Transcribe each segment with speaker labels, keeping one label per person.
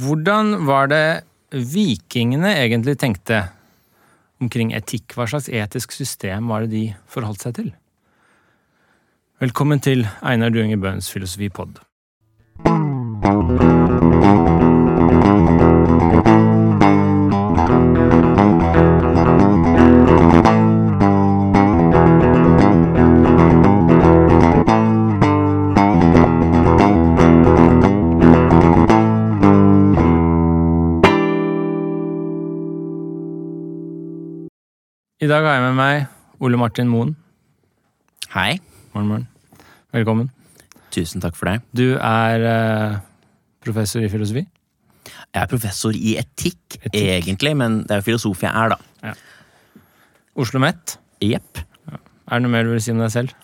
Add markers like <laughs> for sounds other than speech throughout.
Speaker 1: Hvordan var det vikingene egentlig tenkte omkring etikk? Hva slags etisk system var det de forholdt seg til? Velkommen til Einar Duenger Bøhns filosofipod. I dag har jeg med meg Ole Martin Moen.
Speaker 2: Hei.
Speaker 1: Morgen, morgen. Velkommen.
Speaker 2: Tusen takk for det.
Speaker 1: Du er eh, professor i filosofi.
Speaker 2: Jeg er professor i etikk,
Speaker 1: Etikk.
Speaker 2: egentlig, men det er jo filosof jeg er, da.
Speaker 1: Oslo Met.
Speaker 2: Jepp.
Speaker 1: Er det noe mer du vil si om deg selv?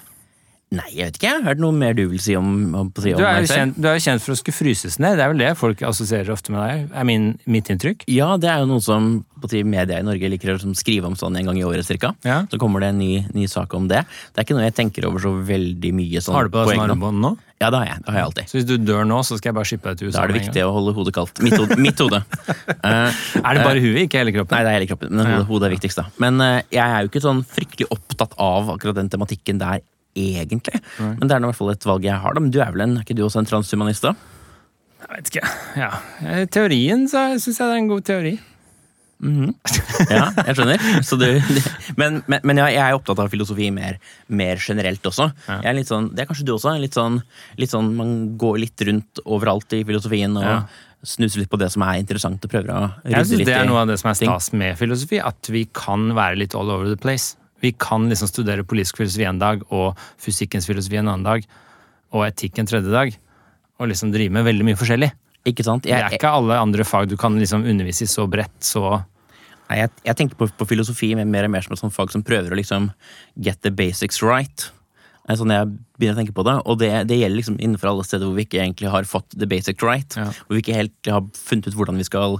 Speaker 2: Nei, jeg vet ikke. jeg. Er det noe mer du vil si om, om, si om
Speaker 1: Du er
Speaker 2: meg
Speaker 1: jo
Speaker 2: selv?
Speaker 1: kjent, du er jo kjent for å skulle fryses ned. Det er vel det folk assosierer ofte med deg, er min, mitt inntrykk.
Speaker 2: Ja, det er jo noe som på si, media i Norge liker å liksom skrive om sånn en gang i året, cirka.
Speaker 1: Ja.
Speaker 2: Så kommer det en ny, ny sak om det. Det er ikke noe jeg tenker over så veldig mye. Sånn,
Speaker 1: Har du på deg sånn
Speaker 2: egen hånd.
Speaker 1: armbånd nå?
Speaker 2: Ja, det har jeg. Det har jeg alltid.
Speaker 1: Så hvis du dør nå, så skal jeg bare shippe deg til USA?
Speaker 2: Da er det
Speaker 1: med en
Speaker 2: viktig å holde hodet kaldt. Mitt hode. Mitt hode.
Speaker 1: <laughs>
Speaker 2: Eh,
Speaker 1: gang. Er det bare huet, ikke hele kroppen?
Speaker 2: Nei, det er hele kroppen, men hodet, hodet er viktigst, da. Men eh, jeg er jo ikke sånn fryktelig opptatt av akkurat den tematikken der, egentlig. Men det er nå i hvert fall et valg jeg har, da. Men du er vel en, er ikke du også en transhumanist, da?
Speaker 1: Jeg vet ikke. Ja. Eh, Teorien så syns jeg det er en god teori.
Speaker 2: Ja, jeg skjønner. Så du, <laughs> men men, men ja, jeg er jo opptatt av filosofi mer, mer generelt også. Jeg er litt sånn, det er kanskje du også. Litt sånn, litt sånn, man går litt rundt overalt i filosofien og
Speaker 1: Ja.
Speaker 2: snuser litt på det som er interessant, og prøver å
Speaker 1: Jeg
Speaker 2: rydde
Speaker 1: synes
Speaker 2: litt
Speaker 1: Det er noe av det som er
Speaker 2: ting.
Speaker 1: stas med filosofi, at vi kan være litt all over the place. Vi kan liksom studere politisk filosofi en dag, og fysikkens filosofi en annen dag, og etikk en tredje dag, og liksom drive med veldig mye forskjellig.
Speaker 2: Ikke sant?
Speaker 1: Det er ikke alle andre fag du kan liksom undervise i så bredt, så
Speaker 2: Nei, jeg, jeg tenker på, på filosofi mer, mer og mer som et sånt fag som prøver å liksom get the basics right. Det er sånn jeg begynner å tenke på det, og det, det gjelder liksom innenfor alle steder hvor vi ikke egentlig har fått the basics right.
Speaker 1: Ja.
Speaker 2: Hvor vi ikke helt har funnet ut hvordan vi skal,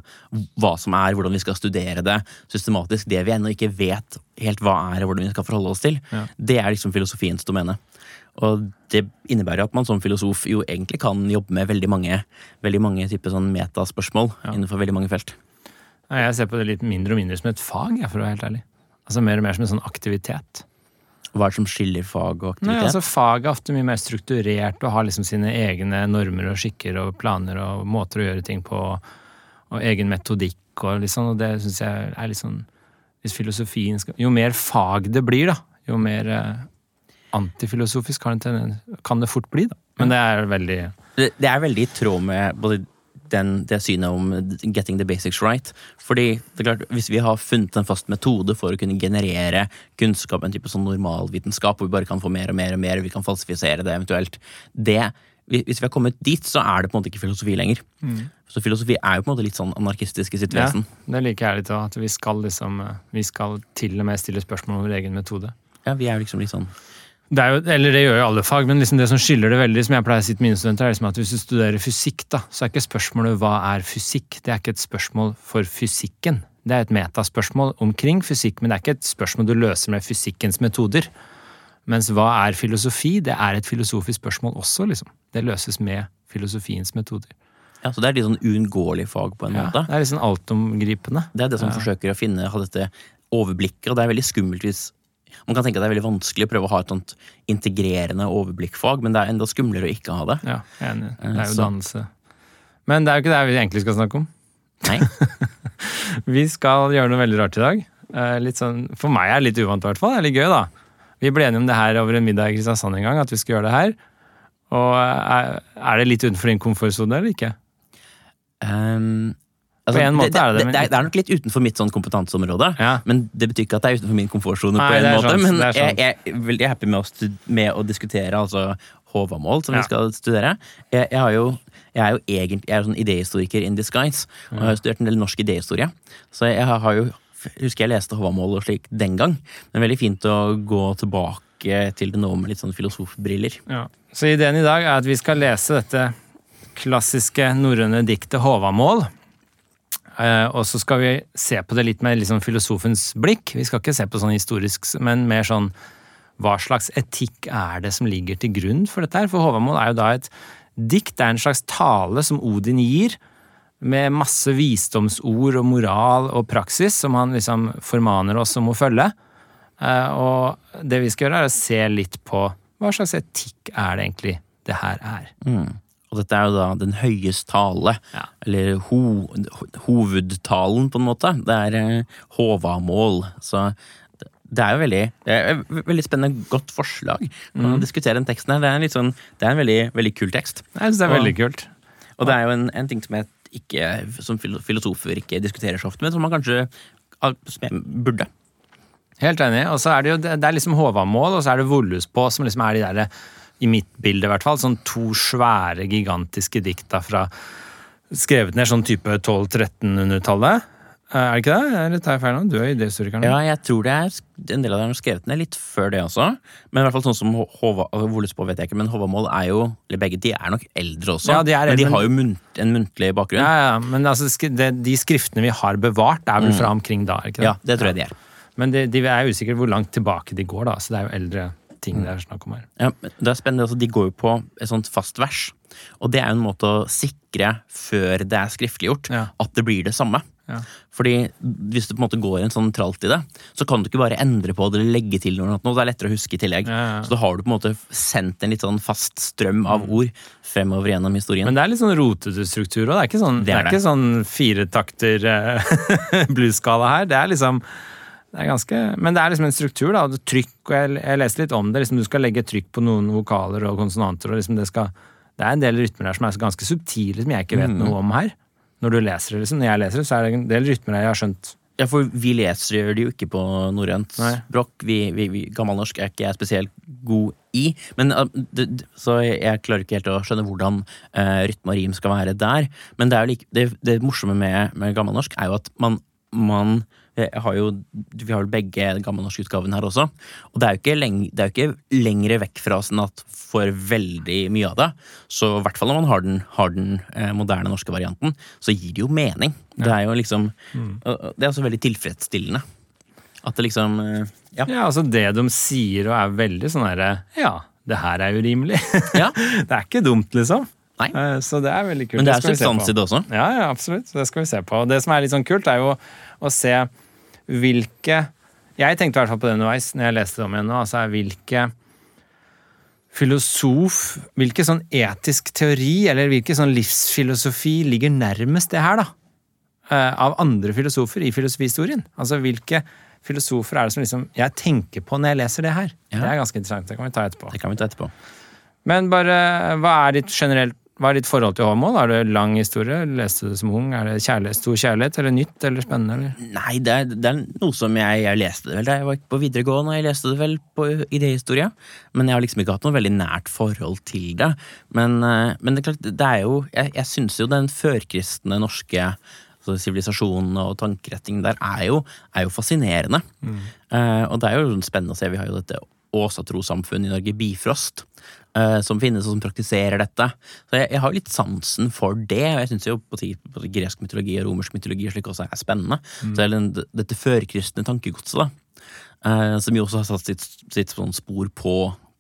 Speaker 2: hva som er, hvordan vi skal studere det systematisk. Det vi ennå ikke vet helt hva er, og hvordan vi skal forholde oss til,
Speaker 1: Ja.
Speaker 2: det er liksom filosofiens domene. Og det innebærer at man som filosof jo egentlig kan jobbe med veldig mange, veldig mange typer sånn metaspørsmål innenfor veldig mange felt.
Speaker 1: Nei, Jeg ser på det litt mindre og mindre som et fag, jeg, for å være helt ærlig. Altså Mer og mer som en sånn aktivitet.
Speaker 2: Hva er det som skiller fag og aktivitet?
Speaker 1: Nei, altså Faget er ofte mye mer strukturert og har liksom sine egne normer og skikker og planer og måter å gjøre ting på, og egen metodikk og liksom, og det syns jeg er litt sånn Hvis filosofien skal Jo mer fag det blir, da, jo mer eh, antifilosofisk kan det, kan det fort bli, da. Men det er veldig
Speaker 2: det, det er veldig i tråd med både den, det synet om getting the basics right. Fordi det er klart, Hvis vi har funnet en fast metode for å kunne generere kunnskap, en type sånn normalvitenskap, hvor vi bare kan få mer og mer og mer, vi kan falsifisere det eventuelt det, hvi- Hvis vi har kommet dit, så er det på en måte ikke filosofi lenger. Så filosofi er jo på en måte litt sånn anarkistisk i sitt
Speaker 1: Mm. ja,
Speaker 2: vesen.
Speaker 1: Det liker jeg litt òg, at vi skal liksom eh, Vi skal til og med stille spørsmål om vår egen metode.
Speaker 2: Ja, vi er jo liksom litt sånn
Speaker 1: Det er jo, eller det gjør jo alle fag, men liksom det som skiller det veldig, som jeg pleier å si til mine studenter, er liksom at hvis du studerer fysikk, da, så er ikke spørsmålet hva er fysikk? Det er ikke et spørsmål for fysikken. Det er et metaspørsmål omkring fysikk, men det er ikke et spørsmål du løser med fysikkens metoder. Mens hva er filosofi? Det er et filosofisk spørsmål også, liksom. Det løses med filosofiens metoder.
Speaker 2: ja, Så det er litt sånn uunngåelig fag, på en
Speaker 1: Ja,
Speaker 2: måte.
Speaker 1: det er liksom altomgripende.
Speaker 2: Det er det som forsøker å finne ha dette overblikket, og det er veldig skummelt hvis Man kan tenke at det er veldig vanskelig å prøve å ha et sånt integrerende overblikkfag, men det er enda skumlere å ikke ha det.
Speaker 1: Ja, jeg er enig. Det er jo
Speaker 2: Eh, Så-
Speaker 1: dannelse. Men det er jo ikke det vi egentlig skal snakke om.
Speaker 2: Nei,
Speaker 1: <laughs> Vi skal gjøre noe veldig rart i dag. Eh, Litt sånn, for meg er det litt uvant, i hvert fall. Det er litt gøy, da. Vi ble enige om det her over en middag i Kristiansand en gang, at vi skulle gjøre det her. Og eh, er, er det litt utenfor din komfortsone eller ikke?
Speaker 2: ehm, altså,
Speaker 1: På en måte er det det, men-
Speaker 2: det, er, det er nok litt utenfor mitt sånn kompetanseområde,
Speaker 1: Ja.
Speaker 2: men det betyr ikke at det er utenfor min komfortsone.
Speaker 1: Nei,
Speaker 2: på en
Speaker 1: det er
Speaker 2: måte,
Speaker 1: sant,
Speaker 2: Men
Speaker 1: det er sant.
Speaker 2: jeg, jeg er veldig happy med å, stud, med å diskutere altså Håvamål, som
Speaker 1: Ja.
Speaker 2: vi skal studere. Jeg, jeg, har jo, jeg er jo egentlig jeg er sånn idehistoriker in disguise,
Speaker 1: Mm.
Speaker 2: og jeg har jo studert en del norsk idéhistorie. Så jeg har, har jo, husker jeg leste Håvamål og slik den gang. Men veldig fint å gå tilbake til det nå med litt sånn filosofbriller.
Speaker 1: Ja. Så ideen i dag er at vi skal lese dette klassiske norrøne diktet Håvamål. Eh, og så skal vi se på det litt med liksom filosofens blikk. Vi skal ikke se på sånn historisk, men mer sånn hva slags etikk er det som ligger til grunn for dette her? For Håvamål er jo da et dikt, det er en slags tale som Odin gir med masse visdomsord og moral og praksis som han liksom formaner oss om å følge. Eh, Og det vi skal gjøre, er å se litt på hva slags etikk er det egentlig det her er.
Speaker 2: Og dette er jo da den høyeste tale,
Speaker 1: Ja.
Speaker 2: eller ho, ho- hovedtalen, på en måte. Det er eh, Håvamål. Så det- det er jo veldig, det er et veldig spennende, godt forslag å diskutere den teksten her. Det er en, litt sånn, det er en veldig, veldig kul tekst.
Speaker 1: Jeg syns det er
Speaker 2: Og-
Speaker 1: veldig kult.
Speaker 2: Og det er jo en, en ting som, jeg ikke, som filo- filosofer ikke diskuterer så ofte, men som man kanskje som jeg burde.
Speaker 1: Helt enig. Og så er det jo det er liksom Håvamål, og så er det Vollhuspå, som liksom er de der, i mitt bilde i hvert fall, sånn to svære, gigantiske dikta fra Skrevet ned sånn type 1200-1300-tallet. Eh, Er det ikke det? Eller tar jeg feil nå? Du er idéhistoriker nå.
Speaker 2: Ja, jeg tror det er sk- en del av dem er skrevet ned litt før det også. Men i hvert fall sånn som Hå- Håva- altså, Vollesbå vet jeg ikke, men Håvamål er jo Eller begge de er nok eldre også,
Speaker 1: Ja, de er
Speaker 2: men
Speaker 1: eldre,
Speaker 2: de
Speaker 1: men-
Speaker 2: har jo munt, en muntlig bakgrunn.
Speaker 1: Ja,
Speaker 2: Ja,
Speaker 1: ja, men altså, sk- det, de skriftene vi har bevart, er vel fra omkring da? er ikke det?
Speaker 2: det tror jeg de er.
Speaker 1: Men de, de er usikre hvor langt tilbake de går, da. Så det er jo eldre ting det er snakk om her.
Speaker 2: Ja, men det er spennende, altså, De går jo på et sånt fast vers, og det er jo en måte å sikre før det er skriftliggjort,
Speaker 1: Ja.
Speaker 2: at det blir det samme.
Speaker 1: Ja.
Speaker 2: Fordi hvis du på en måte går en sånn tralt i det, så kan du ikke bare endre på det eller legge til noe, noe, det er lettere å huske i tillegg.
Speaker 1: Ja, Mm. ja.
Speaker 2: Så da har du på en måte sendt en litt sånn fast strøm av ord fremover gjennom historien.
Speaker 1: Men det er litt sånn rotete struktur òg. Det er ikke sånn, det
Speaker 2: Det
Speaker 1: er
Speaker 2: er det.
Speaker 1: ikke sånn firetakter eh, <laughs> blues-skala her. Det er liksom det er ganske, Men det er liksom en struktur, da. og det Trykk, og jeg, jeg leste litt om det. liksom Du skal legge trykk på noen vokaler og konsonanter. og liksom Det skal, det er en del rytmer der som er så ganske subtile, som jeg ikke vet noe om her. Når du leser det, liksom. Når jeg leser det, så er det en del rytmer der jeg har skjønt
Speaker 2: Ja, for vi leser det jo ikke på norrønt
Speaker 1: Nei.
Speaker 2: språk. Vi, vi, vi, gammelnorsk er ikke jeg spesielt god i. Men, uh, d- d- så jeg, jeg klarer ikke helt å skjønne hvordan eh, rytme og rim skal være der. Men det, er jo like, det, det morsomme med, med gammelnorsk er jo at man, man Eh, jeg har jo, Vi har jo begge gammelnorskutgaven her også. Og det er, jo ikke leng, det er jo ikke lengre vekk fra oss enn at for veldig mye av det, så i hvert fall når man har den, har den eh, moderne norske varianten, så gir det jo mening. Det er jo liksom
Speaker 1: Mm.
Speaker 2: og- og Det er også veldig tilfredsstillende. At det liksom eh,
Speaker 1: <laughs>
Speaker 2: Ja.
Speaker 1: Ja, altså det de sier og er veldig sånn herre Ja, det her er <laughs> urimelig.
Speaker 2: ja.
Speaker 1: det er ikke dumt, liksom.
Speaker 2: Nei.
Speaker 1: Eh, Så det er veldig kult.
Speaker 2: Men det er
Speaker 1: skal vi se
Speaker 2: substans
Speaker 1: på.
Speaker 2: i det også.
Speaker 1: Ja, ja, absolutt. Det skal vi se på. Og det som er litt sånn kult, er jo å se hvilke Jeg tenkte i hvert fall på det underveis når jeg leste det om igjen nå. altså er hvilke filosof Hvilken sånn etisk teori eller hvilken sånn livsfilosofi ligger nærmest det her, da? Eh, Av andre filosofer i filosofihistorien. Altså hvilke filosofer er det som liksom jeg tenker på når jeg leser det her?
Speaker 2: Ja.
Speaker 1: Det er ganske interessant. Det kan vi ta etterpå.
Speaker 2: Det kan vi ta etterpå.
Speaker 1: Men bare, hva er ditt generelt hva er ditt forhold til homo? Er det lang historie? Leste du det som ung? Er det kjærlighet, stor kjærlighet, eller nytt, eller spennende? Eller?
Speaker 2: Nei, det er, det er noe som jeg, jeg leste det vel da jeg var på videregående, og jeg leste det vel på idéhistorie. Men jeg har liksom ikke hatt noe veldig nært forhold til det. Men, eh, men det er klart, det er jo Jeg, jeg syns jo den førkristne norske altså, sivilisasjonen og tankerettingen der er jo, er jo fascinerende. Eh, og det er jo spennende å se. Vi har jo dette åsatrosamfunnet i Norge, Bifrost, eh, som finnes og som praktiserer dette. Så jeg, jeg har jo litt sansen for det, og jeg syns jo på, ti- på gresk mytologi og romersk mytologi og slik også er spennende. Så hele den, dette førkristne tankegodset, da, eh, som jo også har satt sitt, sitt sånn spor på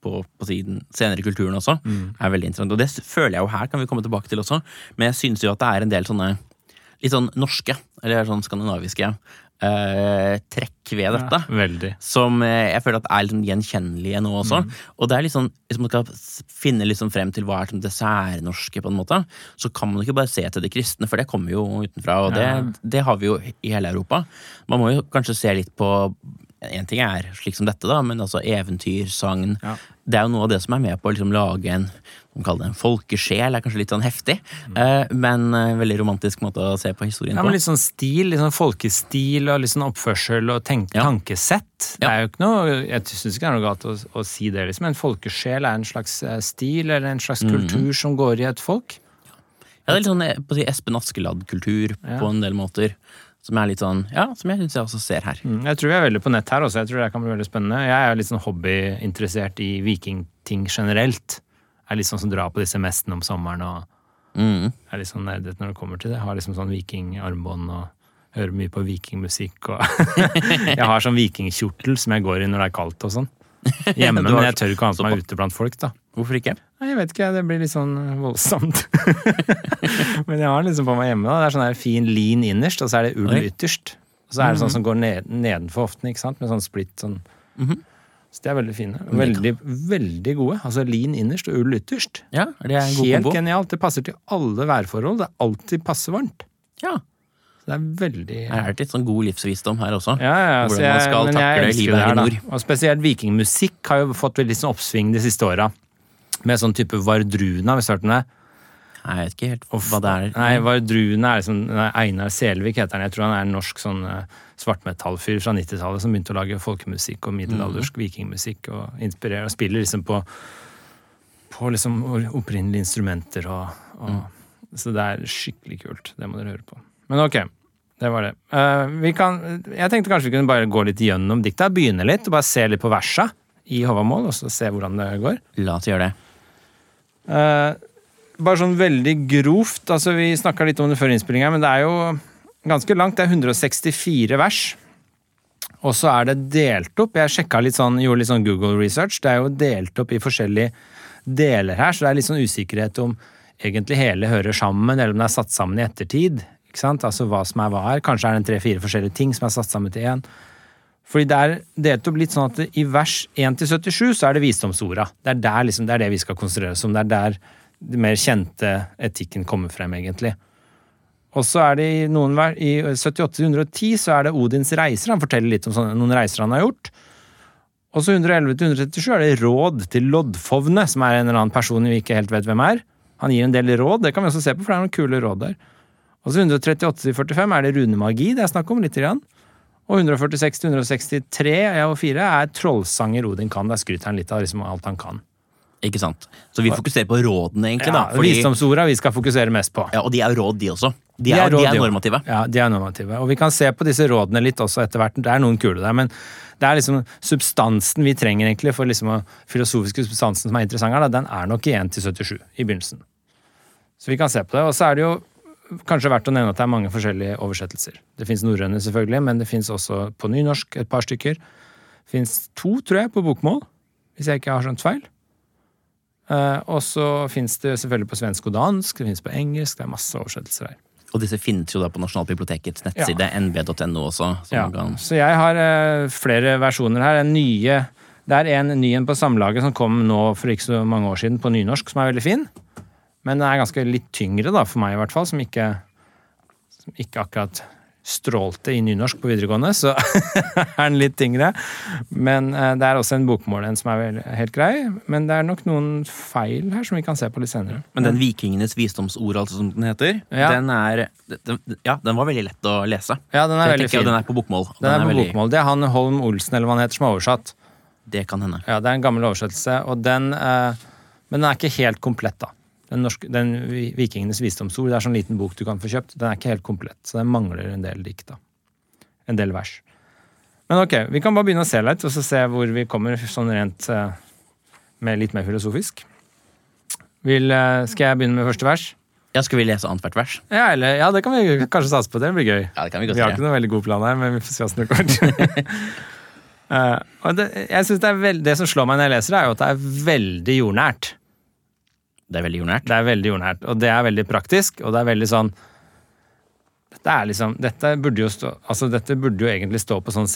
Speaker 2: på, på siden, senere i kulturen også, er veldig interessant. Og det s- føler jeg jo her, kan vi komme tilbake til også, men jeg syns jo at det er en del sånne litt sånn norske, eller sånn skandinaviske, eh, trekk ved dette
Speaker 1: Veldig.
Speaker 2: som eh, jeg føler at er litt sånn gjenkjennelige nå også.
Speaker 1: Mm.
Speaker 2: Og det er litt sånn, Hvis man skal s- finne litt sånn frem til hva er som det særnorske, på en måte, så kan man ikke bare se til de kristne, for det kommer jo utenfra. Og det, det har vi jo i hele Europa. Man må jo kanskje se litt på En ting er slik som dette, da, men altså eventyr, sagn.
Speaker 1: Ja.
Speaker 2: Det er jo noe av det som er med på å liksom lage en man kaller det en folkesjel, er kanskje litt sånn heftig, eh, men eh, veldig romantisk måte å se på historien
Speaker 1: Mm. Ja,
Speaker 2: på.
Speaker 1: men litt sånn stil, litt sånn folkestil og litt sånn oppførsel og tenk
Speaker 2: Ja.
Speaker 1: tankesett. Det
Speaker 2: Ja.
Speaker 1: er jo ikke noe, Jeg syns ikke det er noe galt å, å si det, liksom. En folkesjel er en slags eh, stil eller en
Speaker 2: Mhm.
Speaker 1: slags kultur som går i et folk.
Speaker 2: Ja, det er litt sånn eh, på å si, Espen Askeladd-kultur på en del måter. Som er litt sånn, ja, som jeg syns jeg også ser her.
Speaker 1: Mm, Jeg tror vi er veldig på nett her også. Jeg tror det kan bli veldig spennende. Jeg er litt sånn hobbyinteressert i vikingting generelt. Jeg er litt sånn som drar på disse mestene om sommeren og
Speaker 2: Mm.
Speaker 1: er litt sånn nerdet når det kommer til det. Jeg har liksom sånn vikingarmbånd og hører <laughs>
Speaker 2: <laughs>
Speaker 1: mye på vikingmusikk og Jeg har sånn vikingkjortel som jeg går i når det er kaldt og sånn. hjemme,
Speaker 2: Du har
Speaker 1: men jeg tør ikke ha på meg
Speaker 2: såpass.
Speaker 1: ute blant folk, da.
Speaker 2: Hvorfor ikke?
Speaker 1: Nei, jeg vet ikke, det blir litt sånn voldsomt. <laughs> Men jeg har den liksom på meg hjemme. da. Det er sånn her fin lin innerst, og så er det ull
Speaker 2: Oi. Mhm.
Speaker 1: ytterst. Og så er det sånn som går ned, nedenfor hoftene, ikke sant, med sånn splitt sånn.
Speaker 2: Mhm.
Speaker 1: Så de er veldig fine. Veldig, veldig gode. Altså lin innerst og ull ytterst.
Speaker 2: Ja, er det en god
Speaker 1: Helt
Speaker 2: kombo?
Speaker 1: genialt. Det passer til alle værforhold. Det er alltid passe varmt.
Speaker 2: Ja.
Speaker 1: Så det er veldig
Speaker 2: Her er det litt sånn god livsvisdom her også.
Speaker 1: ja, ja, ja, så
Speaker 2: Hvordan
Speaker 1: jeg-
Speaker 2: man skal
Speaker 1: men jeg
Speaker 2: takle
Speaker 1: elsker jo
Speaker 2: livet
Speaker 1: det
Speaker 2: her
Speaker 1: da.
Speaker 2: i nord.
Speaker 1: Og spesielt vikingmusikk har jo fått veldig sånn oppsving de siste åra. Med sånn type Vardruna, hvis du har hørt om det?
Speaker 2: Nei, jeg vet ikke helt hva det er.
Speaker 1: Nei, Vardruna er liksom nei, Einar Selvik heter han. Jeg tror han er en norsk sånn eh, svartmetallfyr fra 90-tallet som begynte å lage folkemusikk og middelaldersk
Speaker 2: Mm.
Speaker 1: vikingmusikk og inspirerer og spiller liksom på på liksom or- opprinnelige instrumenter og, og
Speaker 2: Mm.
Speaker 1: Så det er skikkelig kult. Det må dere høre på. Men ok, det var det. Eh, vi kan, jeg tenkte kanskje vi kunne bare gå litt gjennom dikta. Begynne litt, og bare se litt på versa i Håvamål, og så se hvordan det går.
Speaker 2: La oss gjøre det.
Speaker 1: Eh, bare sånn veldig grovt, altså vi snakka litt om det før innspilling her, men det er jo ganske langt. Det er 164 vers. Og så er det delt opp. Jeg sjekka litt sånn, gjorde litt sånn Google research. Det er jo delt opp i forskjellige deler her, så det er litt sånn usikkerhet om egentlig hele hører sammen, eller om det er satt sammen i ettertid. Ikke sant? Altså hva som er hva her. Kanskje er det en tre-fire forskjellige ting som er satt sammen til én. Fordi det er delt opp litt sånn at det- i vers 1-77 så er det visdomsorda. Det er der liksom, det er det vi skal konsentrere oss om. Det er der det mer kjente etikken kommer frem, egentlig. Og så er det i noen vers, i 78-110 så er det Odins reiser. Han forteller litt om sånne, noen reiser han har gjort. Og så 111-137 er det råd til loddfovne, som er en eller annen person vi ikke helt vet hvem er. Han gir en del råd, det kan vi også se på, for det er noen kule råd der. Og så 138-45 er det runemagi det er snakk om, lite grann. Og 146 til 163 ja, og 4 er trollsanger Odin kan. Der skryter han litt av liksom alt han kan.
Speaker 2: Ikke sant? Så vi fokuserer på rådene, egentlig. da.
Speaker 1: Ja, Visdomsorda vi skal fokusere mest på.
Speaker 2: ja, og de er jo råd, de også. De er,
Speaker 1: råd,
Speaker 2: de er
Speaker 1: jo.
Speaker 2: normative.
Speaker 1: Ja, de er normative. Og vi kan se på disse rådene litt også etter hvert. Det er noen kule der, men det er liksom substansen vi trenger egentlig for liksom å- filosofiske substansen som er interessant her, da, den er nok i 1 til 77 i begynnelsen. Så vi kan se på det. Og så er det jo kanskje verdt å nevne at det er mange forskjellige oversettelser. Det fins norrøne, selvfølgelig, men det fins også på nynorsk et par stykker. Det fins to, tror jeg, på bokmål, hvis jeg ikke har skjønt feil. Eh, og så fins det selvfølgelig på svensk og dansk, det fins på engelsk, det er masse oversettelser her.
Speaker 2: Og disse finnes jo da på Nasjonalbibliotekets nettside, nb.no også. Som
Speaker 1: Ja,
Speaker 2: man kan...
Speaker 1: så jeg har eh, flere versjoner her. En nye, det er en ny en på Samlaget som kom nå for ikke så mange år siden på nynorsk, som er veldig fin. Men den er ganske litt tyngre, da, for meg i hvert fall, som ikke, som ikke akkurat strålte i nynorsk på videregående. Så <laughs> er den litt tyngre. Men eh, det er også en bokmål en som er vel, helt grei. Men det er nok noen feil her som vi kan se på litt senere.
Speaker 2: Men den Vikingenes visdomsord, altså, som den heter,
Speaker 1: Ja.
Speaker 2: den er den, Ja, den var veldig lett å lese.
Speaker 1: Ja, den
Speaker 2: Så
Speaker 1: er
Speaker 2: jeg
Speaker 1: veldig
Speaker 2: tenker jo
Speaker 1: fin.
Speaker 2: Den er på bokmål. og
Speaker 1: Den er på
Speaker 2: veldig-
Speaker 1: bokmål. Det er han Holm Olsen, eller hva han heter, som har oversatt.
Speaker 2: Det kan hende.
Speaker 1: Ja, det er en gammel oversettelse, og den, eh, men den er ikke helt komplett, da. Den, norske, den vi- Vikingenes visdomsord, det er sånn liten bok du kan få kjøpt, den er ikke helt komplett, så den mangler en del dikt, da. En del vers. Men ok, vi kan bare begynne å se litt, og så se hvor vi kommer sånn rent eh, med litt mer filosofisk. Vil, eh, skal jeg begynne med første vers?
Speaker 2: Ja, Skal vi lese annethvert vers?
Speaker 1: Ja, eller, ja, det kan vi kanskje satse på, det blir gøy.
Speaker 2: Ja, det kan vi
Speaker 1: Vi har ikke noen veldig god plan her, men vi får se åssen det går. Eh, og det, jeg synes det, er veld, det som slår meg når jeg leser det, er jo at det er veldig jordnært.
Speaker 2: Det er veldig jordnært.
Speaker 1: Det er veldig jordnært, og det er veldig praktisk, og det er veldig sånn Dette er liksom Dette burde jo, stå, altså dette burde jo egentlig stå på sånn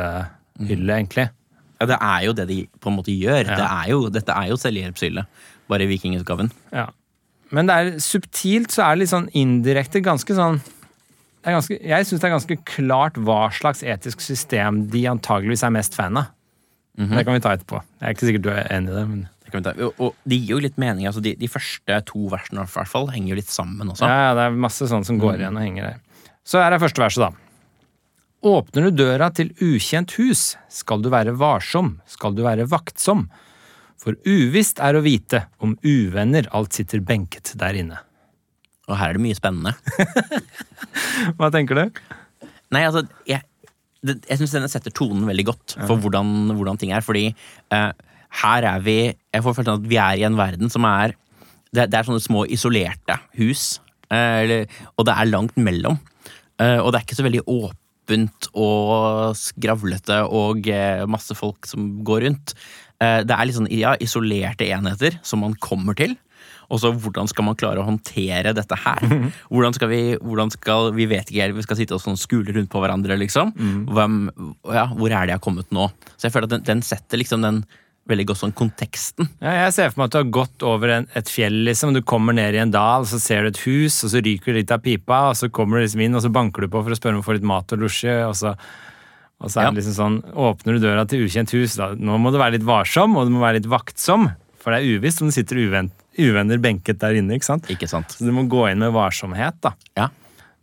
Speaker 1: selvhjelpshylle, egentlig.
Speaker 2: Ja, det er jo det de på en måte gjør. Det er jo, dette er jo selvhjelpshylle, bare i vikingutgaven.
Speaker 1: Ja. Men det er subtilt, så er det litt sånn indirekte ganske sånn det er ganske, Jeg syns det er ganske klart hva slags etisk system de antageligvis er mest fan av. Det kan vi ta etterpå. Jeg er ikke sikkert du er enig i det, men
Speaker 2: Det kan vi ta. Og- Og det gir jo litt mening. altså De, de første to versene i hvert fall henger jo litt sammen også.
Speaker 1: Ja, ja, det er masse sånn som går igjen og henger der. Så her er første verset, da. Åpner du døra til ukjent hus, skal du være varsom, skal du være vaktsom. For uvisst er å vite om uvenner alt sitter benket der inne.
Speaker 2: Og her er det mye spennende.
Speaker 1: Hva tenker du?
Speaker 2: Nei, altså, jeg, det, jeg syns denne setter tonen veldig godt for hvordan, hvordan ting er. Fordi eh, her er vi Jeg får følelsen av at vi er i en verden som er Det, det er sånne små isolerte hus, eh, eller, og det er langt mellom. Eh, og det er ikke så veldig åp åpent og skravlete og eh, masse folk som går rundt. Eh, Det er litt sånn ja, isolerte enheter som man kommer til. Og så hvordan skal man klare å håndtere dette her?
Speaker 1: Mhm.
Speaker 2: Hvordan skal vi, hvordan skal, vi vet ikke helt, vi skal sitte og sånn skule rundt på hverandre, liksom.
Speaker 1: Mhm.
Speaker 2: Hvem, ja, hvor er det jeg har kommet nå? Så jeg føler at den, den setter liksom den veldig godt sånn konteksten.
Speaker 1: Ja, jeg ser for meg at du har gått over en, et fjell, liksom. Du kommer ned i en dal, så ser du et hus, og så ryker du litt av pipa, og så kommer du liksom inn, og så banker du på for å spørre om å få litt mat og dusje, og så, og så er det liksom sånn Åpner du døra til ukjent hus, da Nå må du være litt varsom, og du må være litt vaktsom, for det er uvisst om det sitter uven, uvenner benket der inne, ikke sant?
Speaker 2: Ikke sant?
Speaker 1: Så du må gå inn med varsomhet, da.
Speaker 2: Ja.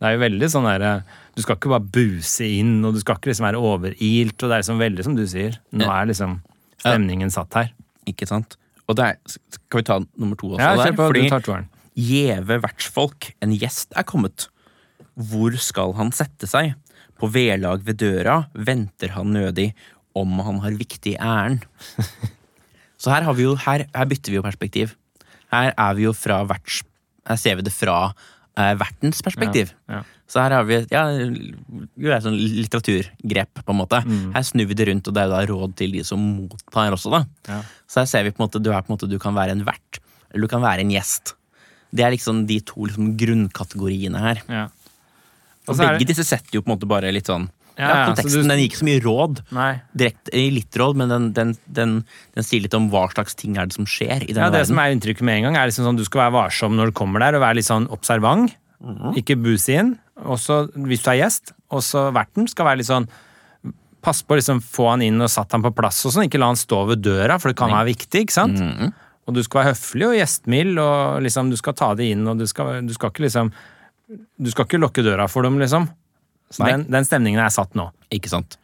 Speaker 1: Det er jo veldig sånn derre Du skal ikke bare buse inn, og du skal ikke liksom være overilt, og det er liksom veldig som du sier. Nå er liksom stemningen satt her.
Speaker 2: Ikke sant? Og det er, skal vi ta nummer to også?
Speaker 1: Ja,
Speaker 2: der?
Speaker 1: kjør på.
Speaker 2: Fordi-
Speaker 1: Du tar toeren.
Speaker 2: Gjeve vertsfolk, en gjest er kommet. Hvor skal han sette seg? På vedlag ved døra venter han nødig, om han har viktig ærend. Så her, har vi jo, her, her bytter vi jo perspektiv. Her er vi jo fra verts... Her ser vi det fra eh, vertens perspektiv.
Speaker 1: Ja, ja.
Speaker 2: Så her har vi et- ja, jo, det er sånn litteraturgrep, på en måte. Her snur vi det rundt, og det er jo da råd til de som mottar også, da.
Speaker 1: Ja.
Speaker 2: Så her ser vi på en måte, du, er, på en måte, du kan være en vert, eller du kan være en gjest. Det er liksom de to liksom, grunnkategoriene her.
Speaker 1: Ja.
Speaker 2: Og
Speaker 1: så er
Speaker 2: begge
Speaker 1: det-
Speaker 2: disse setter jo på en måte bare litt sånn
Speaker 1: Ja,
Speaker 2: ja,
Speaker 1: ja, så
Speaker 2: Konteksten
Speaker 1: du-
Speaker 2: den gir ikke så mye råd,
Speaker 1: Nei.
Speaker 2: direkte, eh, litt råd, men den, den, den, den sier litt om hva slags ting er det som skjer i denne
Speaker 1: Ja, det som
Speaker 2: verden.
Speaker 1: er inntrykket med en gang, er liksom sånn du skal være varsom når du kommer der, og være litt sånn observant. Ikke buse inn. Og så, hvis du er gjest, og så verten skal være litt sånn Pass på å liksom, få han inn og satt han på plass og sånn. Ikke la han stå ved døra, for det kan være viktig, ikke sant? Og du skal være høflig og gjestmild, og liksom, du skal ta det inn, og du skal, du skal ikke liksom Du skal ikke lukke døra for dem, liksom. Så
Speaker 2: Nei.
Speaker 1: den, den stemningen er satt nå.
Speaker 2: Ikke sant?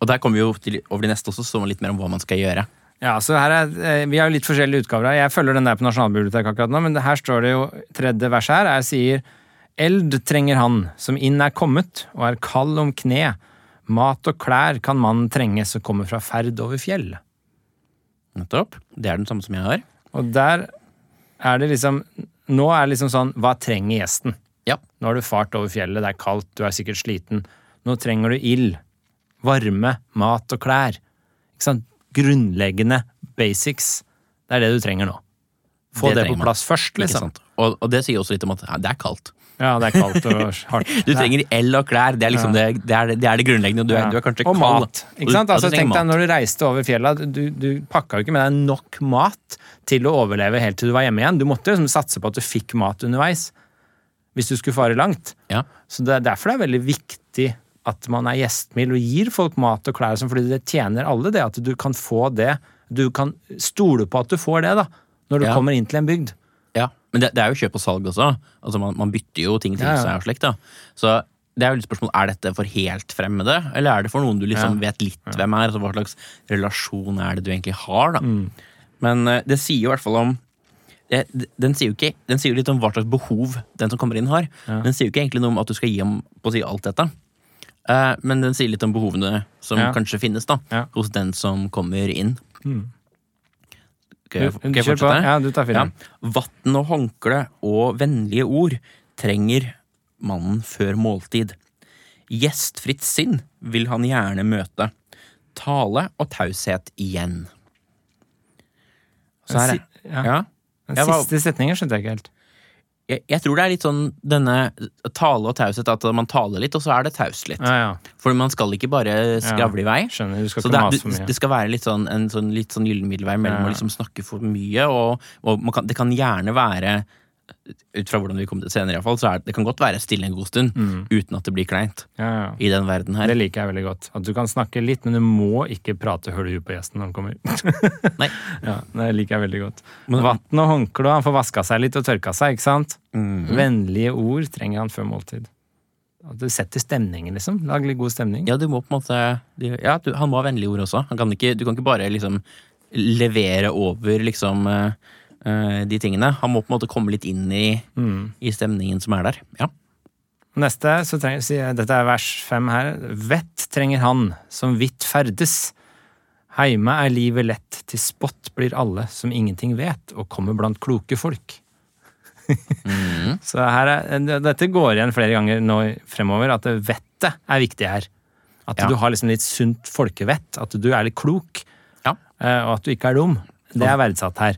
Speaker 2: Og der kommer vi jo til, over de neste også, som er litt mer om hva man skal gjøre.
Speaker 1: Ja, så her er, eh, Vi har jo litt forskjellige utgaver. her. Jeg følger den der på Nasjonalbiblioteket akkurat nå, men her står det jo tredje vers her. Jeg sier Eld trenger han som inn er kommet og er kald om kne. Mat og klær kan mannen trenge som kommer fra ferd over fjell.
Speaker 2: Nettopp. Det er den samme som jeg har.
Speaker 1: Og der er det liksom Nå er det liksom sånn Hva trenger gjesten?
Speaker 2: Ja.
Speaker 1: Nå har du fart over fjellet, det er kaldt, du er sikkert sliten. Nå trenger du ild, varme, mat og klær. Ikke sant? Grunnleggende basics. Det er det du trenger nå. Få
Speaker 2: Det
Speaker 1: det,
Speaker 2: trenger
Speaker 1: på
Speaker 2: man.
Speaker 1: plass først,
Speaker 2: Ikke
Speaker 1: liksom.
Speaker 2: sant? Og, og det sier også litt om at ja, det er kaldt.
Speaker 1: Ja, det er kaldt
Speaker 2: <laughs>
Speaker 1: og hardt.
Speaker 2: Du trenger el og klær, det er liksom det, det, er, det er det grunnleggende. og Du er, du er kanskje
Speaker 1: og
Speaker 2: kald.
Speaker 1: mat. Ikke sant?
Speaker 2: Og du-
Speaker 1: Altså,
Speaker 2: og du
Speaker 1: tenk
Speaker 2: trenger
Speaker 1: deg
Speaker 2: mat.
Speaker 1: når du reiste over fjella, du, du pakka jo ikke med deg nok mat til å overleve helt til du var hjemme igjen. Du måtte jo liksom satse på at du fikk mat underveis hvis du skulle fare langt.
Speaker 2: Ja.
Speaker 1: Så det er derfor det er veldig viktig at man er gjestmild og gir folk mat og klær, og sånn, fordi det tjener alle det at du kan få det. Du kan stole på at du får det da, når du
Speaker 2: Ja.
Speaker 1: kommer inn til en bygd.
Speaker 2: Ja, men det, det er jo kjøp og salg også. Altså man, man bytter jo ting til
Speaker 1: Ja, ja.
Speaker 2: seg og slikt. da. Så det er jo litt spørsmål, er dette for helt fremmede, eller er det for noen du liksom vet litt hvem er? Altså hva slags relasjon er det du egentlig har? da?
Speaker 1: Mm.
Speaker 2: Men eh, det sier jo i hvert fall om det, det- den sier, jo ikke, den sier jo litt om hva slags behov den som kommer inn, har. Den sier jo ikke egentlig noe om at du skal gi ham på å si alt dette. Eh, men den sier litt om behovene som
Speaker 1: Ja.
Speaker 2: kanskje finnes da,
Speaker 1: Ja.
Speaker 2: hos den som kommer inn. Skal jeg, skal jeg
Speaker 1: Kjør på.
Speaker 2: fortsette?
Speaker 1: Ja, du tar filmen.
Speaker 2: Ja. Vann og håndkle og vennlige ord trenger mannen før måltid. Gjestfritt sinn vil han gjerne møte. Tale og taushet igjen. Så her,
Speaker 1: Den si- ja.
Speaker 2: ja.
Speaker 1: Den
Speaker 2: Jeg var-
Speaker 1: siste setningen skjønte jeg ikke helt.
Speaker 2: Jeg, jeg tror det er litt sånn denne tale og taushet, at man taler litt, og så er det taust litt.
Speaker 1: Ja, ja.
Speaker 2: For man skal ikke bare skravle i vei.
Speaker 1: Skjønner. Du skal
Speaker 2: Så
Speaker 1: ikke
Speaker 2: det, er,
Speaker 1: mase for
Speaker 2: du-
Speaker 1: mye.
Speaker 2: det skal være litt sånn, en sånn, litt sånn gyllen middelvei mellom
Speaker 1: Ja.
Speaker 2: å liksom snakke for mye, og, og man kan, det kan gjerne være ut fra hvordan vi kommer til det senere, i hvert fall, så er, det- det kan godt være stille en god stund
Speaker 1: Mm.
Speaker 2: uten at det blir kleint
Speaker 1: Ja, ja.
Speaker 2: i den verden her.
Speaker 1: <laughs> Det liker jeg veldig godt. At du kan snakke litt, men du må ikke prate høl i huet på gjesten når han kommer.
Speaker 2: Nei.
Speaker 1: Ja, det liker jeg veldig godt. Vann og håndkle, og han får vaska seg litt og tørka seg, ikke sant? Vennlige ord trenger han før måltid. At du setter stemningen, liksom. Lag litt god stemning.
Speaker 2: Ja, du må på en måte du- ja, du, Han må ha vennlige ord også. Han kan ikke, du kan ikke bare liksom levere over liksom eh, eh, de tingene. Han må på en måte komme litt inn i,
Speaker 1: Mm.
Speaker 2: i stemningen som er der. Ja.
Speaker 1: Neste, så trenger, sier jeg, dette er vers fem her. Vett trenger han som vidt ferdes. Heime er livet lett, til spott blir alle som ingenting vet, og kommer blant kloke folk.
Speaker 2: Mm.
Speaker 1: <laughs> eh, Så her er, dette går igjen flere ganger nå fremover, at vettet er viktig her. At
Speaker 2: Ja.
Speaker 1: du har liksom litt sunt folkevett. At du er litt klok,
Speaker 2: Ja.
Speaker 1: eh, og at du ikke er dum. Det er verdsatt her.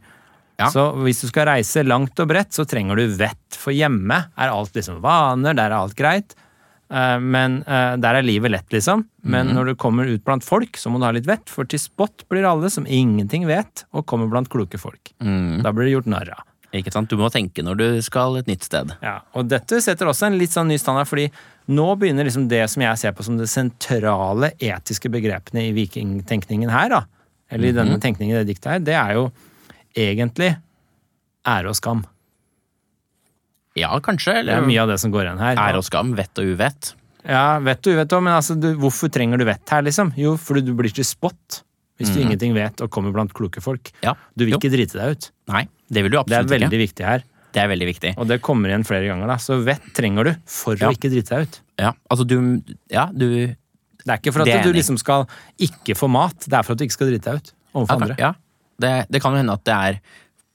Speaker 2: Ja.
Speaker 1: Så hvis du skal reise langt og bredt, så trenger du vett. For hjemme er alt liksom vaner, der er alt greit. Eh, Men eh, Der er livet lett, liksom. Men når du kommer ut blant folk, så må du ha litt vett, for til spott blir alle som ingenting vet, og kommer blant kloke folk. Da blir det gjort narr av.
Speaker 2: Ikke sant? Du må tenke når du skal et nytt sted.
Speaker 1: Ja, og dette setter også en litt sånn ny standard, fordi nå begynner liksom det som jeg ser på som det sentrale etiske begrepene i vikingtenkningen her, da, eller i denne tenkningen i det diktet her, det er jo egentlig ære og skam.
Speaker 2: Ja, kanskje.
Speaker 1: Det er
Speaker 2: Eller
Speaker 1: mye av det som går igjen her.
Speaker 2: ære og skam, vett og uvett.
Speaker 1: Ja, vet du, vet du, men altså, du, hvorfor trenger du vett her, liksom? Jo, fordi du blir til spott hvis du ingenting vet og kommer blant kloke folk.
Speaker 2: Mhm. Ja.
Speaker 1: Du vil
Speaker 2: Jo.
Speaker 1: ikke drite deg ut.
Speaker 2: Nei, det vil
Speaker 1: Det
Speaker 2: du
Speaker 1: er
Speaker 2: absolutt
Speaker 1: veldig
Speaker 2: ikke.
Speaker 1: viktig her,
Speaker 2: Det er veldig viktig.
Speaker 1: og det kommer igjen flere ganger, da. Så vett trenger du for
Speaker 2: Ja.
Speaker 1: å ikke drite deg ut.
Speaker 2: Ja, altså du, ja, du
Speaker 1: Det er ikke for at
Speaker 2: Det er
Speaker 1: du
Speaker 2: enig.
Speaker 1: liksom skal ikke få mat, det er for at du ikke skal drite deg ut overfor
Speaker 2: Ja,
Speaker 1: andre.
Speaker 2: Ja, det, det kan jo hende at det er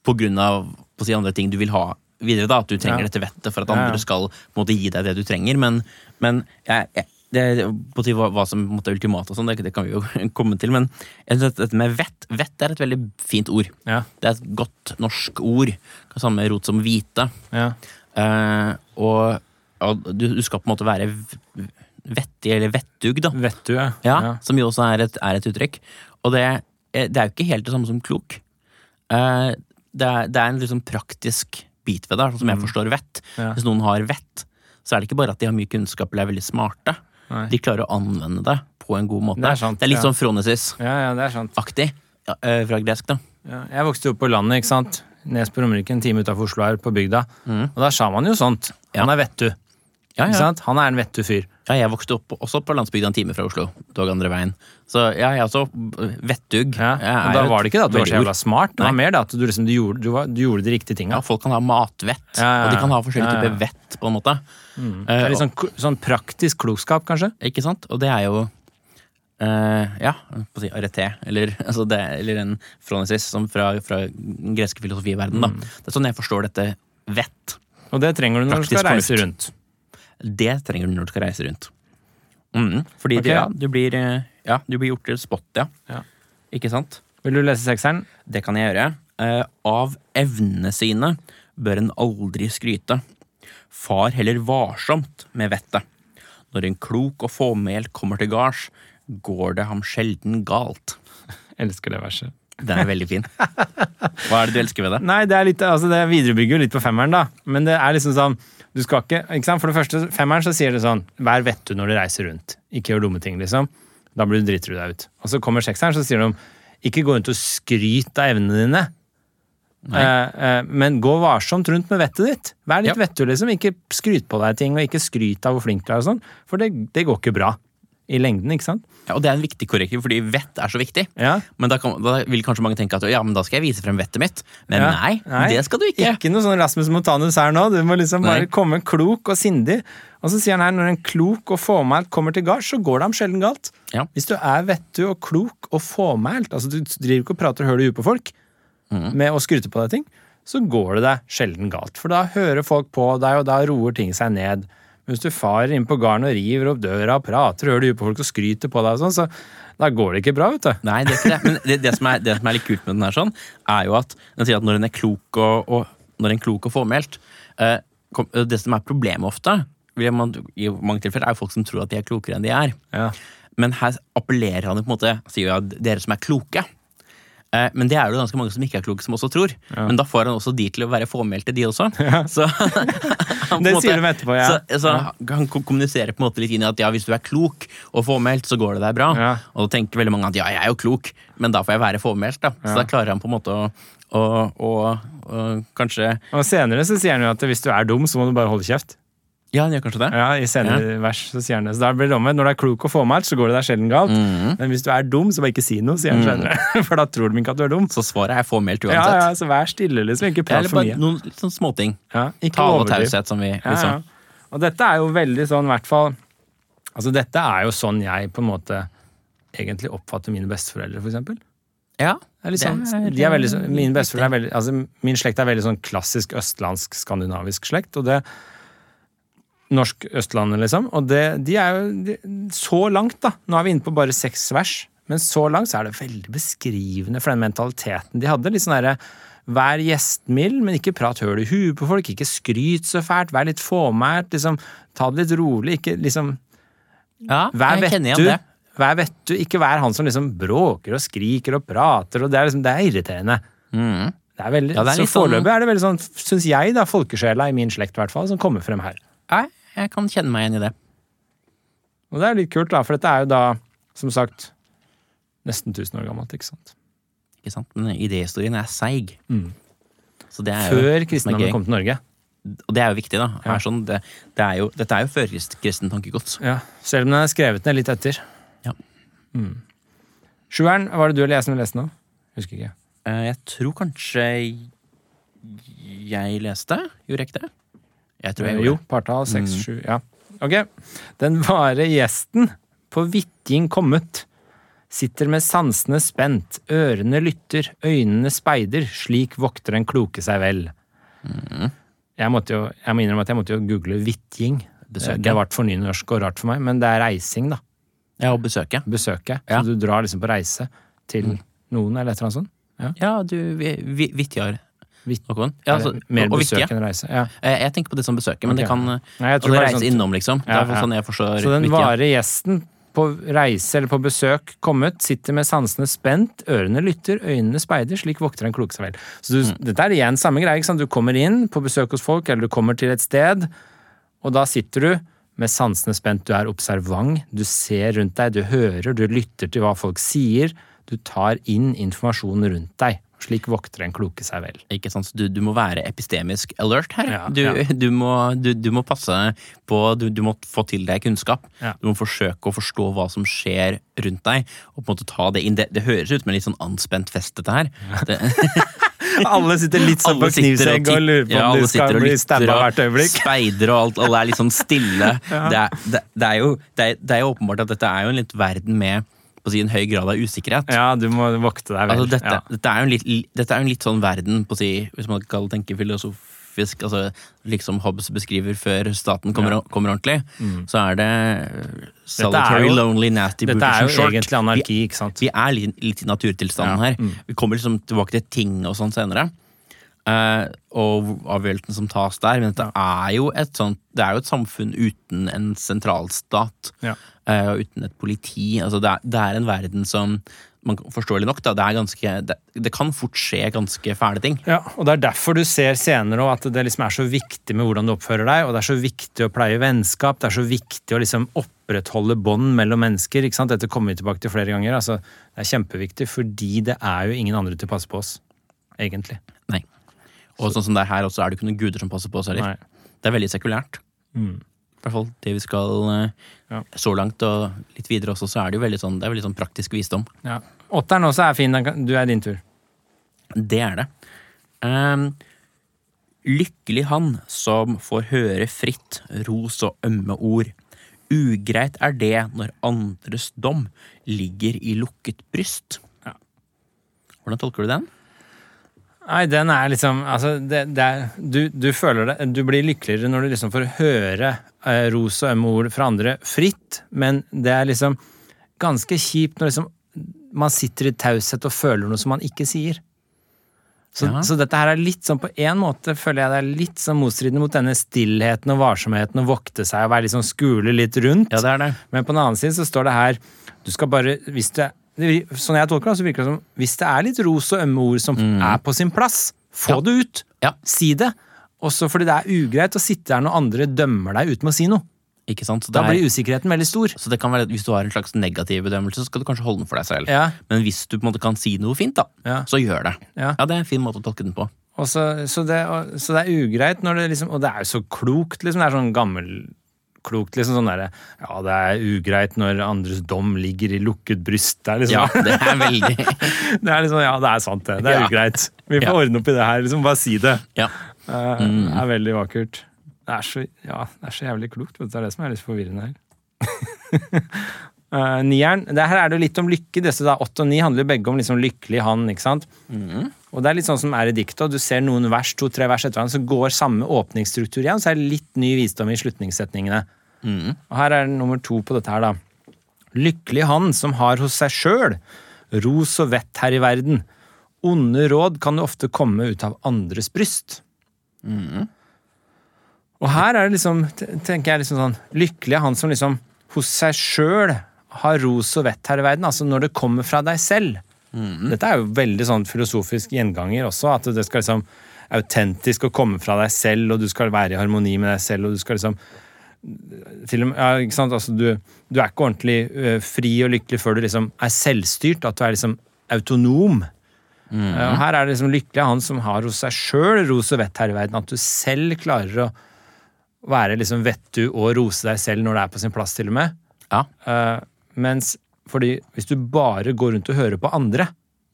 Speaker 2: på grunn av på å si, andre ting du vil ha videre, da, at du trenger
Speaker 1: Ja.
Speaker 2: dette vettet for at
Speaker 1: Ja, ja.
Speaker 2: andre skal på en måte, gi deg det du trenger. Men, men jeg, jeg, det, på å si hva, hva som på en måte, er ultimat og sånn, det, det kan vi jo <laughs> komme til, men jeg synes at dette med vett Vett er et veldig fint ord.
Speaker 1: Ja,
Speaker 2: Det er et godt norsk ord. Samme rot som hvite.
Speaker 1: ja.
Speaker 2: Eh, og og du, du skal på en måte være v- vettig, eller vettug, da.
Speaker 1: Vet du, ja.
Speaker 2: Ja, Som jo også er et, er et uttrykk. Og det, eh, det er jo ikke helt det samme som klok. Eh, Det er, det er en liksom praktisk bit ved det, sånn som jeg forstår vett.
Speaker 1: Mm. Ja.
Speaker 2: Hvis noen har vett, så er det ikke bare at de har mye kunnskap eller er veldig smarte.
Speaker 1: Nei.
Speaker 2: De klarer å anvende det på en god måte.
Speaker 1: Det er sant,
Speaker 2: litt
Speaker 1: ja.
Speaker 2: sånn fronesis-aktig,
Speaker 1: Ja, ja, det er sant.
Speaker 2: ja, eh, fra gresk, da.
Speaker 1: Ja. Jeg vokste jo opp på landet, ikke sant. Nes på Romerike, en time utafor Oslo her, på bygda.
Speaker 2: Mhm.
Speaker 1: Og da sa man jo sånt. Han er vettu.
Speaker 2: Ja,
Speaker 1: Ikke
Speaker 2: ja.
Speaker 1: sant? Han er en vettu fyr.
Speaker 2: ja, jeg vokste opp også på landsbygda en time fra Oslo. Dog andre veien. Så ja, jeg er også eh, vettug.
Speaker 1: Ja. Og da var det ikke det at du var så jævla smart, det var
Speaker 2: Nei.
Speaker 1: mer det at du liksom du gjorde, du var, du gjorde de riktige tinga.
Speaker 2: Ja, folk kan ha matvett,
Speaker 1: Ja, ja, ja.
Speaker 2: og de kan ha forskjellige
Speaker 1: Ja, ja, ja.
Speaker 2: typer vett, på en måte. Eh,
Speaker 1: Det er Litt sånn, k- sånn praktisk klokskap, kanskje.
Speaker 2: Ikke sant? Og det er jo eh, ja, på å si arete, eller, <laughs> altså det, eller en fronesis som fra, fra den greske filosofiverdenen.
Speaker 1: Mm.
Speaker 2: da. Det er sånn jeg forstår dette vett.
Speaker 1: Og det trenger du når du
Speaker 2: Praktisk
Speaker 1: skal reise
Speaker 2: fornuft.
Speaker 1: rundt.
Speaker 2: Det trenger du når du skal reise rundt. Mm, fordi
Speaker 1: Ok.
Speaker 2: du, ja, du blir, eh, ja, du blir gjort til spott, ja.
Speaker 1: Ja.
Speaker 2: Ikke sant?
Speaker 1: Vil du lese sekseren?
Speaker 2: Det kan jeg gjøre. Eh, av evnene sine bør en aldri skryte. Far heller varsomt med vettet. Når en klok og fåmælt kommer til gards, går det ham sjelden galt.
Speaker 1: Elsker det verset.
Speaker 2: Den er veldig fin. Hva er det du elsker ved det?
Speaker 1: Nei, det er litt, altså det viderebygger jo litt på femmeren, da. Men det er liksom sånn du skal ikke, ikke sant? For det første, femmeren så sier det sånn Vær vettu når du reiser rundt. Ikke gjør dumme ting, liksom. Da blir du driter du deg ut. Og så kommer sekseren, så sier de ikke gå rundt og skryt av evnene dine. Eh, eh, men gå varsomt rundt med vettet ditt. Vær litt
Speaker 2: Ja.
Speaker 1: vettu, liksom. Ikke skryt på deg ting, og ikke skryt av hvor flink du er og sånn. For det, det går ikke bra i lengden, ikke sant?
Speaker 2: Ja, og det er en viktig korrektiv, fordi vett er så viktig.
Speaker 1: Ja.
Speaker 2: Men da, kan, da vil kanskje mange tenke at ja, men da skal jeg vise frem vettet mitt. Men
Speaker 1: Ja.
Speaker 2: nei, det skal du ikke.
Speaker 1: Ikke noe sånn Rasmus Montanus her nå. Du må liksom bare
Speaker 2: Nei.
Speaker 1: komme klok og sindig. Og så sier han her når en klok og fåmælt kommer til gards, så går det ham sjelden galt.
Speaker 2: Ja.
Speaker 1: Hvis du er vettu og klok og fåmælt, altså du driver ikke og prater høl i huet på folk
Speaker 2: Mhm.
Speaker 1: med å skryte på deg ting, så går det deg sjelden galt. For da hører folk på deg, og da roer ting seg ned. Men hvis du farer inn på garden og river opp døra og prater høl i huet på folk og skryter på deg og sånn, så da går det ikke bra, vet du.
Speaker 2: Nei, det er ikke det. Men det, det, som er, det som er litt kult med den her, sånn, er jo at den sier at når en er klok og, og når en er klok og fåmælt eh, kom- eh, Det som er problemet ofte, vil jeg- man, i mange tilfeller, er jo folk som tror at de er klokere enn de er.
Speaker 1: Ja.
Speaker 2: Men her appellerer han jo på en måte sier jo at dere som er kloke. Eh, Men det er det jo ganske mange som ikke er kloke, som også tror. Men da får han også de til å være fåmælte, de
Speaker 1: <laughs>
Speaker 2: også. Så, <laughs> han på en
Speaker 1: Det
Speaker 2: måte-
Speaker 1: sier de etterpå, ja.
Speaker 2: Så, så han kom- kommuniserer på en måte litt inn i at ja, hvis du er klok og fåmælt, så går det deg bra.
Speaker 1: Ja.
Speaker 2: Og da tenker veldig mange at ja, jeg er jo klok, men da får jeg være fåmælt, da. Så da klarer han på en måte å, å, å, å kanskje
Speaker 1: Og senere så sier han jo at hvis du er dum, så må du bare holde kjeft.
Speaker 2: Ja, han gjør kanskje det.
Speaker 1: Ja, i senere vers så sier han det. Så da blir det omvendt. Når du er klok og fåmælt, så går det deg sjelden galt.
Speaker 2: Mhm.
Speaker 1: Men hvis du er dum, så bare ikke si noe, sier han senere. <laughs> For da tror de ikke at du er dum.
Speaker 2: Så svaret er fåmælt
Speaker 1: Ja,
Speaker 2: uansett.
Speaker 1: ja, så vær stille, liksom. Ikke prat
Speaker 2: Eller
Speaker 1: for
Speaker 2: bare
Speaker 1: mye.
Speaker 2: noen litt sånn småting.
Speaker 1: Ja, ikke
Speaker 2: Tale og
Speaker 1: overdriv.
Speaker 2: taushet, som vi
Speaker 1: Ja,
Speaker 2: liksom
Speaker 1: ja. Og dette er jo veldig sånn, i hvert fall Altså, dette er jo sånn jeg på en måte egentlig oppfatter mine besteforeldre, for eksempel.
Speaker 2: Ja,
Speaker 1: Det er litt sånn, de er veldig, sånn- mine besteforeldre er veldig altså, Min slekt er veldig sånn klassisk østlandsk, skandinavisk slekt, og det norsk Østlandet, liksom. Og det, de er jo de, Så langt, da. Nå er vi inne på bare seks vers. Men så langt så er det veldig beskrivende for den mentaliteten de hadde. Litt sånn derre Vær gjestmild, men ikke prat høl i huet på folk. Ikke skryt så fælt. Vær litt fåmælt. Liksom, ta det litt rolig. Ikke liksom
Speaker 2: Ja,
Speaker 1: Vær
Speaker 2: jeg kjenner igjen
Speaker 1: vettu.
Speaker 2: det.
Speaker 1: Vær vettu. Ikke vær han som liksom bråker og skriker og prater. Og det, er liksom, det er irriterende. Det er veldig,
Speaker 2: Mm. Ja, det
Speaker 1: så
Speaker 2: er litt sånn-
Speaker 1: foreløpig er det veldig sånn, syns jeg, da, folkesjela i min slekt, i hvert fall, som kommer frem her.
Speaker 2: Nei, jeg kan kjenne meg igjen i det.
Speaker 1: Og det er litt kult, da, for dette er jo da, som sagt, nesten 1000 år gammelt, ikke sant.
Speaker 2: Ikke sant? Men idéhistorien er seig. Så det er
Speaker 1: Mm.
Speaker 2: jo
Speaker 1: Før
Speaker 2: det som
Speaker 1: kristendommen
Speaker 2: er gøy.
Speaker 1: kom til Norge.
Speaker 2: Og det er jo viktig, da. Er sånn, det, det er jo, dette er jo førkristen tankegods.
Speaker 1: Ja, Selv om den er skrevet ned litt etter.
Speaker 2: Ja.
Speaker 1: Mm. Sjueren, var det du eller jeg som leste nå? Husker ikke.
Speaker 2: Eh, Jeg tror kanskje jeg leste. Gjorde jeg ikke det? Jeg tror jeg gjorde
Speaker 1: Eh, jo, partall seks,
Speaker 2: Mm.
Speaker 1: sju, ja. Ok. Den vare gjesten på Vitting kommet. Sitter med sansene spent, ørene lytter, øynene speider, slik vokter den kloke seg vel.
Speaker 2: Mm.
Speaker 1: Jeg, måtte jo, jeg må innrømme at jeg måtte jo google Vitting. Det,
Speaker 2: Besøke.
Speaker 1: det ble for nynorsk og rart for meg, men det er reising, da.
Speaker 2: det. Ja, å besøke.
Speaker 1: Besøke. Så
Speaker 2: Ja. Mm.
Speaker 1: du drar liksom på reise til noen, eller et eller annet sånt. Ja.
Speaker 2: Ja, du vi- vi- Vitjar.
Speaker 1: Vitt-
Speaker 2: Håkon. Ja,
Speaker 1: Er
Speaker 2: altså,
Speaker 1: det mer
Speaker 2: og
Speaker 1: besøk
Speaker 2: vitje.
Speaker 1: enn reise. Ja.
Speaker 2: Eh, Jeg tenker på det som besøke, men
Speaker 1: Ok.
Speaker 2: det kan eh,
Speaker 1: Nei, jeg
Speaker 2: altså,
Speaker 1: tror bare
Speaker 2: reise
Speaker 1: sånn-
Speaker 2: innom, liksom. Det
Speaker 1: Ja,
Speaker 2: er
Speaker 1: ja.
Speaker 2: sånn jeg forstår
Speaker 1: Så den
Speaker 2: vitje.
Speaker 1: vare gjesten på reise eller på besøk kommet, sitter med sansene spent, ørene lytter, øynene speider, slik vokter en kloke seg vel. Så du, dette er igjen samme greie, ikke sant? Du kommer inn på besøk hos folk, eller du kommer til et sted, og da sitter du med sansene spent, du er observant, du ser rundt deg, du hører, du lytter til hva folk sier, du tar inn informasjon rundt deg. Slik vokter en kloke seg vel.
Speaker 2: Ikke sant? Så Du, du må være epistemisk alert her.
Speaker 1: Ja,
Speaker 2: du,
Speaker 1: ja.
Speaker 2: Du, må, du, du må passe på du, du må få til deg kunnskap.
Speaker 1: Ja.
Speaker 2: Du må forsøke å forstå hva som skjer rundt deg. og på en måte ta Det inn. Det, det høres ut som en litt sånn anspent fest,
Speaker 1: <laughs>
Speaker 2: dette her. Det,
Speaker 1: Alle sitter litt sånn
Speaker 2: alle sitter og titt- ja, alle sitter og lytter og
Speaker 1: <laughs>
Speaker 2: Speider og alt. Alle er litt sånn stille. det, er, det, det, er jo, det, er, det er jo åpenbart at dette er jo en litt verden med på å si, en høy grad av usikkerhet.
Speaker 1: Ja, du må vokte deg vel.
Speaker 2: Altså, dette,
Speaker 1: ja.
Speaker 2: dette, er jo en litt, dette er jo en litt sånn verden, på å si, hvis man kan tenke filosofisk altså, Liksom Hobbes beskriver før staten kommer, kommer ordentlig,
Speaker 1: Mm.
Speaker 2: så er det eh, solitary,
Speaker 1: jo-
Speaker 2: lonely, nasty,
Speaker 1: Dette
Speaker 2: brutish
Speaker 1: er
Speaker 2: and
Speaker 1: jo
Speaker 2: short.
Speaker 1: egentlig anarki, ikke sant?
Speaker 2: Vi, vi er litt, litt i naturtilstanden
Speaker 1: Ja, Mm.
Speaker 2: her. Vi kommer liksom tilbake til ting og sånn senere. eh, og avgjørelsen som tas der. Men dette er jo et sånt Det er jo et samfunn uten en sentralstat.
Speaker 1: Ja.
Speaker 2: Eh, og uten et politi. Altså det, er, det er en verden som man kan- Forståelig nok, da. Det, er ganske, det, det kan fort skje ganske fæle ting.
Speaker 1: Ja, og Det er derfor du ser senere også at det liksom er så viktig med hvordan du oppfører deg, og det er så viktig å pleie vennskap, det er så viktig å liksom opprettholde bånd mellom mennesker. ikke sant? Dette kommer vi tilbake til flere ganger. altså Det er kjempeviktig, fordi det er jo ingen andre til å passe på oss, egentlig.
Speaker 2: Nei. Og sånn som det er her også, er det ikke noen guder som passer på oss heller.
Speaker 1: Nei. Mm.
Speaker 2: Det er veldig sekulært. I hvert fall det vi skal eh,
Speaker 1: Ja.
Speaker 2: så langt, og litt videre også, så er det jo veldig sånn, det er veldig sånn praktisk visdom.
Speaker 1: Ja. Åtteren også er fin. den kan- Du er din tur.
Speaker 2: Det er det. Ehm, lykkelig han som får høre fritt ros og ømme ord. Ugreit er det når andres dom ligger i lukket bryst.
Speaker 1: Ja.
Speaker 2: Hvordan tolker du den?
Speaker 1: Nei, den er liksom altså, det, det er, du, du føler det Du blir lykkeligere når du liksom får høre eh, ros og ømme ord fra andre fritt, men det er liksom ganske kjipt når liksom man sitter i taushet og føler noe som man ikke sier. Så,
Speaker 2: Ja.
Speaker 1: så dette her er litt sånn på én måte føler jeg det er litt sånn motstridende mot denne stillheten og varsomheten og vokte seg og være liksom skule litt rundt.
Speaker 2: det er det.
Speaker 1: Men på den annen side så står det her Du skal bare hvis det, det, vir- Sånn jeg tolker det, så virker det som hvis det er litt ros og ømme ord som er på sin plass, få
Speaker 2: Mm. Ja.
Speaker 1: det ut.
Speaker 2: Ja.
Speaker 1: Si det. Også fordi det er ugreit å sitte der når andre dømmer deg uten å si noe.
Speaker 2: Ikke sant? Så det,
Speaker 1: Da
Speaker 2: er,
Speaker 1: blir usikkerheten veldig stor.
Speaker 2: så det kan være at Hvis du har en slags negativ bedømmelse, så skal du kanskje holde den for deg selv.
Speaker 1: Ja.
Speaker 2: Men hvis du på en måte kan si noe fint, da,
Speaker 1: Ja.
Speaker 2: så gjør det.
Speaker 1: Ja.
Speaker 2: Det er en fin måte å tolke den på.
Speaker 1: Og så, så, det, og, så det er ugreit når det liksom Og det er jo så klokt, liksom. Det er sånn gammelklokt, liksom. Sånn derre Ja, det er ugreit når andres dom ligger i lukket bryst. Det er liksom
Speaker 2: Ja, <laughs> det er veldig
Speaker 1: <laughs> Det er liksom, ja, det er sant, det. Det er
Speaker 2: Ja.
Speaker 1: ugreit. Vi får
Speaker 2: Ja.
Speaker 1: ordne opp i det her. liksom, Bare si det.
Speaker 2: ja.
Speaker 1: Det er- det er veldig vakkert. Det er så, ja, det er så jævlig klokt. Vet du. Det er det som er litt forvirrende her. <laughs> Eh, nieren. Det her er det jo litt om lykke. Disse da, Åtte og ni handler jo begge om liksom lykkelig han. ikke sant? Og det er litt sånn som er i dikta. Du ser noen vers, to-tre vers etter hverandre, så går samme åpningsstruktur igjen, så er det litt ny visdom i slutningssetningene. Og her er nummer to på dette her, da. Lykkelig han som har hos seg sjøl ros og vett her i verden. Onde råd kan jo ofte komme ut av andres bryst. Og her er det liksom, t- tenker jeg liksom sånn, lykkelig er han som liksom hos seg sjøl har ros og vett her i verden, altså når det kommer fra deg selv. Dette er jo veldig sånn filosofisk gjenganger også, at det skal liksom autentisk å komme fra deg selv, og du skal være i harmoni med deg selv, og du skal liksom til og med, ja, ikke sant? Altså, du, du er ikke ordentlig ø, fri og lykkelig før du liksom er selvstyrt, at du er liksom autonom. Eh, og her er det liksom lykkelig er han som har hos seg sjøl ros og vett her i verden, at du selv klarer å være liksom vettu og rose deg selv når det er på sin plass, til og med.
Speaker 2: Ja.
Speaker 1: Eh, mens fordi hvis du bare går rundt og hører på andre,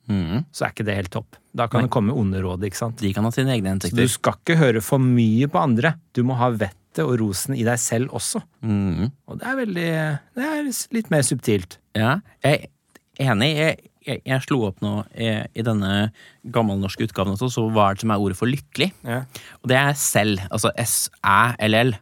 Speaker 1: så er ikke det helt topp. Da kan det komme onde råd, ikke sant.
Speaker 2: Mm. De kan ha sine
Speaker 1: Du
Speaker 2: egne hensikter.
Speaker 1: skal ikke høre for mye på andre. Du må ha vettet og rosen i deg selv også.
Speaker 2: Mhm.
Speaker 1: Og det er veldig Det er litt mer subtilt.
Speaker 2: Ja, jeg er enig. Jeg, jeg, jeg slo opp nå eh, i denne gammelnorske utgaven også, så hva er det som er ordet for lykkelig? Og det er selv. Altså S-æ-l-l.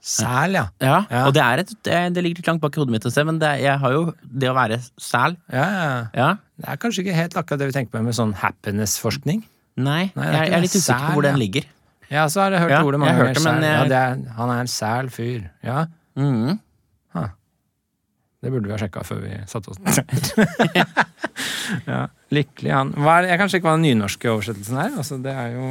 Speaker 1: Sæl, ja.
Speaker 2: Ja,
Speaker 1: Ja.
Speaker 2: Og det, er et, det, det ligger litt langt bak i hodet mitt et sted, men det, jeg har jo det å være sæl.
Speaker 1: Ja, ja.
Speaker 2: Ja.
Speaker 1: Det er kanskje ikke helt akkurat det vi tenker på med sånn happiness-forskning.
Speaker 2: Nei,
Speaker 1: Nei, det er
Speaker 2: jeg,
Speaker 1: ikke
Speaker 2: jeg er litt
Speaker 1: det.
Speaker 2: usikker på hvor
Speaker 1: Sæl,
Speaker 2: den
Speaker 1: ja.
Speaker 2: ligger.
Speaker 1: Ja, så har jeg hørt
Speaker 2: Ja,
Speaker 1: ordet
Speaker 2: jeg
Speaker 1: mange
Speaker 2: har
Speaker 1: ganger.
Speaker 2: hørt det, men
Speaker 1: sæl.
Speaker 2: jeg-
Speaker 1: Ja, det er, han er en sæl fyr. Ja,
Speaker 2: Mhm.
Speaker 1: det burde vi ha sjekka før vi satte oss ned. <laughs> ja, lykkelig han. Hva er, jeg kan sjekke hva den nynorske oversettelsen er. Altså, det er jo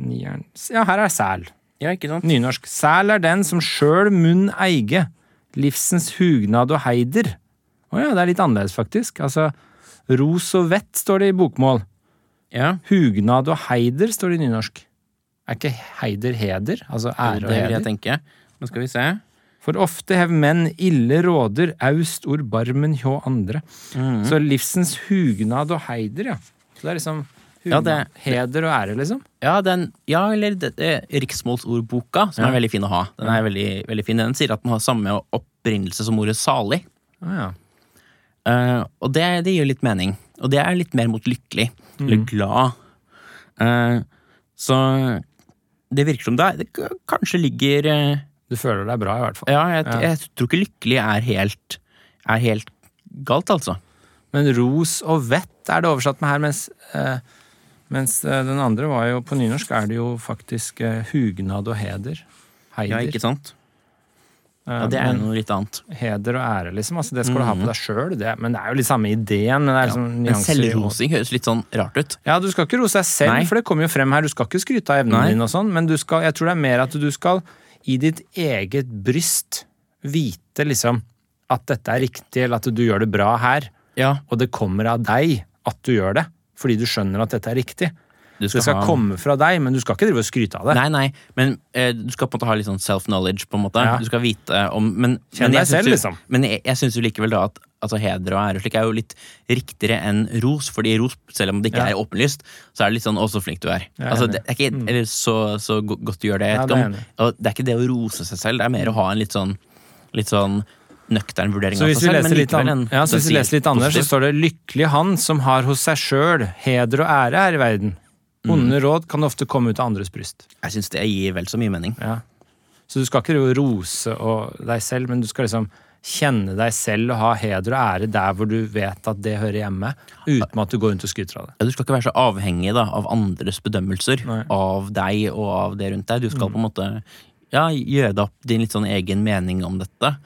Speaker 1: Nieren Ja, her er sæl.
Speaker 2: Ja, ikke sant?
Speaker 1: Nynorsk. Sæl er den som sjøl munn eige, livsens hugnad og heider. Å ja, det er litt annerledes, faktisk. Altså, ros og vett står det i bokmål.
Speaker 2: Ja.
Speaker 1: Hugnad og heider står det i nynorsk. Er ikke heider heder? Altså
Speaker 2: det
Speaker 1: ære og
Speaker 2: vil jeg
Speaker 1: heder?
Speaker 2: tenke. Men skal vi se.
Speaker 1: For ofte hev menn ille råder, aust orbarmen hjå andre. Så livsens hugnad og heider, ja. Så det er liksom
Speaker 2: Ja,
Speaker 1: hugnad,
Speaker 2: det-
Speaker 1: heder og ære, liksom.
Speaker 2: Ja, den, ja eller det, det, riksmålsordboka, som er veldig fin å ha. Den er veldig, veldig fin. Den sier at den har samme opprinnelse som ordet salig.
Speaker 1: Å ja.
Speaker 2: Eh, og det, det gir litt mening. Og det er litt mer mot lykkelig. Eller glad. Eh, så det virker som det, er, det k- kanskje ligger eh,
Speaker 1: Du føler deg bra, i hvert fall.
Speaker 2: Ja, jeg, jeg tror ikke lykkelig er helt, er helt galt, altså.
Speaker 1: Men ros og vett er det oversatt med her, mens, eh, mens eh, den andre var jo På nynorsk er det jo faktisk eh, hugnad og heder. Heider.
Speaker 2: Ja, ikke sant?
Speaker 1: Eh,
Speaker 2: Ja, det er
Speaker 1: men
Speaker 2: noe litt annet.
Speaker 1: heder og ære, liksom. Altså, det skal du ha på deg sjøl. Men det er jo litt samme ideen. Men det er liksom
Speaker 2: Men
Speaker 1: nyanser i-
Speaker 2: selvrosing høres litt sånn rart ut.
Speaker 1: Ja, du skal ikke rose deg selv,
Speaker 2: Nei.
Speaker 1: for det kommer jo frem her. Du skal ikke skryte av evnene
Speaker 2: Nei.
Speaker 1: dine og sånn, men du skal, jeg tror det er mer at du skal i ditt eget bryst vite liksom at dette er riktig, eller at du gjør det bra her,
Speaker 2: Ja,
Speaker 1: og det kommer av deg at du gjør det, fordi du skjønner at dette er riktig.
Speaker 2: du
Speaker 1: Det skal
Speaker 2: ha-
Speaker 1: komme fra deg, men du skal ikke drive og skryte av det.
Speaker 2: Nei, nei, men eh, du skal på en måte ha litt sånn self-knowledge, på en måte.
Speaker 1: Ja.
Speaker 2: Du skal vite om men,
Speaker 1: Kjenn
Speaker 2: men jeg
Speaker 1: deg selv,
Speaker 2: syns jo-
Speaker 1: liksom.
Speaker 2: Men jeg, jeg syns jo likevel da at altså, heder og ære og slik er jo litt riktigere enn ros, fordi ros, selv om det ikke
Speaker 1: Ja.
Speaker 2: er åpenlyst, så er det litt sånn 'å, så flink du er'.
Speaker 1: Jeg er
Speaker 2: altså,
Speaker 1: enig. Mm.
Speaker 2: det er ikke, Eller så, så go- godt du gjør det. Jeg
Speaker 1: Ja,
Speaker 2: vet
Speaker 1: det er jeg enig
Speaker 2: ikke om, og det er ikke det å rose seg selv, det er mer å ha en litt sånn, litt sånn nøktern vurdering
Speaker 1: Så
Speaker 2: av
Speaker 1: hvis vi
Speaker 2: seg altså selv.
Speaker 1: leser litt,
Speaker 2: likevel
Speaker 1: an,
Speaker 2: en
Speaker 1: ja, så hvis vi
Speaker 2: potensielt
Speaker 1: leser litt annerledes, så
Speaker 2: positiv.
Speaker 1: står det 'Lykkelig han som har hos seg sjøl heder og ære her i verden'. Onde
Speaker 2: Mm.
Speaker 1: råd kan ofte komme ut av andres bryst.
Speaker 2: Jeg syns det gir vel så mye mening.
Speaker 1: Ja. Så du skal ikke drive og rose og deg selv, men du skal liksom kjenne deg selv og ha heder og ære der hvor du vet at det hører hjemme, uten at du går rundt og skryter av det.
Speaker 2: Ja, du skal ikke være så avhengig da, av andres bedømmelser
Speaker 1: Nei.
Speaker 2: av deg og av det rundt deg. Du skal på en måte ja, gjøre deg opp din litt sånn egen mening om dette.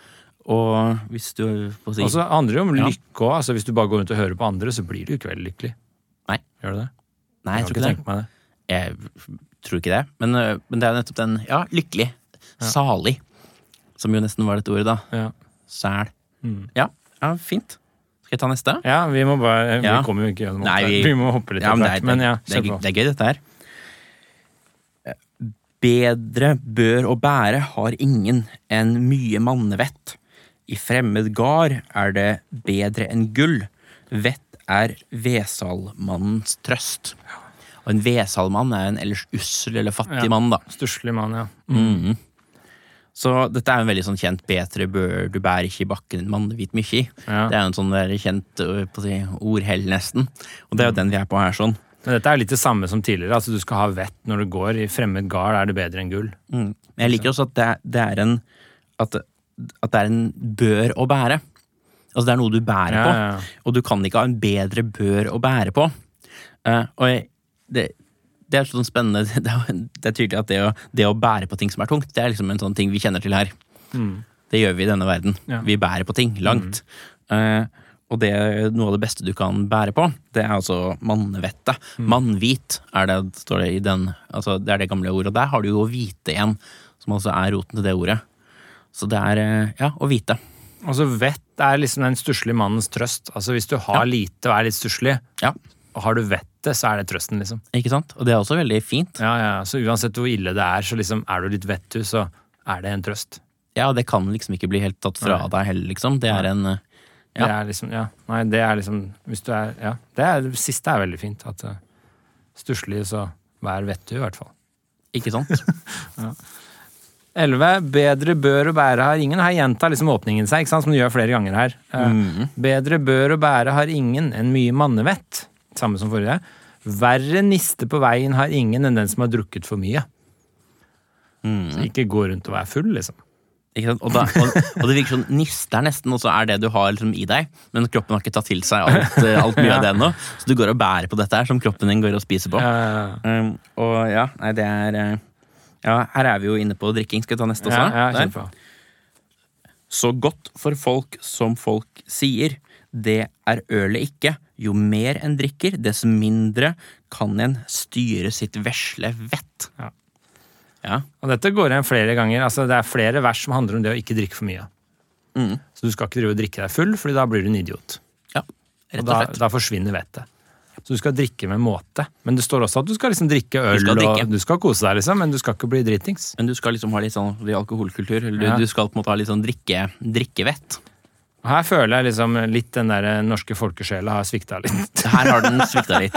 Speaker 2: Og hvis du får si
Speaker 1: Og så handler det jo om
Speaker 2: Ja.
Speaker 1: lykke òg. Altså, hvis du bare går rundt og hører på andre, så blir du jo ikke veldig lykkelig.
Speaker 2: Nei.
Speaker 1: Gjør du det?
Speaker 2: Nei,
Speaker 1: kan
Speaker 2: jeg tror ikke det.
Speaker 1: tenke meg det.
Speaker 2: Jeg tror ikke det. Men, øh, men det er jo nettopp den ja, lykkelig, salig, som jo nesten var dette ordet, da.
Speaker 1: Ja.
Speaker 2: Sæl. Ja, ja, fint. Skal jeg ta neste?
Speaker 1: ja, vi må bare eh, Vi
Speaker 2: Ja.
Speaker 1: kommer jo ikke gjennom
Speaker 2: Nei,
Speaker 1: alt det.
Speaker 2: vi-
Speaker 1: Vi må hoppe litt
Speaker 2: Ja, men det,
Speaker 1: etter hvert.
Speaker 2: er,
Speaker 1: Men ja,
Speaker 2: det,
Speaker 1: kjør
Speaker 2: er,
Speaker 1: på.
Speaker 2: det er gøy, dette her. Bedre bør og bære har ingen enn mye mannevett. I fremmed gard er det bedre enn gull. Vett er vesalmannens trøst. Og en vesalmann er en ellers ussel eller fattig
Speaker 1: Ja.
Speaker 2: mann, da.
Speaker 1: Stusslig mann, ja.
Speaker 2: Så dette er jo en veldig sånn kjent 'betre bør du bære ikke i bakken enn mannehvit mykje'.
Speaker 1: Ja.
Speaker 2: Det er jo en sånn der kjent øh, på å si, ordhell, nesten. Og
Speaker 1: Mm.
Speaker 2: det er jo den vi er på her, sånn.
Speaker 1: Men dette er jo litt det samme som tidligere. altså Du skal ha vett når du går. I fremmed gard er det bedre enn gull.
Speaker 2: Mm. Men jeg liker også at det, er- det er en at, at det er en bør å bære. Altså det er noe du bærer
Speaker 1: Ja,
Speaker 2: på,
Speaker 1: ja, ja.
Speaker 2: og du kan ikke ha en bedre bør å bære på. Eh, og jeg, det, det er sånn spennende <laughs> Det er, jo- det er tydelig at det å, det å bære på ting som er tungt, det er liksom en sånn ting vi kjenner til her. Det gjør vi i denne verden.
Speaker 1: Ja.
Speaker 2: Vi bærer på ting langt. Eh, og det er noe av det beste du kan bære på, det er altså mannevettet. Mannhvit er det, står det i den altså Det er det gamle ordet. Og der har du jo å vite igjen, som altså er roten til det ordet. Så det er eh, ja, å vite.
Speaker 1: Altså Vett er liksom den stusslige mannens trøst. Altså Hvis du har lite og er litt stusslig,
Speaker 2: Ja,
Speaker 1: og har du vettet, så er det trøsten, liksom.
Speaker 2: ikke sant? Og det er også veldig fint.
Speaker 1: Ja, ja, Så uansett hvor ille det er, så liksom er du litt vettu, så er det en trøst.
Speaker 2: Ja, det kan liksom ikke bli helt tatt fra
Speaker 1: Nei.
Speaker 2: deg heller, liksom. Det er en eh, Ja.
Speaker 1: Det er liksom, ja. Nei, det er liksom Hvis du er Ja. Det, er, det siste er veldig fint. At eh, stusslig, så vær vettu, i hvert fall.
Speaker 2: Ikke sant?
Speaker 1: 11. Bedre bør og bære har ingen. Her gjentar liksom åpningen seg, ikke sant? som du gjør flere ganger her. Eh, Bedre bør og bære har ingen enn mye mannevett. Samme som forrige. Verre niste på veien har ingen enn den som har drukket for mye. Så ikke gå rundt og være full, liksom.
Speaker 2: Ikke sant? Og, da, og, og det virker sånn nister nesten, og så er det du har liksom i deg, men kroppen har ikke tatt til seg alt, eh, alt mye av det ennå. Så du går og bærer på dette her, som kroppen din går og spiser på.
Speaker 1: Ja,
Speaker 2: Um, og ja, nei, det er eh, Ja, her er vi jo inne på drikking. Skal vi ta neste også?
Speaker 1: ja,
Speaker 2: Der.
Speaker 1: kjenn på.
Speaker 2: Så godt for folk som folk sier. Det er ølet ikke. Jo mer en drikker, dess mindre kan en styre sitt vesle vett.
Speaker 1: Ja.
Speaker 2: Ja.
Speaker 1: Og dette går igjen flere ganger. Altså, det er flere vers som handler om det å ikke drikke for mye.
Speaker 2: Mm.
Speaker 1: Så du skal ikke drive og drikke deg full, fordi da blir du en idiot.
Speaker 2: ja.
Speaker 1: Og
Speaker 2: Rett og
Speaker 1: da,
Speaker 2: slett.
Speaker 1: da forsvinner vettet. Så du skal drikke med måte. Men det står også at du skal liksom drikke øl
Speaker 2: skal drikke.
Speaker 1: og du skal kose deg, liksom, men du skal ikke bli dritings.
Speaker 2: Men du skal liksom ha litt sånn i alkoholkultur. Eller du,
Speaker 1: Ja.
Speaker 2: du skal på en måte ha litt sånn drikke, drikkevett.
Speaker 1: Og her føler jeg liksom litt den der norske folkesjela har svikta litt. <laughs>
Speaker 2: Her har den svikta litt.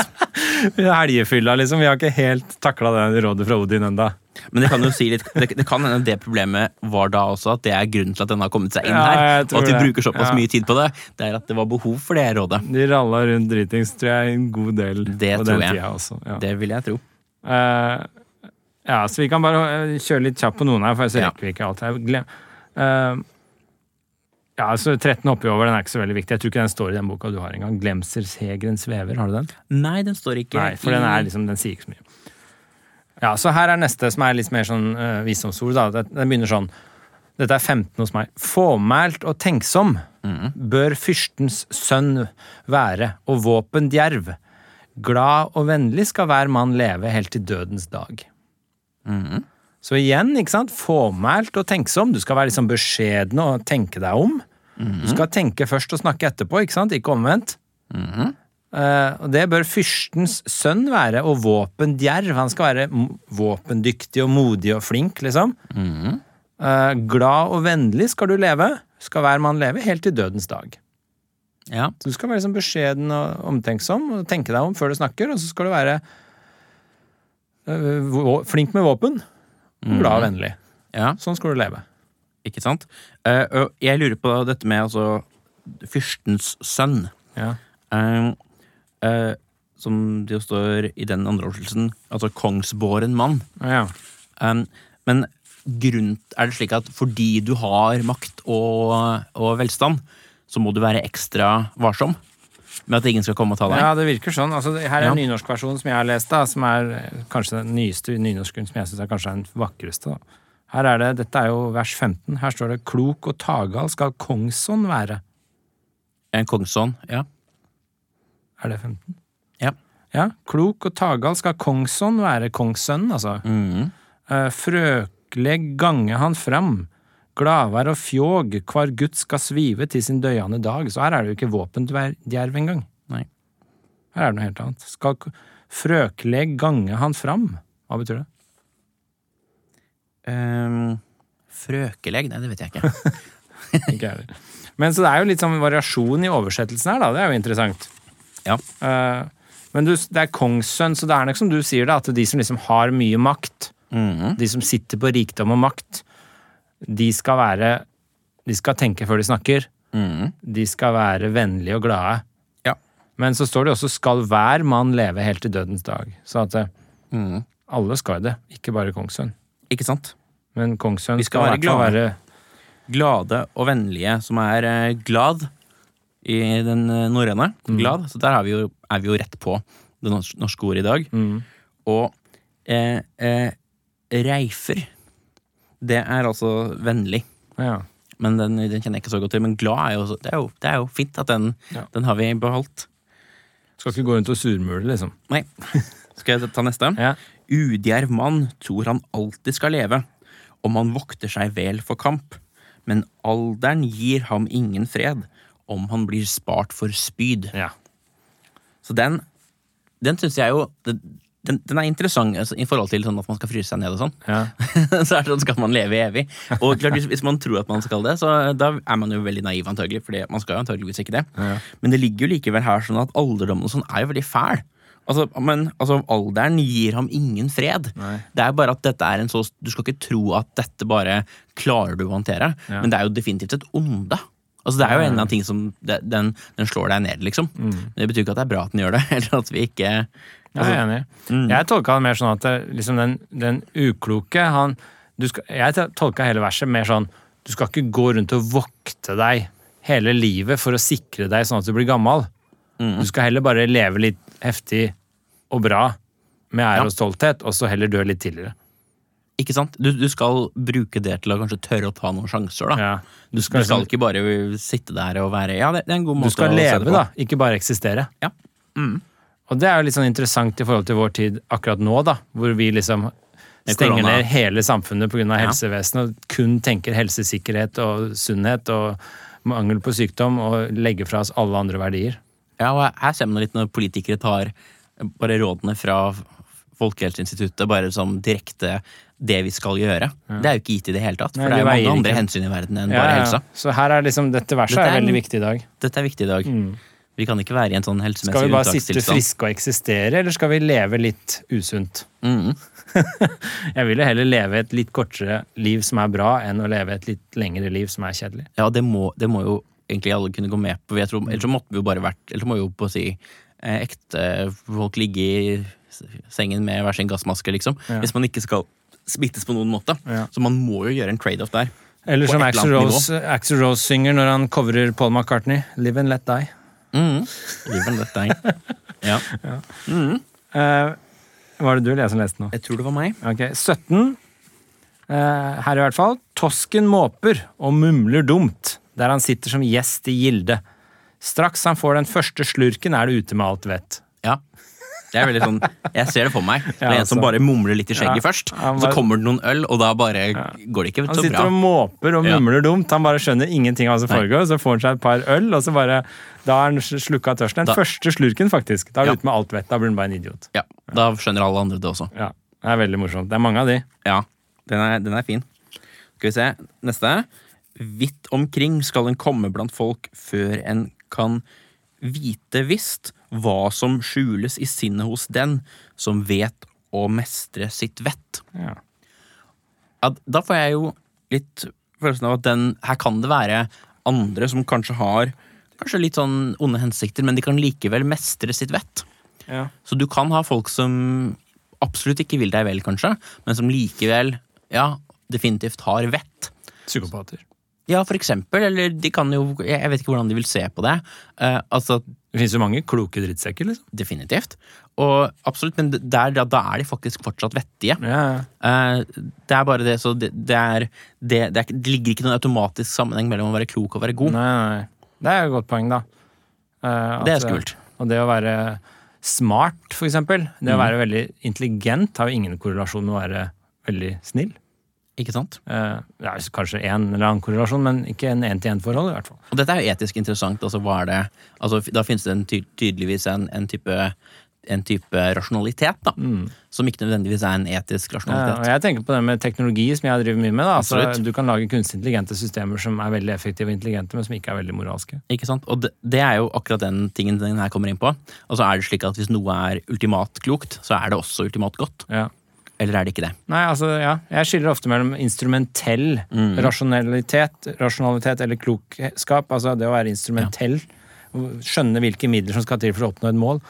Speaker 1: Helgefylla, liksom. Vi har ikke helt takla det rådet fra Odin enda.
Speaker 2: Men det kan jo si litt Det, det kan hende det problemet var da også, at det er grunnen til at den har kommet seg inn
Speaker 1: Ja,
Speaker 2: her.
Speaker 1: jeg
Speaker 2: Og at
Speaker 1: tror
Speaker 2: vi
Speaker 1: det.
Speaker 2: bruker såpass
Speaker 1: Ja.
Speaker 2: mye tid på det. Det er at det var behov for det rådet.
Speaker 1: De ralla rundt dritings, tror jeg, en god del
Speaker 2: Det
Speaker 1: på
Speaker 2: tror
Speaker 1: den
Speaker 2: jeg.
Speaker 1: tida også. Ja.
Speaker 2: Det vil jeg tro.
Speaker 1: Eh, ja, så vi kan bare eh, kjøre litt kjapt på noen her, for så
Speaker 2: Ja.
Speaker 1: rekker vi ikke alt her. Glem. Eh, ja, altså 13 oppover, den er ikke så veldig viktig. Jeg tror ikke den står i den boka du har engang. Glemsershegren svever, har du den?
Speaker 2: Nei, den står ikke
Speaker 1: Nei, for den, er liksom, den sier ikke så mye. Ja, så her er neste som er litt mer sånn eh, visdomsord. Da. Den- Den begynner sånn. Dette er 15 hos meg. Fåmælt og tenksom bør fyrstens sønn være, og våpen djerv. Glad og vennlig skal hver mann leve helt til dødens dag. Så igjen, ikke sant? Fåmælt og tenksom. Du skal være liksom beskjeden og tenke deg om. Du skal tenke først og snakke etterpå, ikke sant? Ikke omvendt. Eh, og det bør fyrstens sønn være, og våpendjerv. Han skal være m- våpendyktig og modig og flink, liksom. Eh, glad og vennlig skal du leve, skal hver mann leve, helt til dødens dag.
Speaker 2: ja.
Speaker 1: Så du skal være liksom beskjeden og omtenksom, og tenke deg om før du snakker, og så skal du være eh, vå- flink med våpen, og glad og vennlig.
Speaker 2: ja,
Speaker 1: Sånn skal du leve.
Speaker 2: ikke sant? Eh, og jeg lurer på dette med altså fyrstens sønn.
Speaker 1: Ja.
Speaker 2: Eh, eh, som det jo står i den andre oversettelsen, altså kongsbåren mann.
Speaker 1: Ja.
Speaker 2: Um, men grunn, er det slik at fordi du har makt og, og velstand, så må du være ekstra varsom med at ingen skal komme og ta deg?
Speaker 1: Ja, det virker sånn. Altså, det- her er en
Speaker 2: Ja.
Speaker 1: nynorskversjon som jeg har lest, da, som er eh, kanskje den nyeste nynorsken som jeg syns er kanskje den vakreste. Da. Her er det, Dette er jo vers 15. Her står det 'Klok og tagal skal kongsson være'.
Speaker 2: En kongsson, ja.
Speaker 1: Er det 15?
Speaker 2: ja.
Speaker 1: Ja. 'Klok og tagal skal kongsson være'. Kongssønnen, altså.
Speaker 2: Mhm.
Speaker 1: Eh, Frøkleg gange han fram. Gladvær og fjåg, hvar gutt skal svive til sin døyande dag. Så her er det jo ikke våpendjerv engang.
Speaker 2: Nei.
Speaker 1: Her er det noe helt annet. Skal k- frøkleg gange han fram? Hva betyr det?
Speaker 2: Um, frøkelegg? Nei, det vet jeg ikke.
Speaker 1: Ikke jeg heller. Men så det er jo litt sånn variasjon i oversettelsen her, da. Det er jo interessant.
Speaker 2: Ja.
Speaker 1: Eh, men du, det er kongssønn, så det er nok som du sier, da, at de som liksom har mye makt,
Speaker 2: Mhm.
Speaker 1: de som sitter på rikdom og makt, De skal være De skal tenke før de snakker.
Speaker 2: Mm.
Speaker 1: De skal være vennlige og glade.
Speaker 2: Ja.
Speaker 1: Men så står det også 'skal hver mann leve helt til dødens dag'. Så at eh,
Speaker 2: Mm.
Speaker 1: alle skal det, ikke bare kongssønn.
Speaker 2: Ikke sant?
Speaker 1: Men kongssønn
Speaker 2: Vi skal
Speaker 1: skal, i
Speaker 2: være
Speaker 1: hvert fall
Speaker 2: glade.
Speaker 1: være
Speaker 2: Glade og vennlige, som er eh, glad i den eh, norrøne.
Speaker 1: Mm.
Speaker 2: Glad. Så der er vi, jo, er vi jo rett på det nors- norske ordet i dag.
Speaker 1: mm,
Speaker 2: Og eh, eh, reifer, det er altså vennlig.
Speaker 1: ja.
Speaker 2: Men den, den kjenner jeg ikke så godt til. Men glad er jo, også- det er jo, det er jo fint at den,
Speaker 1: Ja.
Speaker 2: den har vi beholdt.
Speaker 1: Skal ikke gå rundt og surmule, liksom.
Speaker 2: Nei. <laughs> Skal jeg ta neste?
Speaker 1: Ja.
Speaker 2: Udjerv mann tror han alltid skal leve, om han vokter seg vel for kamp. Men alderen gir ham ingen fred, om han blir spart for spyd.
Speaker 1: ja.
Speaker 2: Så den, den syns jeg jo den, den er interessant altså, i forhold til sånn at man skal fryse seg ned og sånn.
Speaker 1: ja.
Speaker 2: <laughs> så er det sånn skal man leve evig. Og klart, hvis, hvis man tror at man skal det, så da er man jo veldig naiv antagelig, for man skal jo antageligvis ikke det. Men det ligger jo likevel her sånn at alderdommen og sånn er jo veldig fæl. Altså, men altså, alderen gir ham ingen fred.
Speaker 1: Nei.
Speaker 2: Det er bare at dette er en så Du skal ikke tro at dette bare klarer du å håndtere,
Speaker 1: Ja.
Speaker 2: men det er jo definitivt et onde. Altså, det er jo en av ting som de- den, den slår deg ned, liksom.
Speaker 1: Mm.
Speaker 2: Men det betyr ikke at det er bra at den gjør det, <laughs> eller at vi ikke Altså,
Speaker 1: Jeg er Altså, enig. Jeg tolka det mer sånn at det- liksom den, den ukloke han, du skal, Jeg tolka hele verset mer sånn Du skal ikke gå rundt og vokte deg hele livet for å sikre deg sånn at du blir gammel. Du skal heller bare leve litt heftig og bra med ære
Speaker 2: Ja.
Speaker 1: og stolthet, og så heller dø litt tidligere.
Speaker 2: Ikke sant? Du, du skal bruke det til å kanskje tørre å ta noen sjanser, da.
Speaker 1: Ja.
Speaker 2: Du
Speaker 1: skal
Speaker 2: skal,
Speaker 1: liksom-
Speaker 2: ikke bare sitte der og være Ja, det, det er en god måte
Speaker 1: Du skal
Speaker 2: å se
Speaker 1: leve,
Speaker 2: det på.
Speaker 1: da, ikke bare eksistere.
Speaker 2: Ja.
Speaker 1: Mm. Og det er jo litt sånn interessant i forhold til vår tid akkurat nå, da, hvor vi liksom
Speaker 2: Med
Speaker 1: stenger
Speaker 2: korona.
Speaker 1: ned hele samfunnet pga.
Speaker 2: Ja.
Speaker 1: helsevesenet og kun tenker helsesikkerhet og sunnhet og mangel på sykdom og legger fra oss alle andre verdier.
Speaker 2: Ja, og her ser man litt når politikere tar eh, bare rådene fra Folkehelseinstituttet bare som direkte det vi skal gjøre. Det er jo ikke gitt i det hele tatt, for
Speaker 1: Nei,
Speaker 2: det er
Speaker 1: det
Speaker 2: jo mange
Speaker 1: veier
Speaker 2: andre
Speaker 1: ikke.
Speaker 2: hensyn i verden enn
Speaker 1: Ja,
Speaker 2: bare
Speaker 1: ja.
Speaker 2: helsa.
Speaker 1: Så her er liksom, dette verset
Speaker 2: Dette
Speaker 1: er
Speaker 2: er
Speaker 1: veldig
Speaker 2: en-
Speaker 1: viktig i dag.
Speaker 2: Dette er viktig i dag. Vi kan ikke være i en sånn
Speaker 1: Mm. Skal
Speaker 2: helsemessig
Speaker 1: vi bare sitte
Speaker 2: unntakstilstand.
Speaker 1: friske og eksistere, eller skal vi leve litt usunt?
Speaker 2: Mm.
Speaker 1: Jeg vil jo heller leve et litt kortere liv som er bra, enn å leve et litt lengre liv som er kjedelig.
Speaker 2: Ja, det må, det må jo egentlig alle kunne gå med på. Jeg tror, ellers så måtte vi jo bare vært Ellers så må jo på å si eh, ekte folk ligge i s- sengen med hver sin gassmaske, liksom.
Speaker 1: Ja.
Speaker 2: Hvis man ikke skal smittes på noen måte.
Speaker 1: Ja.
Speaker 2: Så man må jo gjøre en trade-off der.
Speaker 1: Eller
Speaker 2: På
Speaker 1: som
Speaker 2: et
Speaker 1: Axel
Speaker 2: eller annet
Speaker 1: Rose, Axl Rose synger når han coverer Paul McCartney, 'Live and Let Die'.
Speaker 2: Mm. Liven, dette er ja.
Speaker 1: Eh, var det du eller jeg som leste nå?
Speaker 2: Jeg tror det var meg.
Speaker 1: Ok, 17. eh, her i hvert fall. Tosken måper og mumler dumt der han sitter som gjest i gilde. Straks han får den første slurken, er det ute med alt vett.
Speaker 2: Ja. Det er veldig sånn, Jeg ser det for meg. Det er
Speaker 1: Ja,
Speaker 2: en som
Speaker 1: altså.
Speaker 2: bare mumler litt i skjegget
Speaker 1: Ja,
Speaker 2: først.
Speaker 1: han
Speaker 2: Så
Speaker 1: bare-
Speaker 2: kommer det noen øl, og da bare går det ikke
Speaker 1: Han
Speaker 2: så
Speaker 1: sitter
Speaker 2: bra.
Speaker 1: og måper og
Speaker 2: Ja.
Speaker 1: mumler dumt. Han bare skjønner ingenting av hva som
Speaker 2: Nei.
Speaker 1: foregår. Så får han seg et par øl, og så bare Da er han slukka av tørsten. Den
Speaker 2: Da-
Speaker 1: første slurken, faktisk. Da er det
Speaker 2: Ja.
Speaker 1: ute med alt vett. Da blir han bare en idiot.
Speaker 2: Ja, Da skjønner alle andre det også.
Speaker 1: Ja, Det er veldig morsomt. Det er mange av de.
Speaker 2: Ja, den er, den er fin. Skal vi se. Neste. Vidt omkring skal en komme blant folk før en kan vite visst hva som skjules i sinnet hos den som vet å mestre sitt vett.
Speaker 1: Ja.
Speaker 2: Ja, da får jeg jo litt følelsen av at den, her kan det være andre som kanskje har kanskje litt sånn onde hensikter, men de kan likevel mestre sitt vett.
Speaker 1: Ja.
Speaker 2: Så du kan ha folk som absolutt ikke vil deg vel, kanskje, men som likevel, ja, definitivt har vett.
Speaker 1: Psykopater.
Speaker 2: Ja, for eksempel, eller de kan jo Jeg vet ikke hvordan de vil se på det. Eh, altså,
Speaker 1: Det finnes jo mange kloke drittsekker, liksom.
Speaker 2: definitivt. Og absolutt, men d- der, da, da er de faktisk fortsatt vettige.
Speaker 1: Ja,
Speaker 2: Eh, det er bare det, så det, det er det, det er ikke- Det ligger ikke noen automatisk sammenheng mellom å være klok og være
Speaker 1: Nei,
Speaker 2: god.
Speaker 1: nei. Det er jo et godt poeng, da. Eh,
Speaker 2: Det er
Speaker 1: at-
Speaker 2: skummelt.
Speaker 1: Og det å være smart, for eksempel. Det å være veldig intelligent har jo ingen korrelasjon med å være veldig snill.
Speaker 2: Ikke sant?
Speaker 1: Eh, det er kanskje en eller annen korrelasjon, men ikke en én-til-én-forhold, i hvert fall.
Speaker 2: Og dette er jo etisk interessant. Altså, hva er det, altså, da finnes det en ty tydeligvis en, en, type, en type rasjonalitet, da.
Speaker 1: Mm.
Speaker 2: Som ikke nødvendigvis er en etisk
Speaker 1: Ja, Eh, og
Speaker 2: rasjonalitet.
Speaker 1: jeg tenker på det med teknologi, som jeg driver mye med. da. Altså,
Speaker 2: Absolutt.
Speaker 1: du kan lage kunstig intelligente systemer som er veldig effektive og intelligente, men som ikke er veldig moralske.
Speaker 2: Ikke sant? Og det, det er jo akkurat den tingen den Altså, her kommer inn på. Og så er det slik at hvis noe er ultimat klokt, så er det også ultimat godt.
Speaker 1: Ja.
Speaker 2: eller er det ikke det?
Speaker 1: Nei, altså, ja. Jeg skiller ofte mellom instrumentell rasjonalitet, rasjonalitet eller klokskap. Altså det å være instrumentell. Skjønne hvilke midler som skal til for å oppnå et mål.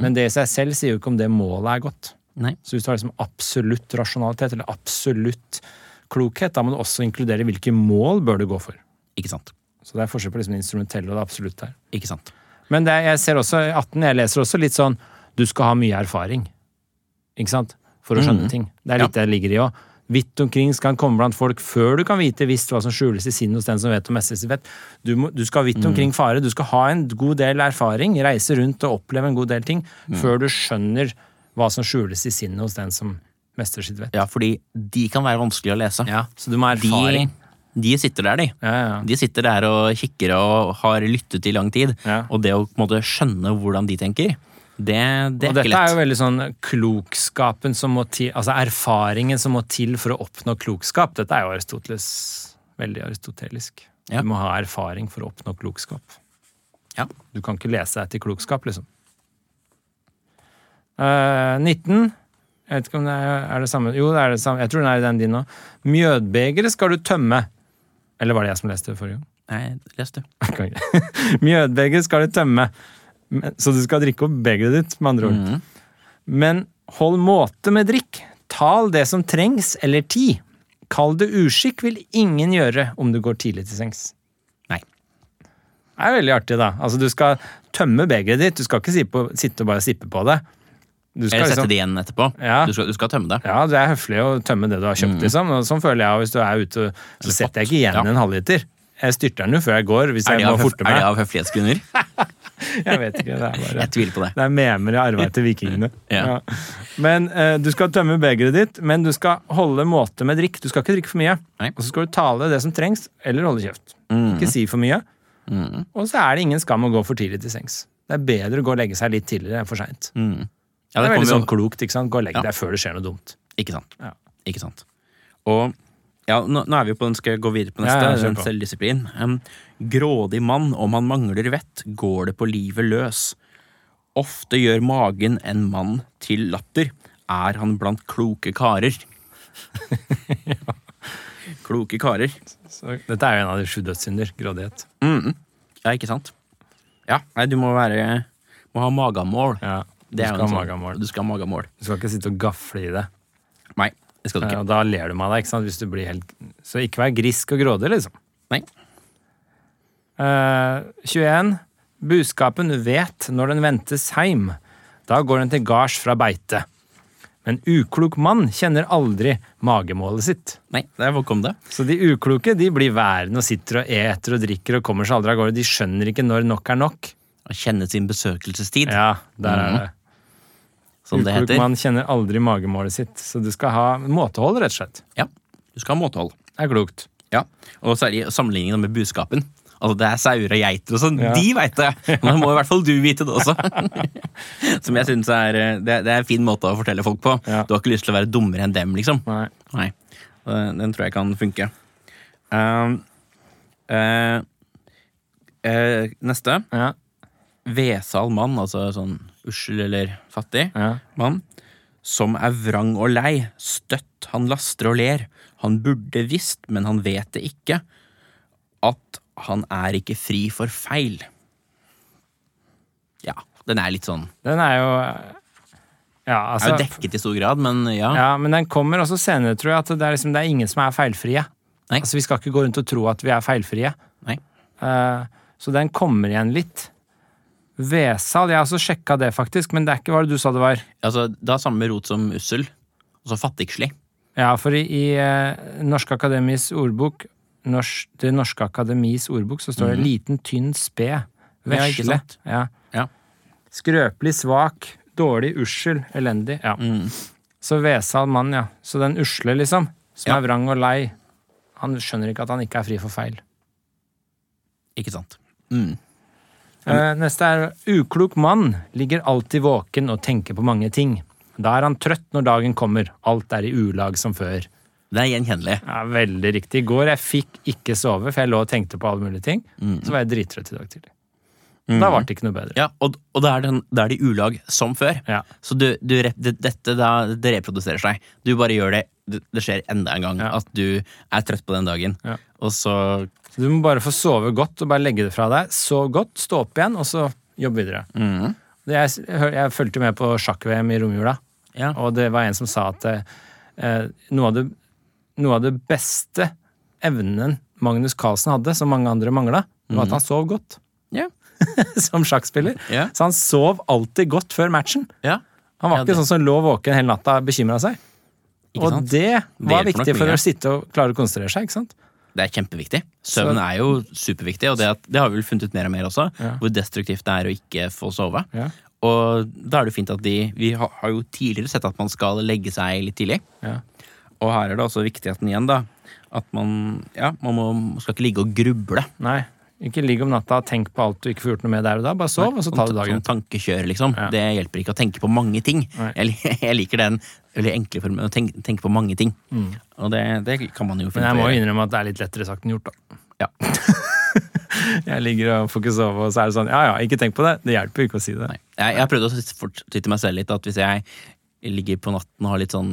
Speaker 1: Men det i seg selv sier jo ikke om det målet er godt.
Speaker 2: Nei.
Speaker 1: Så hvis du har liksom absolutt rasjonalitet eller absolutt klokhet, da må du også inkludere hvilke mål bør du gå for.
Speaker 2: Ikke sant.
Speaker 1: Så det er forskjell på liksom det instrumentelle og det absolutte her.
Speaker 2: Ikke sant.
Speaker 1: Men det, er- jeg ser også, i 18, jeg leser også litt sånn Du skal ha mye erfaring. Ikke sant? For å skjønne ting. Det er litt det det ligger i òg. Vidt omkring skal han komme blant folk før du kan vite visst hva som skjules i sinnet hos den som vet om SS i fett. Du, må, du skal vidt omkring fare. Du skal ha en god del erfaring, reise rundt og oppleve en god del ting, før du skjønner hva som skjules i sinnet hos den som mestrer sitt vett.
Speaker 2: Ja, fordi de kan være vanskelig å lese.
Speaker 1: Så du må ha
Speaker 2: De,
Speaker 1: erfaring.
Speaker 2: de sitter der, de.
Speaker 1: Ja, ja.
Speaker 2: De sitter der og kikker og har lyttet i lang tid.
Speaker 1: Ja.
Speaker 2: Og det å på en måte skjønne hvordan de tenker, det,
Speaker 1: Og
Speaker 2: det er ikke
Speaker 1: dette er jo
Speaker 2: lett.
Speaker 1: veldig sånn klokskapen som må til, altså erfaringen som må til for å oppnå klokskap. Dette er jo Aristoteles, veldig aristotelisk.
Speaker 2: Ja.
Speaker 1: Du må ha erfaring for å oppnå klokskap.
Speaker 2: Ja.
Speaker 1: Du kan ikke lese deg til klokskap, liksom. Eh, 19. Jeg vet ikke om det er, er det samme Jo, det er det samme. Jeg tror den er i den din nå. Mjødbegeret skal du tømme. Eller var det jeg som leste det forrige gang?
Speaker 2: Nei, les du.
Speaker 1: Konge. <laughs> Mjødbeger skal du tømme, men- så du skal drikke opp begeret ditt, med andre ord.
Speaker 2: Mm.
Speaker 1: Men hold måte med drikk. Tal det som trengs, eller tid. Kall det uskikk vil ingen gjøre om du går tidlig til sengs.
Speaker 2: Nei.
Speaker 1: Det er veldig artig, da. Altså, du skal tømme begeret ditt. Du skal ikke si på, sitte og bare sippe på det. Du skal
Speaker 2: Eller sette
Speaker 1: liksom-
Speaker 2: det igjen etterpå.
Speaker 1: Ja.
Speaker 2: Du, skal, du skal tømme det.
Speaker 1: ja, det er høflig å tømme det du har kjøpt, liksom. Og sånn føler jeg og hvis du er ute. Så setter jeg ikke igjen
Speaker 2: Mm. Ja.
Speaker 1: en halvliter. Jeg styrter den jo før jeg går, hvis jeg
Speaker 2: Er det,
Speaker 1: må
Speaker 2: av, høf
Speaker 1: forte
Speaker 2: er det
Speaker 1: meg.
Speaker 2: av
Speaker 1: <laughs>
Speaker 2: høflighetsgrunner?
Speaker 1: Jeg vet ikke, det er bare...
Speaker 2: Jeg tviler på det.
Speaker 1: Det er memer jeg arva etter vikingene.
Speaker 2: <laughs> Ja.
Speaker 1: Ja. Men eh, Du skal tømme begeret ditt, men du skal holde måte med drikk. Du skal ikke drikke for mye.
Speaker 2: Nei. Mm.
Speaker 1: Og så skal du tale det som trengs, eller holde kjeft. Ikke si for mye. Og så er det ingen skam å gå for tidlig til sengs. Det er bedre å gå og legge seg litt tidligere enn for seint.
Speaker 2: Mm. Ja,
Speaker 1: det, er
Speaker 2: det kommer
Speaker 1: veldig
Speaker 2: jo
Speaker 1: sånn klokt. ikke sant? Gå og legg
Speaker 2: Ja.
Speaker 1: deg før det skjer noe dumt.
Speaker 2: Ikke sant.
Speaker 1: Ja.
Speaker 2: Ikke sant. Og ja, nå, nå er vi jo på den, skal jeg gå videre på neste,
Speaker 1: Ja, ja, kjør
Speaker 2: den
Speaker 1: på.
Speaker 2: selvdisiplin. Um, grådig mann, om han mangler vett, går det på livet løs. Ofte gjør magen en mann til latter. Er han blant kloke karer?
Speaker 1: <laughs>
Speaker 2: Kloke karer.
Speaker 1: Dette er jo en av de sju dødssynder. Grådighet.
Speaker 2: Ja, ikke sant? Ja, nei, du må være Må ha magamål.
Speaker 1: Ja. Du
Speaker 2: Det er
Speaker 1: skal
Speaker 2: jo
Speaker 1: ha
Speaker 2: en sånn-
Speaker 1: magamål.
Speaker 2: Du skal ha magamål.
Speaker 1: Du skal ikke sitte og gafle i det.
Speaker 2: Nei, det skal du
Speaker 1: Ja,
Speaker 2: ikke.
Speaker 1: og da ler du meg av deg. ikke sant? Hvis du blir helt... Så ikke vær grisk og grådig, liksom.
Speaker 2: Nei.
Speaker 1: Eh, 21. Buskapen vet når den ventes heim. Da går den til gards fra beite. Men uklok mann kjenner aldri magemålet sitt.
Speaker 2: Nei, der kom det.
Speaker 1: Så de ukloke de blir værende og sitter og eter og drikker og kommer seg aldri av gårde. De skjønner ikke når nok er nok.
Speaker 2: Å kjenne sin besøkelsestid,
Speaker 1: Ja, der er det.
Speaker 2: Mhm. som det
Speaker 1: uklok
Speaker 2: heter.
Speaker 1: mann kjenner aldri magemålet sitt. Så du skal ha måtehold, rett og slett.
Speaker 2: Ja, du skal ha måtehold.
Speaker 1: Det er klokt.
Speaker 2: Ja. Og særlig sammenligningen med buskapen. Altså, det er sauer og geiter og sånn.
Speaker 1: <laughs> Ja.
Speaker 2: De veit det! Men da må i hvert fall du vite det også.
Speaker 1: <laughs>
Speaker 2: Som jeg synes er eh, det, det er en fin måte å fortelle folk på.
Speaker 1: Ja.
Speaker 2: Du har ikke lyst til å være dummere enn dem, liksom.
Speaker 1: Nei.
Speaker 2: Nei. Eh, Den tror jeg kan funke. Um, eh, eh, neste.
Speaker 1: Ja,
Speaker 2: Vesal mann, altså sånn ussel eller fattig
Speaker 1: ja.
Speaker 2: mann, som er vrang og lei, støtt, han laster og ler. Han burde visst, men han vet det ikke, at han er ikke fri for feil. Ja, den er litt sånn
Speaker 1: Den er jo Ja,
Speaker 2: Er
Speaker 1: altså
Speaker 2: jo dekket i stor grad, men ja.
Speaker 1: Ja, men den kommer også senere, tror jeg, at det er, liksom, det er ingen som er feilfrie.
Speaker 2: Nei.
Speaker 1: Altså, vi skal ikke gå rundt og tro at vi er feilfrie.
Speaker 2: Nei.
Speaker 1: Eh, så den kommer igjen litt. Vesal, jeg har også sjekka det, faktisk, men det er ikke hva det du sa det var.
Speaker 2: Altså, det har samme rot som ussel. Altså fattigslig.
Speaker 1: Ja, for i, i eh, Norske Akademis ordbok Norsk- Det Norske Akademis ordbok så står det 'liten, tynn, sped'.
Speaker 2: Mhm. Ja, ikke
Speaker 1: Vesle.
Speaker 2: sant?
Speaker 1: Ja,
Speaker 2: Ja.
Speaker 1: Skrøpelig, svak, dårlig, ussel, elendig. Ja. Så vesal mann, ja. Så den usle, liksom, som
Speaker 2: Ja.
Speaker 1: er vrang og lei, han skjønner ikke at han ikke er fri for feil.
Speaker 2: Ikke sant. Mm.
Speaker 1: Eh, neste er uklok mann ligger alltid våken og tenker på mange ting. Da er han trøtt når dagen kommer. Alt er i ulag som før.
Speaker 2: Det er gjenkjennelig.
Speaker 1: Ja, veldig Mm. riktig. I går jeg fikk ikke sove, for jeg lå og tenkte på alle mulige ting. Så var jeg drittrøtt i dag tidlig. Da ble det ikke noe bedre.
Speaker 2: Ja, og, og da, er den, da er de ulag som før.
Speaker 1: Ja.
Speaker 2: Så du, du, rep- det, dette da, det reproduserer seg. Du bare gjør det. Det det skjer enda en gang
Speaker 1: Ja.
Speaker 2: at du er trøtt på den dagen.
Speaker 1: Ja.
Speaker 2: Og så
Speaker 1: Så du må bare få sove godt og bare legge det fra deg. Sov godt, stå opp igjen, og så jobb videre.
Speaker 2: Mhm.
Speaker 1: Det- Jeg, s- hør- jeg fulgte med på sjakk-VM i romjula,
Speaker 2: Ja.
Speaker 1: og det var en som sa at eh, eh, noe, av det, noe av det beste evnen Magnus Carlsen hadde, som mange andre mangla, var at han sov godt <laughs>
Speaker 2: Ja.
Speaker 1: som sjakkspiller.
Speaker 2: Mhm. Ja.
Speaker 1: Så han sov alltid godt før matchen.
Speaker 2: ja.
Speaker 1: Han var
Speaker 2: Ja,
Speaker 1: ikke
Speaker 2: det-
Speaker 1: sånn som lå våken hele natta og bekymra seg.
Speaker 2: Ikke
Speaker 1: Og
Speaker 2: sant?
Speaker 1: det var
Speaker 2: hjelper nok
Speaker 1: viktig for
Speaker 2: mye.
Speaker 1: å sitte og klare å konsentrere seg. ikke sant?
Speaker 2: Det er kjempeviktig. Søvn er jo superviktig, og det, at, det har vi vel funnet ut mer og mer også,
Speaker 1: Ja.
Speaker 2: hvor destruktivt det er å ikke få sove.
Speaker 1: Ja.
Speaker 2: Og da er det jo fint at de Vi har, har jo tidligere sett at man skal legge seg litt tidlig.
Speaker 1: Ja.
Speaker 2: Og her er det også viktigheten igjen, da. At man ja, man må, man skal ikke ligge og gruble.
Speaker 1: Nei. Ikke ligg om natta og tenk på alt du ikke får gjort noe med der og da. Bare sov, og så ta det dagen.
Speaker 2: Sånn tankekjør, liksom.
Speaker 1: Ja.
Speaker 2: Det hjelper ikke å tenke på mange ting.
Speaker 1: Nei.
Speaker 2: Jeg, li- <laughs> jeg liker den veldig enkle formen, å tenke, tenke på mange ting. Og det, det kan man jo
Speaker 1: Mm. Men
Speaker 2: finne
Speaker 1: jeg må jo
Speaker 2: gjøre.
Speaker 1: innrømme at det er litt lettere sagt enn gjort, da.
Speaker 2: Ja.
Speaker 1: <laughs> Jeg ligger og får ikke sove, og så er det sånn ja ja, ikke tenk på det. Det hjelper jo ikke å si det.
Speaker 2: Nei. Jeg, jeg har prøvd å fortelle meg selv litt at hvis jeg ligger på natten og har litt sånn,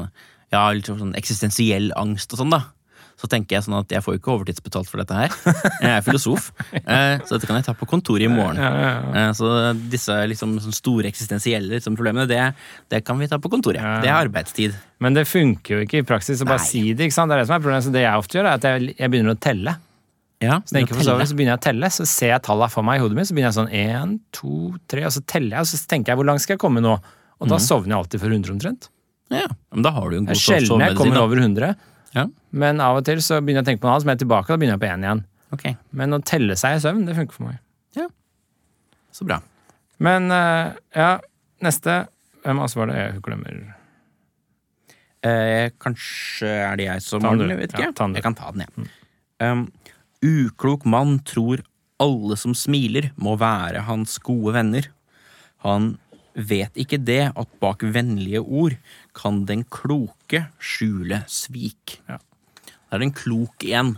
Speaker 2: ja, litt sånn eksistensiell angst og sånn, da, så tenker jeg sånn at jeg får jo ikke overtidsbetalt for dette
Speaker 1: <laughs>
Speaker 2: her. Jeg er filosof, eh, så dette kan jeg ta på kontoret i morgen.
Speaker 1: Ja, ja, ja.
Speaker 2: Eh, Så disse liksom, sånn store eksistensielle liksom, problemene, det, det kan vi ta på kontoret.
Speaker 1: Ja.
Speaker 2: Det er arbeidstid.
Speaker 1: Men det funker jo ikke i praksis å bare
Speaker 2: Nei.
Speaker 1: si det. ikke sant? Det er det som er problemet. Så det jeg ofte gjør, er at jeg, jeg begynner å telle.
Speaker 2: Ja,
Speaker 1: Så når jeg ikke får sove, så begynner jeg å telle, så ser jeg tallene for meg i hodet mitt. Så begynner jeg sånn én, to, tre, og så teller jeg, og så tenker jeg hvor langt skal jeg komme nå? Og da sovner jeg alltid for 100 omtrent.
Speaker 2: Ja, men da har du jo en
Speaker 1: Det Mhm.
Speaker 2: god
Speaker 1: er sjelden jeg kommer
Speaker 2: sovemedisin.
Speaker 1: over 100,
Speaker 2: da. Ja,
Speaker 1: men av og til så begynner jeg å tenke på noe annet, så må jeg tilbake, og da begynner jeg på én igjen.
Speaker 2: ok.
Speaker 1: Men å telle seg i søvn, det funker for meg.
Speaker 2: Så bra.
Speaker 1: Men eh, ja, neste. Hvem av oss var det? Jeg glemmer.
Speaker 2: Eh, kanskje er det jeg som
Speaker 1: Ta den,
Speaker 2: mangler,
Speaker 1: du.
Speaker 2: vet
Speaker 1: Ja,
Speaker 2: ikke.
Speaker 1: ta den, du. Mm.
Speaker 2: jeg kan ta den, jeg. Um, uklok mann tror alle som smiler, må være hans gode venner. Han vet ikke det at bak vennlige ord kan den kloke skjule svik.
Speaker 1: Ja. Mm.
Speaker 2: Det er en klok igjen,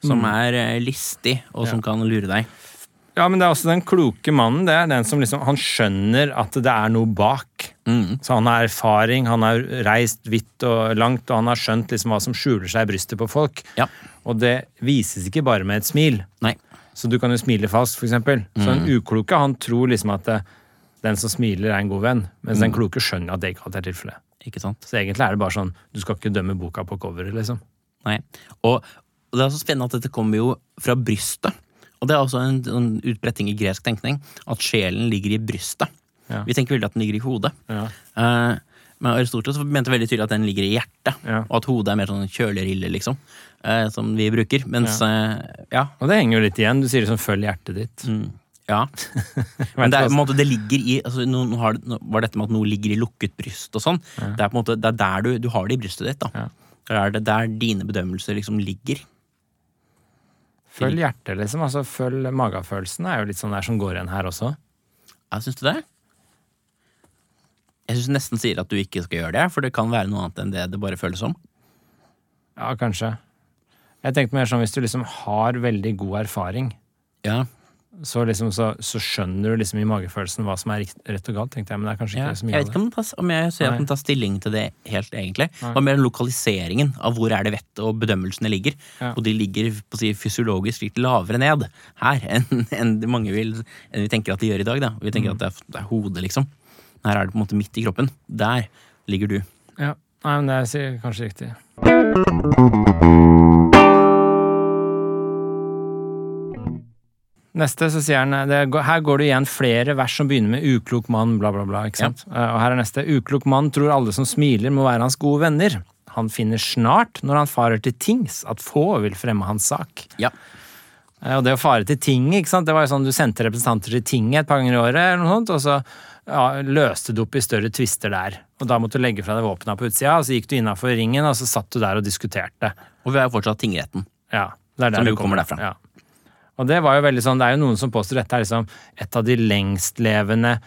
Speaker 2: som er eh, listig, og som kan lure deg.
Speaker 1: Ja, men det er også den kloke mannen. Det er den som liksom Han skjønner at det er noe bak. Så han har erfaring, han har reist vidt og langt, og han har skjønt liksom hva som skjuler seg i brystet på folk.
Speaker 2: Ja.
Speaker 1: Og det vises ikke bare med et smil.
Speaker 2: Nei.
Speaker 1: Så du kan jo smile falskt, for eksempel. Så den ukloke, han tror liksom at eh, den som smiler, er en god venn, mens den kloke skjønner at det ikke alltid er tilfellet.
Speaker 2: Ikke sant?
Speaker 1: Så egentlig er det bare sånn, du skal ikke dømme boka på coveret, liksom.
Speaker 2: Nei. Og, og det er så spennende at dette kommer jo fra brystet. Og det er også en, en utbretting i gresk tenkning at sjelen ligger i brystet.
Speaker 1: Ja.
Speaker 2: Vi tenker veldig at den ligger i hodet.
Speaker 1: Ja.
Speaker 2: Eh, men Aristoteles mente veldig tydelig at den ligger i hjertet,
Speaker 1: Ja.
Speaker 2: og at hodet er mer sånn kjølerille, liksom, eh, som vi bruker. Mens eh, ja.
Speaker 1: Og det henger jo litt igjen. Du sier liksom 'følg hjertet ditt'.
Speaker 2: Mm.
Speaker 1: <laughs>
Speaker 2: ja.
Speaker 1: Vet
Speaker 2: Men
Speaker 1: du
Speaker 2: det, er,
Speaker 1: hva-
Speaker 2: på en måte, det ligger i altså, nå, nå har, det- nå var dette med at noe ligger i lukket bryst og sånn. Det er på en måte, det er der du, du har det i brystet ditt. da.
Speaker 1: Ja.
Speaker 2: Det er det der dine bedømmelser liksom ligger.
Speaker 1: Følg hjertet, liksom. Altså, følg magefølelsen er jo litt sånn der som går igjen her også.
Speaker 2: Ja, syns du det? Jeg syns nesten sier at du ikke skal gjøre det, for det kan være noe annet enn det det bare føles som.
Speaker 1: Ja, kanskje. Jeg tenkte mer sånn hvis du liksom har veldig god erfaring,
Speaker 2: Ja,
Speaker 1: så, liksom, så, så skjønner du liksom i magefølelsen hva som er rikt- rett og galt, tenkte jeg. Men det er kanskje
Speaker 2: ja.
Speaker 1: ikke
Speaker 2: Jeg
Speaker 1: så mye
Speaker 2: vet
Speaker 1: av
Speaker 2: ikke
Speaker 1: det.
Speaker 2: om, den tas, om jeg ser
Speaker 1: Nei.
Speaker 2: at den tar stilling til det helt, egentlig.
Speaker 1: Nei.
Speaker 2: Det var mer lokaliseringen av hvor er det vettet og bedømmelsene ligger.
Speaker 1: Ja.
Speaker 2: Og de ligger på å si, fysiologisk litt lavere ned her <laughs> enn enn de mange vil, enn vi tenker at de gjør i dag. Da. Vi
Speaker 1: Mm.
Speaker 2: tenker at det er, det er hodet, liksom. Her er det på en måte midt i kroppen. Der ligger du.
Speaker 1: Ja. Nei, men det er sikkert kanskje riktig. Neste så sier han det, går- Her går det igjen flere vers som begynner med 'uklok mann', bla, bla, bla. ikke sant? Eh, Og her er neste. 'Uklok mann tror alle som smiler, må være hans gode venner'. Han finner snart, når han farer til tings, at få vil fremme hans sak.
Speaker 2: Ja.
Speaker 1: Eh, Og det å fare til tinget, ikke sant? det var jo sånn du sendte representanter til tinget et par ganger i året, eller noe sånt, og så ja, løste du opp i større tvister der. Og da måtte du legge fra deg våpna på utsida, og så gikk du innafor ringen, og så satt du der og diskuterte.
Speaker 2: Og vi har jo fortsatt tingretten.
Speaker 1: Ja, det er der
Speaker 2: Som
Speaker 1: det
Speaker 2: jo kommer derfra.
Speaker 1: Ja. Og det var jo veldig sånn, det er jo noen som påstår dette er liksom et av de lengstlevende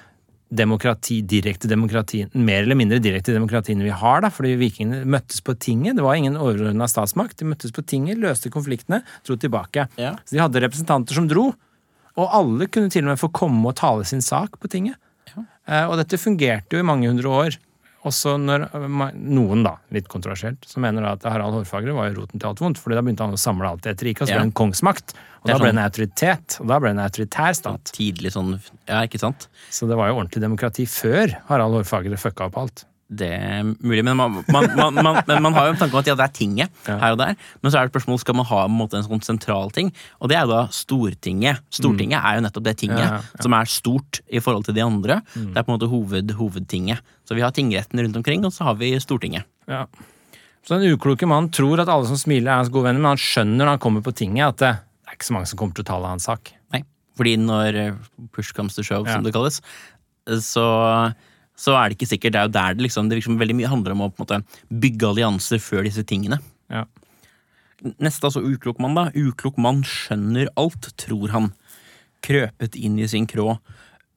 Speaker 1: demokrati, direkte demokrati, mer eller mindre direkte demokratiene vi har, da, fordi vikingene møttes på tinget. Det var ingen overordna statsmakt. De møttes på tinget, løste konfliktene, dro tilbake.
Speaker 2: Ja.
Speaker 1: Så de hadde representanter som dro. Og alle kunne til og med få komme og tale sin sak på tinget. Eh, Og dette fungerte jo i mange hundre år. Også når eh, ma- noen, da, litt kontroversielt, som mener da at Harald Hårfagre var jo roten til alt vondt, fordi da begynte han å samle alt i et rike, og så
Speaker 2: Ja.
Speaker 1: ble det en kongsmakt. Og
Speaker 2: Det
Speaker 1: da
Speaker 2: er
Speaker 1: ble det
Speaker 2: sånn-
Speaker 1: en autoritet, og da ble det en autoritær stat.
Speaker 2: Tidlig sånn Ja, ikke sant?
Speaker 1: Så det var jo ordentlig demokrati før Harald Hårfagre fucka opp alt.
Speaker 2: Det er mulig, men man, man, man, man, men man har jo en tanke om at ja, det er tinget her og der. Men så er det et spørsmål skal man ha på en, måte, en sånn sentral ting, og det er jo da Stortinget. Stortinget er jo nettopp det tinget
Speaker 1: Mm. Ja, Mm. ja,
Speaker 2: som er stort i forhold til de andre. Det er på en måte hoved, hovedtinget. Så vi har tingretten rundt omkring, og så har vi Stortinget.
Speaker 1: Ja. Så den ukloke mannen tror at alle som smiler er hans gode venner, men han skjønner når han kommer på tinget at eh, det er ikke så mange som kommer til å tale hans sak.
Speaker 2: Nei. Fordi når eh, push comes to show,
Speaker 1: Ja.
Speaker 2: som det kalles, eh, så, så er det ikke sikkert. Det er jo der det liksom, det liksom veldig mye handler om å på en måte bygge allianser før disse tingene.
Speaker 1: Ja.
Speaker 2: Neste, altså uklok mann, da. Uklok mann skjønner alt, tror han. Krøpet inn i sin krå.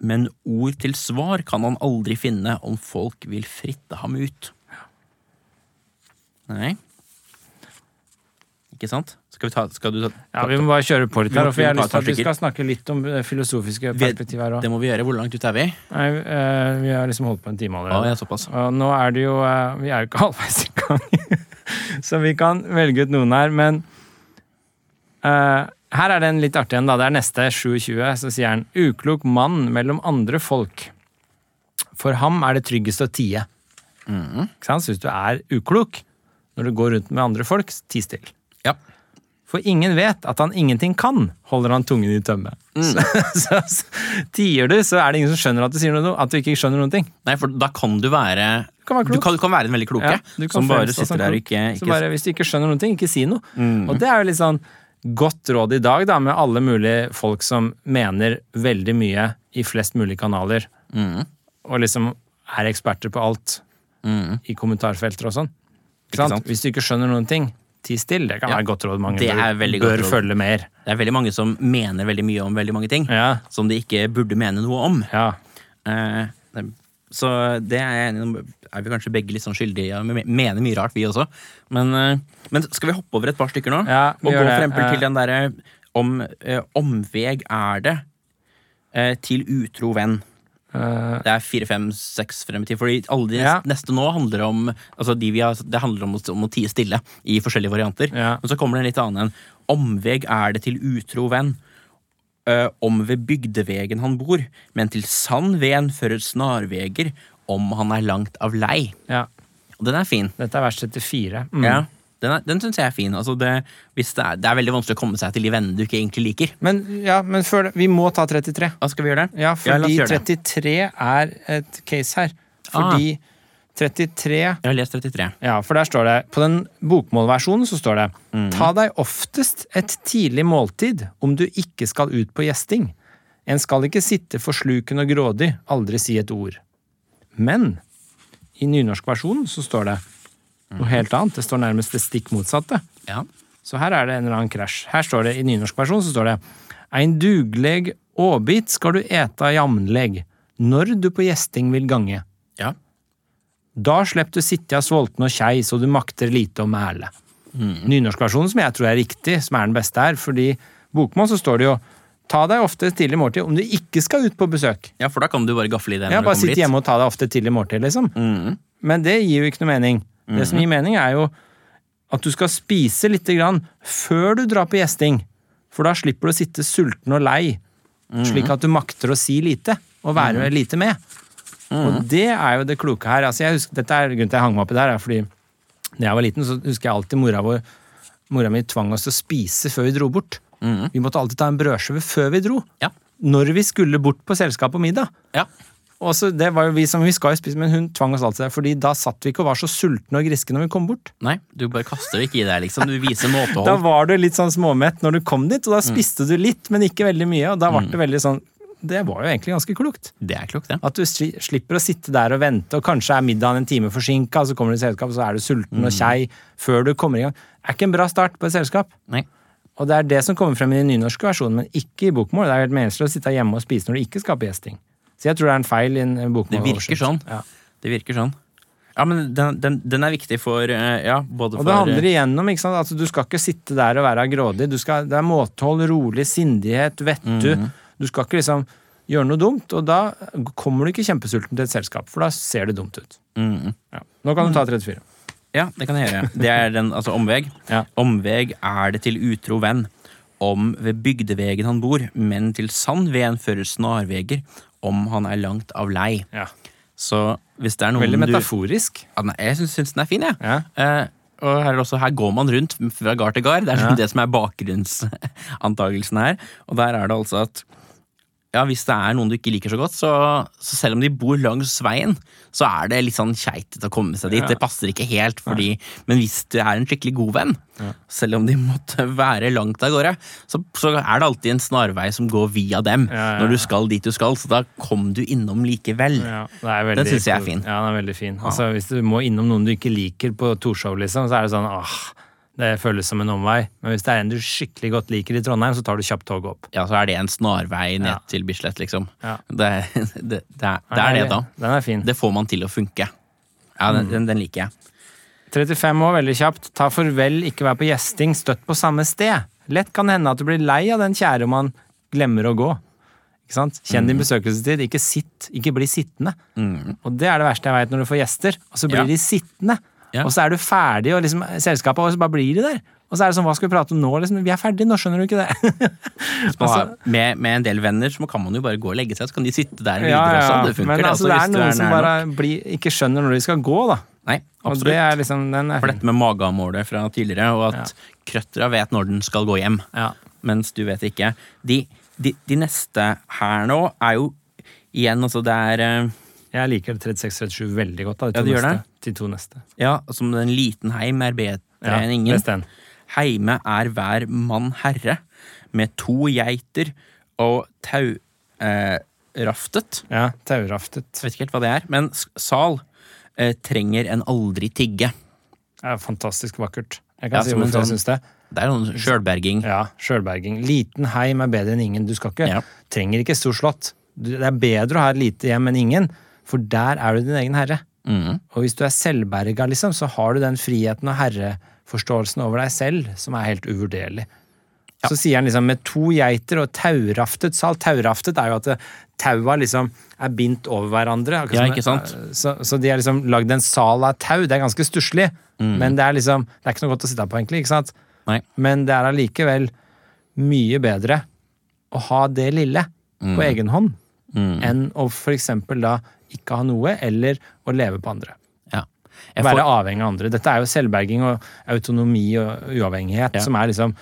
Speaker 2: Men ord til svar kan han aldri finne om folk vil fritte ham ut. Nei. Ikke sant? Skal, vi ta, skal du ta
Speaker 1: Ja, Vi må bare kjøre på litt
Speaker 2: Vi må-
Speaker 1: her, for jeg har
Speaker 2: vi må
Speaker 1: lyst til
Speaker 2: ta
Speaker 1: at vi
Speaker 2: et
Speaker 1: skal snakke litt om det filosofiske
Speaker 2: Vi-
Speaker 1: perspektivet her òg.
Speaker 2: Det må vi gjøre. Hvor langt ut er vi?
Speaker 1: Vi har liksom holdt på en time
Speaker 2: Ja,
Speaker 1: allerede.
Speaker 2: ja, såpass.
Speaker 1: Og nå er det jo eh, Vi er jo ikke <laughs> halvveis i gang, så vi kan velge ut noen her, men eh, her er det en litt artig en, da. Det er neste 27, så sier han 'uklok mann mellom andre folk'. For ham er det tryggest å tie.
Speaker 2: Mhm.
Speaker 1: Ikke sant? Så hvis du er uklok når du går rundt med andre folk, ti stille.
Speaker 2: Ja.
Speaker 1: For ingen vet at han ingenting kan, holder han tungen i tømme.
Speaker 2: Mm.
Speaker 1: <laughs> Så, så, så tier du, så er det ingen som skjønner at du, sier noe, at du ikke skjønner noen ting.
Speaker 2: Nei, for da kan du være Du
Speaker 1: kan være klok.
Speaker 2: Du kan, være den veldig kloke,
Speaker 1: Ja, du kan
Speaker 2: som bare
Speaker 1: fremstå som
Speaker 2: sitter der og
Speaker 1: klok.
Speaker 2: ikke,
Speaker 1: Så
Speaker 2: ikke Mm.
Speaker 1: bare, Hvis du ikke skjønner noen ting, ikke si noe. Og det er jo litt sånn godt råd i dag, da, med alle mulige folk som mener veldig mye i flest mulig kanaler,
Speaker 2: Mm.
Speaker 1: og liksom er eksperter på alt i kommentarfelter og sånn. Ikke sant?
Speaker 2: Mm. sant?
Speaker 1: Hvis du ikke skjønner noen ting, ti stille. Det kan
Speaker 2: Ja,
Speaker 1: være godt råd. Mange
Speaker 2: det er
Speaker 1: bør,
Speaker 2: veldig godt
Speaker 1: bør
Speaker 2: råd.
Speaker 1: følge mer.
Speaker 2: Det er veldig mange som mener veldig mye om veldig mange ting
Speaker 1: Ja.
Speaker 2: som de ikke burde mene noe om.
Speaker 1: Ja.
Speaker 2: Eh, det- så det er jeg enig om. Er vi kanskje begge litt sånn skyldige? Ja, vi mener mye rart, vi også. Men, eh, men skal vi hoppe over et par stykker nå?
Speaker 1: Ja, vi
Speaker 2: og
Speaker 1: gjør
Speaker 2: gå for
Speaker 1: det.
Speaker 2: eksempel
Speaker 1: Eh.
Speaker 2: til den derre om eh, omveg er det eh, til utro venn. Det er fire, fem, seks frem i tid. Fordi alle de
Speaker 1: Eh. Ja.
Speaker 2: neste nå handler om Altså de vi har, det handler om, å- om å tie stille i forskjellige varianter.
Speaker 1: Ja.
Speaker 2: Men så kommer det en litt annen en. Omveg er det til utro venn. Ø, om ved bygdevegen han bor, men til sann ven fører snarveger, om han er langt av lei.
Speaker 1: ja.
Speaker 2: Og den er fin.
Speaker 1: Dette er vers 74. Mm.
Speaker 2: Ja. Den, er- den syns jeg er fin. Altså det, hvis det, er, det er veldig vanskelig å komme seg til de vennene du ikke egentlig liker.
Speaker 1: Men, ja, men før det, vi må ta 33.
Speaker 2: Da skal vi gjøre det?
Speaker 1: Ja,
Speaker 2: la oss
Speaker 1: fordi
Speaker 2: gjøre det.
Speaker 1: 33 er et case her. Fordi
Speaker 2: Ah.
Speaker 1: 33
Speaker 2: Jeg har lest 33.
Speaker 1: Ja, for der står det På den bokmålversjonen så står det
Speaker 2: Mhm.
Speaker 1: Ta deg oftest et tidlig måltid om du ikke skal ut på gjesting. En skal ikke sitte forsluken og grådig, aldri si et ord. Men i nynorskversjonen så står det
Speaker 2: Mhm.
Speaker 1: noe helt annet. Det står nærmest det stikk motsatte.
Speaker 2: Ja.
Speaker 1: Så her er det en eller annen krasj. Her står det, I nynorsk versjon så står det Ein dugleg åbit skal du eta jamnleg, når du på gjesting vil gange.
Speaker 2: ja.
Speaker 1: Da slepp du sitte av svolten og kjei, så du makter lite å mæle. Nynorskversjonen som jeg tror er riktig, som er den beste her, fordi bokmål så står det jo Ta deg ofte et tidlig måltid om du ikke skal ut på besøk.
Speaker 2: ja, for da kan du bare gafle i det.
Speaker 1: Ja,
Speaker 2: når
Speaker 1: bare
Speaker 2: du kommer
Speaker 1: sitt
Speaker 2: dit. Mm.
Speaker 1: hjemme og ta deg ofte et tidlig måltid, liksom. Men det gir jo ikke noe mening. Det som gir mening, er jo at du skal spise lite grann før du drar på gjesting. For da slipper du å sitte sulten og lei,
Speaker 2: Mm.
Speaker 1: slik at du makter å si lite og være lite med.
Speaker 2: Mm.
Speaker 1: Og det er jo det kloke her. Altså, jeg husker, dette er grunnen til jeg hang meg oppi der, er fordi da jeg var liten, så husker jeg alltid mora vår Mora mi tvang oss til å spise før vi dro bort.
Speaker 2: Mm.
Speaker 1: Vi måtte alltid ta en brødskive før vi dro.
Speaker 2: Ja.
Speaker 1: Når vi skulle bort på selskap og middag.
Speaker 2: Ja.
Speaker 1: Og så, det var jo vi som vi skal jo spise, men hun tvang oss alltid der, fordi da satt vi ikke og var så sultne og griske når vi kom bort.
Speaker 2: Nei, du bare kaster det ikke i deg, liksom. Du
Speaker 1: <laughs>
Speaker 2: viser måtehold.
Speaker 1: Da var du litt sånn småmett når du kom dit,
Speaker 2: Mm.
Speaker 1: og da spiste du litt, men ikke veldig mye, og da ble det veldig sånn Det var jo egentlig ganske klokt.
Speaker 2: Det er klokt, det.
Speaker 1: At du sli- slipper å sitte der og vente, og kanskje er middagen en time forsinka, så kommer du i selskap, så er du sulten
Speaker 2: Mm.
Speaker 1: og kjei før du kommer i gang. Det er ikke en bra start på et selskap.
Speaker 2: Nei.
Speaker 1: Og det er det som kommer frem i den nynorske versjonen, men ikke i bokmål. Det er jo helt meningsløst å sitte hjemme og spise når du ikke skal på gjesting. Så jeg tror det er en feil i en en
Speaker 2: Det
Speaker 1: bokmål.
Speaker 2: virker sånn.
Speaker 1: Ja.
Speaker 2: Det virker sånn. Ja, men den, den, den er viktig for eh, Ja, både
Speaker 1: Og
Speaker 2: for eh,
Speaker 1: det handler igjennom, ikke
Speaker 2: Mhm.
Speaker 1: sant? Altså, du skal ikke sitte der og være grådig. Du skal, det er måtehold, rolig, sindighet, vettu. Du skal ikke liksom gjøre noe dumt, og da kommer du ikke kjempesulten til et selskap, for da ser det dumt ut.
Speaker 2: Mm.
Speaker 1: Ja. Nå kan du ta 34.
Speaker 2: Ja, det kan jeg gjøre. Det er den, altså omveg.
Speaker 1: <laughs> Ja.
Speaker 2: Omveg er det til utro venn. Om ved bygdevegen han bor, men til sann ven fører snarveger. Om han er langt av lei.
Speaker 1: Ja.
Speaker 2: Så hvis det er noen
Speaker 1: Veldig
Speaker 2: du
Speaker 1: metaforisk.
Speaker 2: ja, nei, Jeg syns, syns den er fin, jeg.
Speaker 1: Ja.
Speaker 2: Eh, og her, er det også, her går man rundt fra gard til gard. Det er liksom <laughs> det som er bakgrunnsantagelsen her. Og der er det altså at ja, hvis det er noen du ikke liker så godt, så, så selv om de bor langs veien, så er det litt sånn keitete å komme seg dit.
Speaker 1: Ja.
Speaker 2: Det passer ikke helt, fordi, men hvis det er en skikkelig god venn, selv om de <laughs> måtte være langt av gårde, så, så er det alltid en snarvei som går via dem
Speaker 1: Ja, ja,
Speaker 2: når
Speaker 1: ja.
Speaker 2: du skal dit du skal, så da kom du innom likevel.
Speaker 1: Ja, det er veldig
Speaker 2: Den synes jeg er
Speaker 1: kos-
Speaker 2: fin.
Speaker 1: Ja, den er veldig fin. Altså, hvis du må innom noen du ikke liker på Torshov, liksom, så er det sånn ah, det føles som en omvei. Men hvis det er en du skikkelig godt liker i Trondheim, så tar du kjapt toget opp.
Speaker 2: Ja, så er det en snarvei ned
Speaker 1: Ja.
Speaker 2: til Bislett, liksom.
Speaker 1: Ja.
Speaker 2: Det, <laughs> det, det, er, det er det, da.
Speaker 1: Den er Mm. fin.
Speaker 2: Det får man til å funke. Ja, den, den, den liker jeg.
Speaker 1: 35 år, veldig kjapt. Ta farvel, ikke vær på gjesting, støtt på samme sted. Lett kan hende at du blir lei av den kjære man glemmer å gå. Ikke sant? Kjenn
Speaker 2: Mm.
Speaker 1: din besøkelsestid, ikke sitt, ikke bli sittende. Og det er det verste jeg veit når du får gjester, og så blir
Speaker 2: Ja.
Speaker 1: de sittende.
Speaker 2: Ja.
Speaker 1: Og så er du ferdig, og liksom, selskapet og så bare blir de der. Og så er det sånn, hva skal vi prate om nå? Liksom, vi er ferdige, nå skjønner du ikke det.
Speaker 2: <laughs>
Speaker 1: Altså,
Speaker 2: Hvis man har- med, med en del venner så kan man jo bare gå og legge seg, så kan de sitte der videre også. Det funker,
Speaker 1: Men
Speaker 2: det.
Speaker 1: altså,
Speaker 2: også,
Speaker 1: det
Speaker 2: hvis
Speaker 1: er
Speaker 2: du
Speaker 1: noen som
Speaker 2: nær
Speaker 1: bare
Speaker 2: nok.
Speaker 1: blir, ikke skjønner når de skal gå, da.
Speaker 2: Nei,
Speaker 1: Og
Speaker 2: absolutt.
Speaker 1: det er liksom, den er
Speaker 2: For
Speaker 1: fin.
Speaker 2: dette med magemålet fra tidligere, og at krøttera vet når den skal gå hjem,
Speaker 1: Ja.
Speaker 2: mens du vet ikke. De, de, de neste her nå er jo igjen, altså det er eh,
Speaker 1: Jeg liker 36-37 veldig godt. Da, de
Speaker 2: Ja,
Speaker 1: to
Speaker 2: du gjør
Speaker 1: neste. De to neste.
Speaker 2: Ja, som en liten heim er bedre
Speaker 1: Ja,
Speaker 2: enn ingen.
Speaker 1: les den.
Speaker 2: Heime er hver mann herre, med to geiter og tauraftet. Eh, raftet.
Speaker 1: Ja, Tauraftet.
Speaker 2: Jeg vet ikke helt hva det er, men s- sal eh, trenger en aldri tigge.
Speaker 1: Det er fantastisk vakkert. Jeg kan
Speaker 2: Ja,
Speaker 1: si
Speaker 2: som en
Speaker 1: hvorfor jeg
Speaker 2: sånn-
Speaker 1: syns det.
Speaker 2: Det er noen sjølberging.
Speaker 1: Ja, Sjølberging. Liten heim er bedre enn ingen. Du skal ikke,
Speaker 2: Ja.
Speaker 1: trenger ikke stort slott. Du- Det er bedre å ha et lite hjem enn ingen, for der er du din egen herre.
Speaker 2: Mm.
Speaker 1: Og hvis du er selvberga, liksom, så har du den friheten og herreforståelsen over deg selv som er helt uvurderlig. Så sier han liksom med to geiter og tauraftet sal. Tauraftet er jo at det- taua liksom er bindt over hverandre. akkurat
Speaker 2: Ja,
Speaker 1: som- Eh,
Speaker 2: ikke sant?
Speaker 1: Så, så de har liksom lagd en sal av tau. Det er ganske stusslig,
Speaker 2: Mm.
Speaker 1: men det er liksom, det er ikke noe godt å sitte på, egentlig. ikke sant?
Speaker 2: Nei.
Speaker 1: Men det er allikevel mye bedre å ha det lille på egen hånd enn å f.eks. da ikke ha noe, eller å leve på andre.
Speaker 2: Ja. Jeg
Speaker 1: Være
Speaker 2: får,
Speaker 1: avhengig av andre. Dette er jo selvberging og autonomi og uavhengighet som er liksom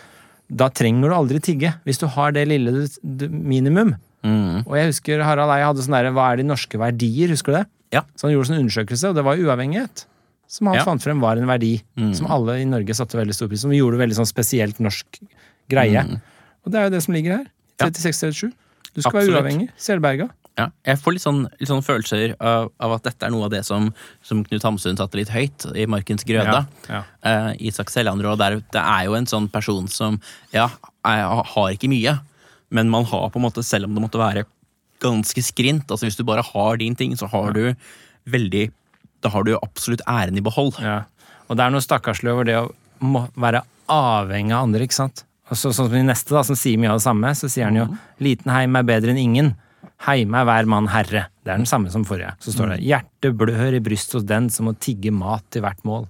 Speaker 1: Da trenger du aldri tigge, hvis du har det lille du- du- minimum.
Speaker 2: Mm.
Speaker 1: Og jeg husker Harald Eie hadde sånn derre Hva er de norske verdier? Husker du det?
Speaker 2: Ja.
Speaker 1: Så han gjorde sånn undersøkelse, og det var uavhengighet. Som han
Speaker 2: Ja. Mm.
Speaker 1: fant frem var en verdi som alle i Norge satte veldig stor pris på. Som gjorde veldig sånn spesielt norsk greie.
Speaker 2: Mm.
Speaker 1: Og det er jo det som ligger her. 36-37. Du skal
Speaker 2: Absolutt.
Speaker 1: være uavhengig. Selvberga.
Speaker 2: ja. jeg får litt sånn, litt sånn følelser av, av at dette er noe av det som, som Knut Hamsun satte litt høyt i Markens grøda.
Speaker 1: Ja, ja.
Speaker 2: Eh, Isak Sellandrå. Det er, det er jo en sånn person som ja, er, har ikke mye, men man har på en måte, selv om det måtte være ganske skrint altså Hvis du bare har din ting, så har du veldig Da har du absolutt æren i behold.
Speaker 1: Ja. Og det er noe stakkarslig over det å må være avhengig av andre, ikke sant. Og så, sånn som i neste, da, som sier mye av det samme, så sier han jo 'liten heim er bedre enn ingen'. Heime er hver mann herre. Det er den samme som forrige. Så står det 'hjertet blør i brystet hos den som må tigge mat til hvert mål'.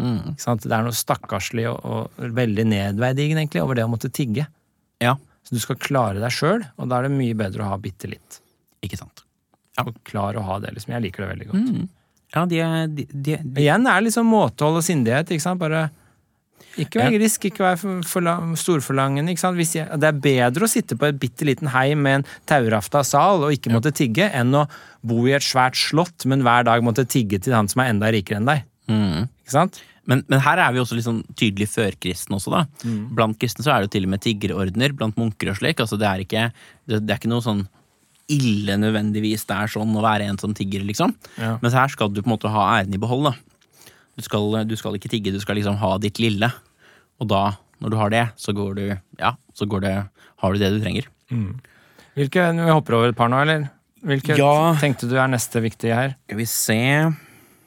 Speaker 1: Ikke sant? Det er noe stakkarslig og, og veldig nedverdigende egentlig over det å måtte tigge.
Speaker 2: Ja,
Speaker 1: Så du skal klare deg sjøl, og da er det mye bedre å ha bitte litt.
Speaker 2: ikke sant.
Speaker 1: Og klare å ha det, liksom. Jeg liker det veldig godt.
Speaker 2: Ja, de er de, de, de,
Speaker 1: Igjen er det liksom måtehold og sindighet, ikke sant? Bare ikke vær
Speaker 2: Ja.
Speaker 1: grisk, ikke vær for- forla- storforlangende, ikke sant? Hvis jeg, det er bedre å sitte på et bitte liten heim med en taurafta sal og ikke måtte tigge, enn å bo i et svært slott, men hver dag måtte tigge til han som er enda rikere enn deg.
Speaker 2: Mm.
Speaker 1: Ikke sant?
Speaker 2: Men, men her er vi også litt sånn tydelig førkristne også, da.
Speaker 1: Mm.
Speaker 2: Blant kristne så er det jo til og med tiggerordener, blant munker og slik. Altså det er ikke, det, det er ikke noe sånn ille nødvendigvis det er sånn å være en som tigger, liksom.
Speaker 1: Ja.
Speaker 2: Mens her skal du på en måte ha æren i behold, da. Du skal, du skal ikke tigge, du skal liksom ha ditt lille. Og da, når du har det, så går du Ja, så går det Har du det du trenger.
Speaker 1: Hvilke, vi hopper over et par nå, eller? Hvilke
Speaker 2: Ja.
Speaker 1: tenkte du er neste viktige her?
Speaker 2: Skal vi se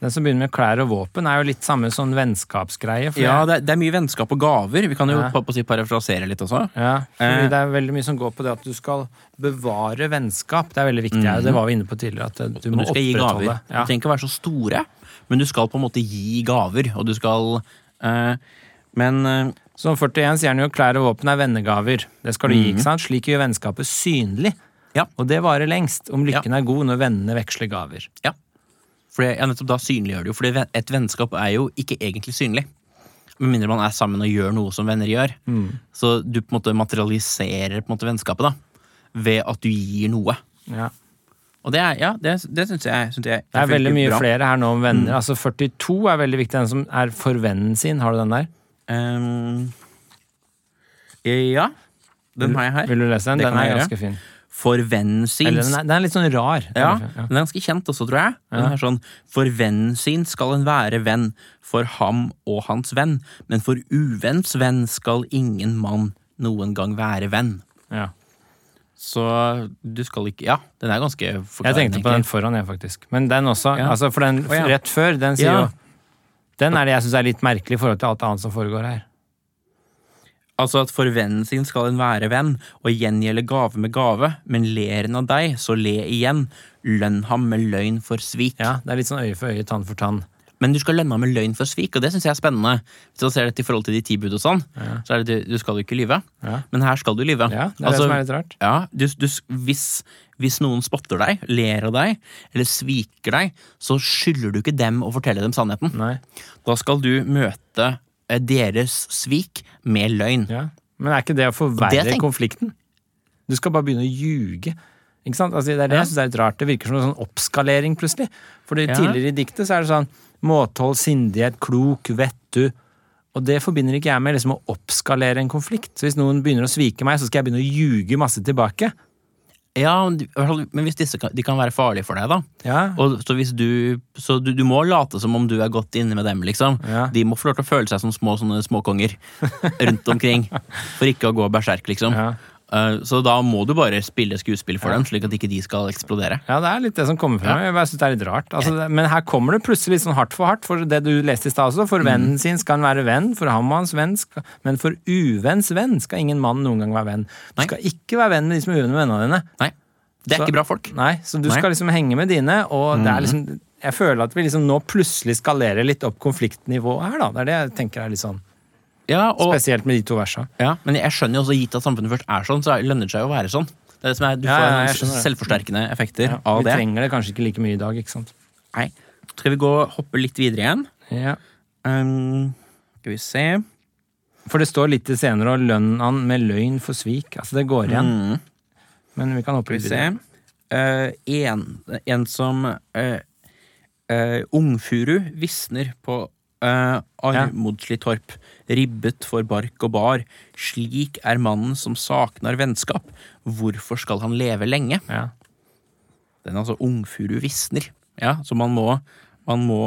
Speaker 1: Den som begynner med klær og våpen, er jo litt samme sånn vennskapsgreie. for
Speaker 2: Ja,
Speaker 1: jeg-
Speaker 2: det er, det er mye vennskap og gaver. Vi kan jo
Speaker 1: Ja.
Speaker 2: på- på å si parafrasere litt også.
Speaker 1: ja, fordi
Speaker 2: Eh.
Speaker 1: det er veldig mye som går på det at du skal bevare vennskap. Det er veldig viktig. Det var vi inne på tidligere. at eh, Du
Speaker 2: Men
Speaker 1: må
Speaker 2: Mhm. du skal gi gaver.
Speaker 1: opprettholde.
Speaker 2: Du trenger ikke å være så store, men du skal på en måte gi gaver, og du skal eh, Men eh,
Speaker 1: Som 41 sier han jo klær og våpen er vennegaver. Det skal du gi, ikke sant? Slik gjør vennskapet synlig.
Speaker 2: Mhm. Ja.
Speaker 1: Og det varer lengst, om lykken er god når vennene veksler gaver.
Speaker 2: ja. For det, ja, nettopp da synliggjør det jo, for det- et vennskap er jo ikke egentlig synlig. Med mindre man er sammen og gjør noe som venner gjør.
Speaker 1: Mm.
Speaker 2: Så du på en måte materialiserer på en måte vennskapet da, ved at du gir noe.
Speaker 1: Ja.
Speaker 2: Og det, er, ja, det, det syns jeg, synes jeg
Speaker 1: Det er veldig mye
Speaker 2: bra. Mhm.
Speaker 1: flere her nå om venner. Altså 42 er veldig viktig, den som er for vennen sin. Har du den der?
Speaker 2: Ehm, ja, den har jeg her.
Speaker 1: Vil du lese den?
Speaker 2: Det
Speaker 1: Den
Speaker 2: kan jeg
Speaker 1: er
Speaker 2: gjøre.
Speaker 1: ganske fin.
Speaker 2: For vennen sin
Speaker 1: Eller den er, den er litt sånn rar.
Speaker 2: Ja, den er ganske kjent også, tror jeg. Den er sånn For vennen sin skal en være venn, for ham og hans venn, men for uvenns venn skal ingen mann noen gang være venn.
Speaker 1: Ja.
Speaker 2: Så du skal ikke Ja, den er ganske
Speaker 1: Jeg
Speaker 2: forklarende.
Speaker 1: tenkte på den foran, jeg, faktisk. Men den også.
Speaker 2: Ja.
Speaker 1: Altså, for den
Speaker 2: Å, ja.
Speaker 1: rett før, den sier
Speaker 2: Ja.
Speaker 1: jo Den er det jeg syns er litt merkelig i forhold til alt annet som foregår her.
Speaker 2: Altså at for vennen sin skal en være venn, og gjengjelde gave med gave, men ler en av deg, så le igjen. Lønn ham med løgn for svik.
Speaker 1: Ja, Det er litt sånn øye for øye, tann for tann.
Speaker 2: Men du skal lønne ham med løgn for svik, og det syns jeg er spennende. Hvis du ser dette i forhold til de ti bud og sånn, så er det du, du skal jo ikke lyve.
Speaker 1: Ja.
Speaker 2: Men her skal du lyve.
Speaker 1: Ja, det er det
Speaker 2: Altså,
Speaker 1: som er litt rart.
Speaker 2: ja, du, du, hvis, hvis noen spotter deg, ler av deg, eller sviker deg, så skylder du ikke dem å fortelle dem sannheten.
Speaker 1: Nei.
Speaker 2: Da skal du møte eh, deres svik med løgn.
Speaker 1: Ja. Men er ikke det å
Speaker 2: Det
Speaker 1: forverre
Speaker 2: tenk-
Speaker 1: konflikten? Du skal bare begynne å ljuge. Ikke sant? Altså, det er det
Speaker 2: Ja.
Speaker 1: jeg synes er litt rart. Det virker som en sånn oppskalering, plutselig. Fordi
Speaker 2: Ja.
Speaker 1: tidligere i diktet så er det sånn måtehold, sindighet, klok, vettu. Og det forbinder ikke jeg med liksom, å oppskalere en konflikt. Så hvis noen begynner å svike meg, så skal jeg begynne å ljuge masse tilbake.
Speaker 2: Ja, men du- i hvert fall- men hvis disse kan, de kan være farlige for deg, da.
Speaker 1: Ja.
Speaker 2: Og, så hvis du, så du, du må late som om du er godt inne med dem, liksom.
Speaker 1: Ja.
Speaker 2: De må få lov til å føle seg som små sånne småkonger rundt omkring. For ikke å gå berserk, liksom.
Speaker 1: Ja.
Speaker 2: Eh, så da må du bare spille skuespill for dem, slik at ikke de skal eksplodere.
Speaker 1: Ja, det er litt det som kommer frem. Jeg bare synes det er litt rart. Altså, det, men her kommer det plutselig litt sånn hardt for hardt, for det du leste i stad også.
Speaker 2: Mm.
Speaker 1: For vennen sin skal han være venn, for ham og hans venn, skal, men for uvenns venn skal ingen mann noen gang være venn. Du
Speaker 2: Nei.
Speaker 1: skal ikke være venn med de som er uvenn med vennene dine.
Speaker 2: Nei, det er
Speaker 1: Så-
Speaker 2: ikke bra folk.
Speaker 1: Nei, så du
Speaker 2: Nei. Mm.
Speaker 1: skal liksom henge med dine, og det er liksom Jeg føler at vi liksom nå plutselig skalerer litt opp konfliktnivået her, da. Det er det jeg tenker er litt sånn.
Speaker 2: Ja, og,
Speaker 1: Spesielt med de to versa.
Speaker 2: ja, men jeg skjønner jo også, gitt at samfunnet først er sånn, så lønner det seg jo å være sånn. Det er det som er, du
Speaker 1: Ja,
Speaker 2: får
Speaker 1: ja, jeg
Speaker 2: noen
Speaker 1: skjønner det.
Speaker 2: selvforsterkende effekter av
Speaker 1: vi
Speaker 2: det.
Speaker 1: trenger det kanskje ikke like mye i dag, ikke sant.
Speaker 2: Nei. Skal vi gå hoppe litt videre igjen?
Speaker 1: Ja.
Speaker 2: Ehm, skal vi se
Speaker 1: For det står litt til senere og lønn han med løgn for svik. Altså, det går igjen.
Speaker 2: Mm.
Speaker 1: Men vi kan hoppe
Speaker 2: Skal
Speaker 1: litt
Speaker 2: vi se.
Speaker 1: videre.
Speaker 2: Eh, en, en som eh, eh, Ungfuru visner på uh, armodslig torp, ribbet for bark og bar. Slik er mannen som saknar vennskap. Hvorfor skal han leve lenge?
Speaker 1: Ja.
Speaker 2: Den er altså Ungfuru visner. Ja, så man må, man må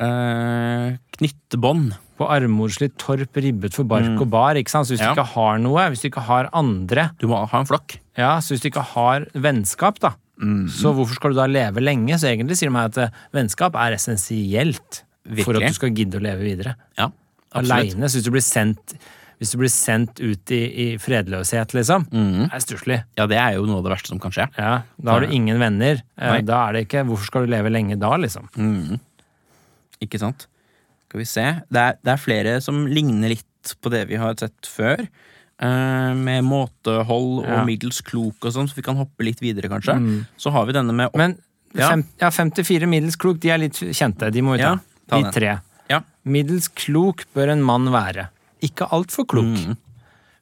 Speaker 2: eh, knytte bånd.
Speaker 1: på armmorslig torp ribbet for bark og bar. ikke sant? Så hvis
Speaker 2: Mm. Ja.
Speaker 1: du ikke har noe, hvis du ikke har andre,
Speaker 2: Du må ha en flokk.
Speaker 1: ja, så hvis du ikke har vennskap, da,
Speaker 2: Mm-hmm.
Speaker 1: så hvorfor skal du da leve lenge? Så egentlig sier de meg at eh, vennskap er essensielt for at
Speaker 2: Virkelig.
Speaker 1: du skal gidde å leve videre.
Speaker 2: Ja, absolutt.
Speaker 1: Aleine. Så hvis du blir sendt hvis du blir sendt ut i, i fredløshet, liksom,
Speaker 2: Mm-hmm.
Speaker 1: det er stusslig.
Speaker 2: Ja, det er jo noe av det verste som kan skje.
Speaker 1: Ja, da har
Speaker 2: Ja.
Speaker 1: du ingen venner. Eh,
Speaker 2: Nei. Mm.
Speaker 1: Da er det ikke 'hvorfor skal du leve lenge da', liksom.
Speaker 2: Ikke sant? Skal vi se. Det er, det er flere som ligner litt på det vi har sett før. eh, med måtehold og
Speaker 1: Ja. Mm.
Speaker 2: middels klok og sånn, så vi kan hoppe litt videre, kanskje. Så har vi denne med opp...
Speaker 1: Men
Speaker 2: Ja.
Speaker 1: Fem, ja, 54 middels klok, de er litt kjente. De må vi ta.
Speaker 2: Ja, ta
Speaker 1: de
Speaker 2: den.
Speaker 1: tre.
Speaker 2: Ja.
Speaker 1: Middels klok bør en mann være. Ikke altfor klok.
Speaker 2: Mm.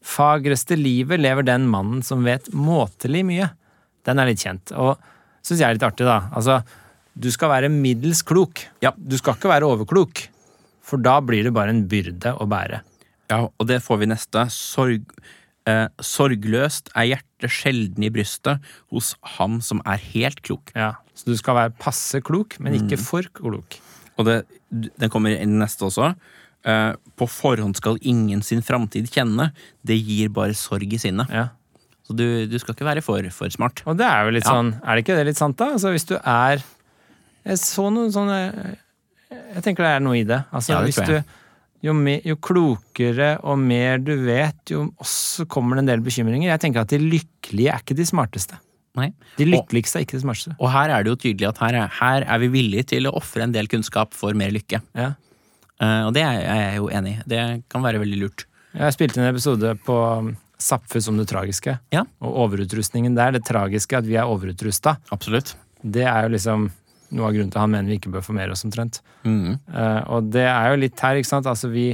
Speaker 1: Fagreste livet lever den mannen som vet måtelig mye. Den er litt kjent, og syns jeg er litt artig, da. Altså, du skal være middels klok.
Speaker 2: Ja.
Speaker 1: Du skal ikke være overklok, for da blir det bare en byrde å bære.
Speaker 2: ja, og det får vi neste. Sorg, eh, sorgløst er hjertet sjelden i brystet hos ham som er helt klok.
Speaker 1: Ja. Så du skal være passe klok, men
Speaker 2: Mm.
Speaker 1: ikke for klok.
Speaker 2: Og det, den kommer i den neste også. Eh, på forhånd skal ingen sin framtid kjenne. Det gir bare sorg i sinnet.
Speaker 1: Ja.
Speaker 2: Så du, du skal ikke være for, for smart.
Speaker 1: Og det er jo litt
Speaker 2: Ja.
Speaker 1: sånn, er det ikke det litt sant da? Altså hvis du er Jeg så noen sånne Jeg tenker det er noe i det. Altså,
Speaker 2: Ja, det
Speaker 1: hvis
Speaker 2: tror jeg.
Speaker 1: du, jo, me- jo klokere og mer du vet, jo også kommer det en del bekymringer. Jeg tenker at de lykkelige er ikke de smarteste.
Speaker 2: Nei.
Speaker 1: De
Speaker 2: Og-
Speaker 1: lykkeligste er ikke de smarteste.
Speaker 2: Og her er det jo tydelig at her er, her er vi villige til å ofre en del kunnskap for mer lykke.
Speaker 1: Ja.
Speaker 2: Eh, og det er jeg er jo enig i. Det kan være veldig lurt.
Speaker 1: Jeg spilte inn en episode på um, Sapfus om det tragiske.
Speaker 2: Ja.
Speaker 1: Og overutrustningen der. Det tragiske at vi er overutrusta,
Speaker 2: Absolutt.
Speaker 1: det er jo liksom noe av grunnen til at han mener vi ikke bør formere oss omtrent.
Speaker 2: Mm.
Speaker 1: Eh, og det er jo litt her, ikke sant. Altså vi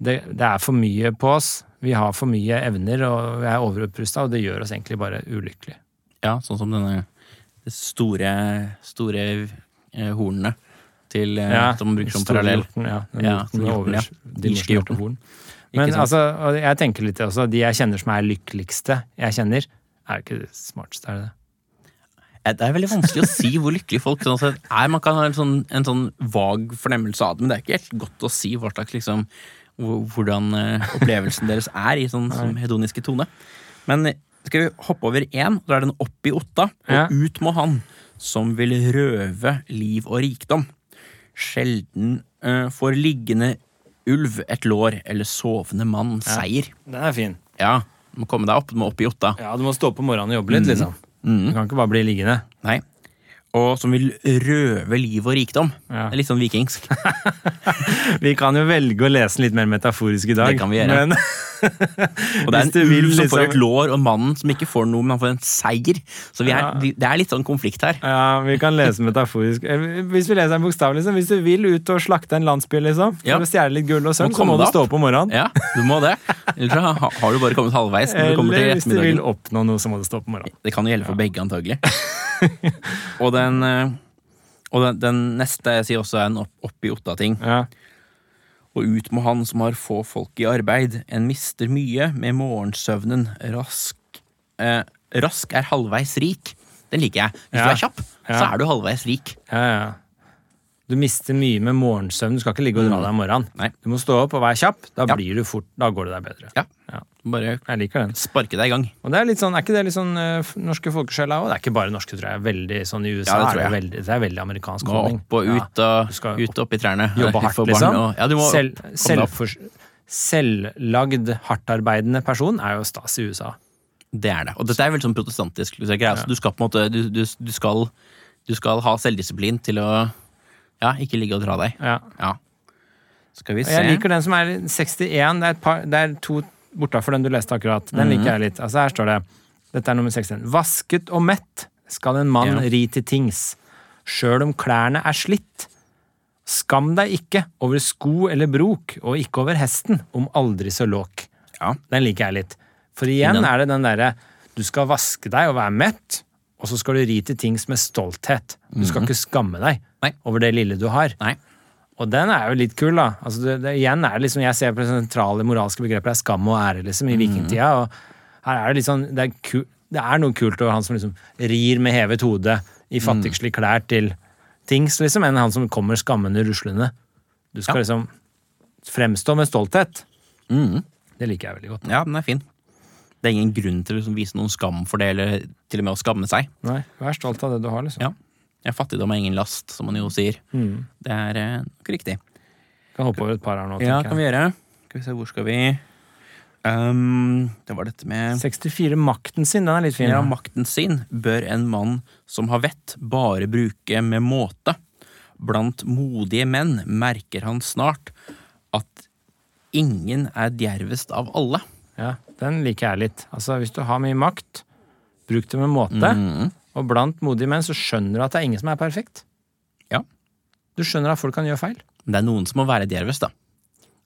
Speaker 1: det, det er for mye på oss. Vi har for mye evner og vi er overopprusta, og det gjør oss egentlig bare ulykkelige.
Speaker 2: Ja, sånn som denne det store, store eh, hornene til, eh, som man bruker som
Speaker 1: store
Speaker 2: parallell.
Speaker 1: hjorten, Ja, den
Speaker 2: Ja,
Speaker 1: hjorten
Speaker 2: som
Speaker 1: med
Speaker 2: hjorten, ja.
Speaker 1: overs- de
Speaker 2: Irske
Speaker 1: norske
Speaker 2: hjorten.
Speaker 1: hjortehorn.
Speaker 2: Ikke
Speaker 1: Men
Speaker 2: sant?
Speaker 1: altså, og jeg tenker litt det også. De jeg kjenner som er lykkeligste jeg kjenner, er jo ikke det smarteste, er det det?
Speaker 2: Eh, Det er veldig vanskelig å si hvor lykkelige folk sånn sett er. Man kan ha en sånn, en sånn vag fornemmelse av det, men det er ikke helt godt å si hva slags liksom, hvor- hvordan eh, opplevelsen deres er i sånn som hedoniske tone. Men eh, skal vi hoppe over én, da er den opp i Otta, og
Speaker 1: Ja.
Speaker 2: ut må han som vil røve liv og rikdom. Sjelden eh, får liggende ulv et lår eller sovende mann seier.
Speaker 1: Den er fin.
Speaker 2: Ja, du må komme deg opp, du må opp i Otta.
Speaker 1: Ja, du må stå opp om morgenen og jobbe
Speaker 2: Mm.
Speaker 1: litt, liksom. Du kan ikke bare bli liggende.
Speaker 2: Nei. Og som vil røve liv og rikdom.
Speaker 1: Ja.
Speaker 2: Det er litt
Speaker 1: <laughs>
Speaker 2: sånn vikingsk.
Speaker 1: Vi kan jo velge å lese den litt mer metaforisk i dag.
Speaker 2: Det kan vi gjøre.
Speaker 1: Men
Speaker 2: Og det er
Speaker 1: Hvis du
Speaker 2: en
Speaker 1: vil
Speaker 2: ulv som får
Speaker 1: liksom-
Speaker 2: et lår, og mannen som ikke får noe, men han får en seier. Så vi er,
Speaker 1: Ja.
Speaker 2: vi, det er litt sånn konflikt her.
Speaker 1: ja, vi kan lese metaforisk. Eh, Hvis vi leser den bokstavelig, liksom. Hvis du vil ut og slakte en landsby, liksom, for
Speaker 2: Ja.
Speaker 1: å stjele litt gull og sølv,
Speaker 2: Må
Speaker 1: så må
Speaker 2: komme
Speaker 1: du
Speaker 2: deg
Speaker 1: stå opp om morgenen.
Speaker 2: Ja, du må det. Ellers så ha, har du bare kommet halvveis når du kommer til
Speaker 1: Eller hvis du vil
Speaker 2: ettermiddagen.
Speaker 1: oppnå noe, så må du stå opp om morgenen.
Speaker 2: Det kan jo gjelde for
Speaker 1: <laughs>
Speaker 2: begge, antagelig. og den, eh, og den, den neste jeg sier også er en opp, opp i Otta-ting.
Speaker 1: Ja.
Speaker 2: Og ut må han som har få folk i arbeid. En mister mye med morgensøvnen. Rask, eh, rask er halvveis rik. Den liker jeg. Hvis
Speaker 1: Ja.
Speaker 2: du er kjapp, så
Speaker 1: Ja.
Speaker 2: er du halvveis rik.
Speaker 1: Ja, ja. Du mister mye med morgensøvn. Du skal ikke ligge og dra deg om morgenen.
Speaker 2: Nei.
Speaker 1: Du må stå opp og være kjapp. Da
Speaker 2: Ja.
Speaker 1: blir du fort, da går det deg bedre.
Speaker 2: Ja.
Speaker 1: Ja.
Speaker 2: Bare
Speaker 1: Jeg liker den.
Speaker 2: sparke deg i gang.
Speaker 1: Og det Er litt sånn, er ikke det litt sånn eh, f- norske folkesjela òg? Det er ikke bare norske, tror jeg. Veldig sånn I USA
Speaker 2: Ja, det tror
Speaker 1: er det
Speaker 2: jeg.
Speaker 1: veldig, det er veldig amerikansk
Speaker 2: Må
Speaker 1: holdning.
Speaker 2: opp og
Speaker 1: Ja.
Speaker 2: ut og
Speaker 1: Du skal
Speaker 2: ut og opp i trærne.
Speaker 1: Jobbe
Speaker 2: Du
Speaker 1: hardt,
Speaker 2: får barn
Speaker 1: liksom.
Speaker 2: og- ja, du må
Speaker 1: Selv,
Speaker 2: opp. Kom deg opp.
Speaker 1: selvfors- selvlagd, hardtarbeidende person er jo stas i USA.
Speaker 2: Det er det. Og dette er veldig sånn protestantisk. liksom, greie. Altså,
Speaker 1: Ja.
Speaker 2: Du skal på en måte du, du, du, skal, du skal ha selvdisiplin til å ja, ikke ligge og dra deg.
Speaker 1: Ja.
Speaker 2: Ja. Skal vi
Speaker 1: Og
Speaker 2: se.
Speaker 1: jeg liker den som er 61. Det er, et par, det er to bortafor den du leste akkurat. Den liker jeg litt. Altså Her står det Dette er nummer 61. Vasket og mett skal en mann
Speaker 2: Ja.
Speaker 1: ri til tings. Sjøl om klærne er slitt. Skam deg ikke over sko eller brok, og ikke over hesten, om aldri så låk.
Speaker 2: Ja.
Speaker 1: Den liker jeg litt. For igjen
Speaker 2: Den-
Speaker 1: er det den derre Du skal vaske deg og være mett, og så skal du ri til tings med stolthet. Du skal ikke skamme deg
Speaker 2: Mhm. Nei.
Speaker 1: over det lille du har.
Speaker 2: Nei.
Speaker 1: Og den er jo litt kul, da. Altså, det, det, igjen er det liksom, Jeg ser på det sentrale moralske begrepet er skam og ære liksom,
Speaker 2: Mhm.
Speaker 1: i vikingtida. og her er Det litt sånn, det er, ku, det er noe kult over han som liksom rir med hevet hode
Speaker 2: Mhm.
Speaker 1: i fattigslige klær til tings, liksom, enn han som kommer skammende ruslende. Du skal
Speaker 2: Ja.
Speaker 1: liksom fremstå med stolthet.
Speaker 2: Mm.
Speaker 1: Det liker jeg veldig godt.
Speaker 2: Ja, den er fin. Det er ingen grunn til å liksom vise noen skam for det, eller til og med å skamme seg.
Speaker 1: Nei, Vær stolt av det du har, liksom.
Speaker 2: Ja. Ja, Fattigdom er ingen last, som man jo sier. Det er eh, nok riktig.
Speaker 1: Kan hoppe over et par her nå,
Speaker 2: Ja,
Speaker 1: tenker
Speaker 2: kan vi gjøre. Skal vi se, hvor skal vi Ehm, Det var dette med
Speaker 1: jeg. 64 Makten sin, den er litt fin.
Speaker 2: Ja, makten sin bør en mann som har vett, bare bruke med måte. Blant modige menn merker han snart at ingen er djervest av alle.
Speaker 1: Ja, den liker jeg litt. Altså, hvis du har mye makt, bruk det med måte.
Speaker 2: Mm.
Speaker 1: Og blant modige menn så skjønner du at det er ingen som er perfekt.
Speaker 2: Ja.
Speaker 1: Du skjønner at folk kan gjøre feil.
Speaker 2: Men det er noen som må være djervest, da.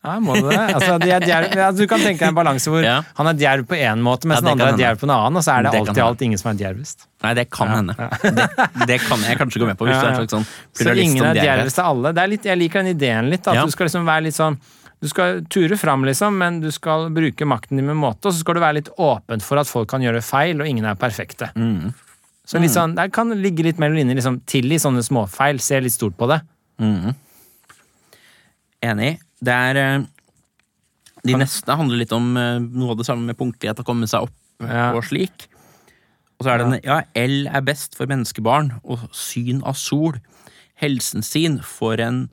Speaker 1: Ja, må du det? Altså, de er djerv, ja, du kan tenke deg en balanse hvor
Speaker 2: Ja.
Speaker 1: han er djerv på én måte, mens
Speaker 2: Ja, det
Speaker 1: den andre
Speaker 2: kan
Speaker 1: er
Speaker 2: hende.
Speaker 1: djerv på en annen, og så er det,
Speaker 2: Det kan
Speaker 1: alltid
Speaker 2: hende.
Speaker 1: alt ingen som er djervest.
Speaker 2: Nei, det kan hende. Det, det kan jeg kanskje gå med på. Hvis
Speaker 1: Ja,
Speaker 2: du er
Speaker 1: ja.
Speaker 2: en slags sånn
Speaker 1: Så
Speaker 2: pluralist
Speaker 1: ingen
Speaker 2: som
Speaker 1: er
Speaker 2: dere er.
Speaker 1: djervest av alle. Det er litt, jeg liker den ideen litt, at
Speaker 2: Ja.
Speaker 1: du skal liksom være litt sånn du skal ture fram, liksom, men du skal bruke makten din med måte, og så skal du være litt åpen for at folk kan gjøre feil, og ingen er perfekte.
Speaker 2: Mm.
Speaker 1: Så litt sånn, Der kan det ligge litt mellom linjer. Liksom, tilgi sånne småfeil, se litt stort på det.
Speaker 2: Enig. Det er eh, De neste handler litt om eh, noe av det samme med punktlighet, å komme seg opp
Speaker 1: Ja.
Speaker 2: og slik. Og så er det en Ja, L er best for menneskebarn, og syn av sol. helsen sin for en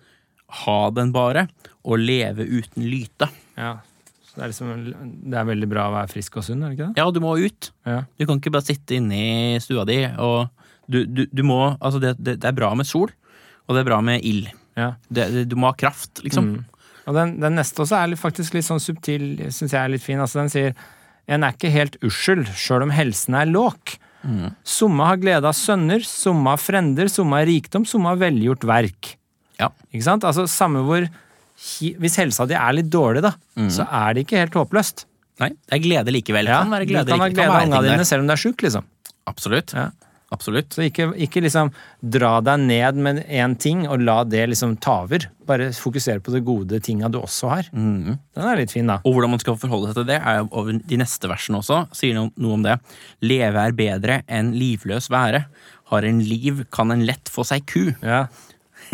Speaker 2: ha den bare, og leve uten lyte.
Speaker 1: Ja. Så det er liksom Det er veldig bra å være frisk og sunn, er det ikke det?
Speaker 2: Ja, du må ut.
Speaker 1: Ja.
Speaker 2: Du kan ikke bare sitte inne i stua di og Du, du, du må Altså, det, det, det er bra med sol, og det er bra med ild.
Speaker 1: ja.
Speaker 2: Det, det, du må ha kraft, liksom.
Speaker 1: Og den, den neste også er litt- faktisk litt sånn subtil, syns jeg er litt fin. Altså, den sier en er ikke helt uskyld, sjøl om helsen er låk.
Speaker 2: Mm.
Speaker 1: Somme har glede av sønner, somme av frender, somme av rikdom, somme av velgjort verk.
Speaker 2: Ja.
Speaker 1: Ikke sant? Altså samme hvor hi- Hvis helsa di er litt dårlig, da,
Speaker 2: Mm.
Speaker 1: så er det ikke helt håpløst.
Speaker 2: Nei, det er glede likevel.
Speaker 1: Ja,
Speaker 2: kan være
Speaker 1: du
Speaker 2: glede
Speaker 1: kan ha
Speaker 2: likevel.
Speaker 1: glede av
Speaker 2: være
Speaker 1: unga
Speaker 2: ting
Speaker 1: dine
Speaker 2: der.
Speaker 1: selv om du er sjuk, liksom.
Speaker 2: Absolutt.
Speaker 1: Ja.
Speaker 2: Absolutt.
Speaker 1: Så ikke, ikke liksom dra deg ned med én ting og la det liksom ta over. Bare fokusere på de gode tinga du også har.
Speaker 2: Mm.
Speaker 1: Den er litt fin, da.
Speaker 2: Og hvordan man skal forholde seg til det, er jo over de neste versene også. Sier noe, noe om det. Leve er bedre enn livløs være. Har en liv, kan en lett få seg ku.
Speaker 1: Ja. <laughs>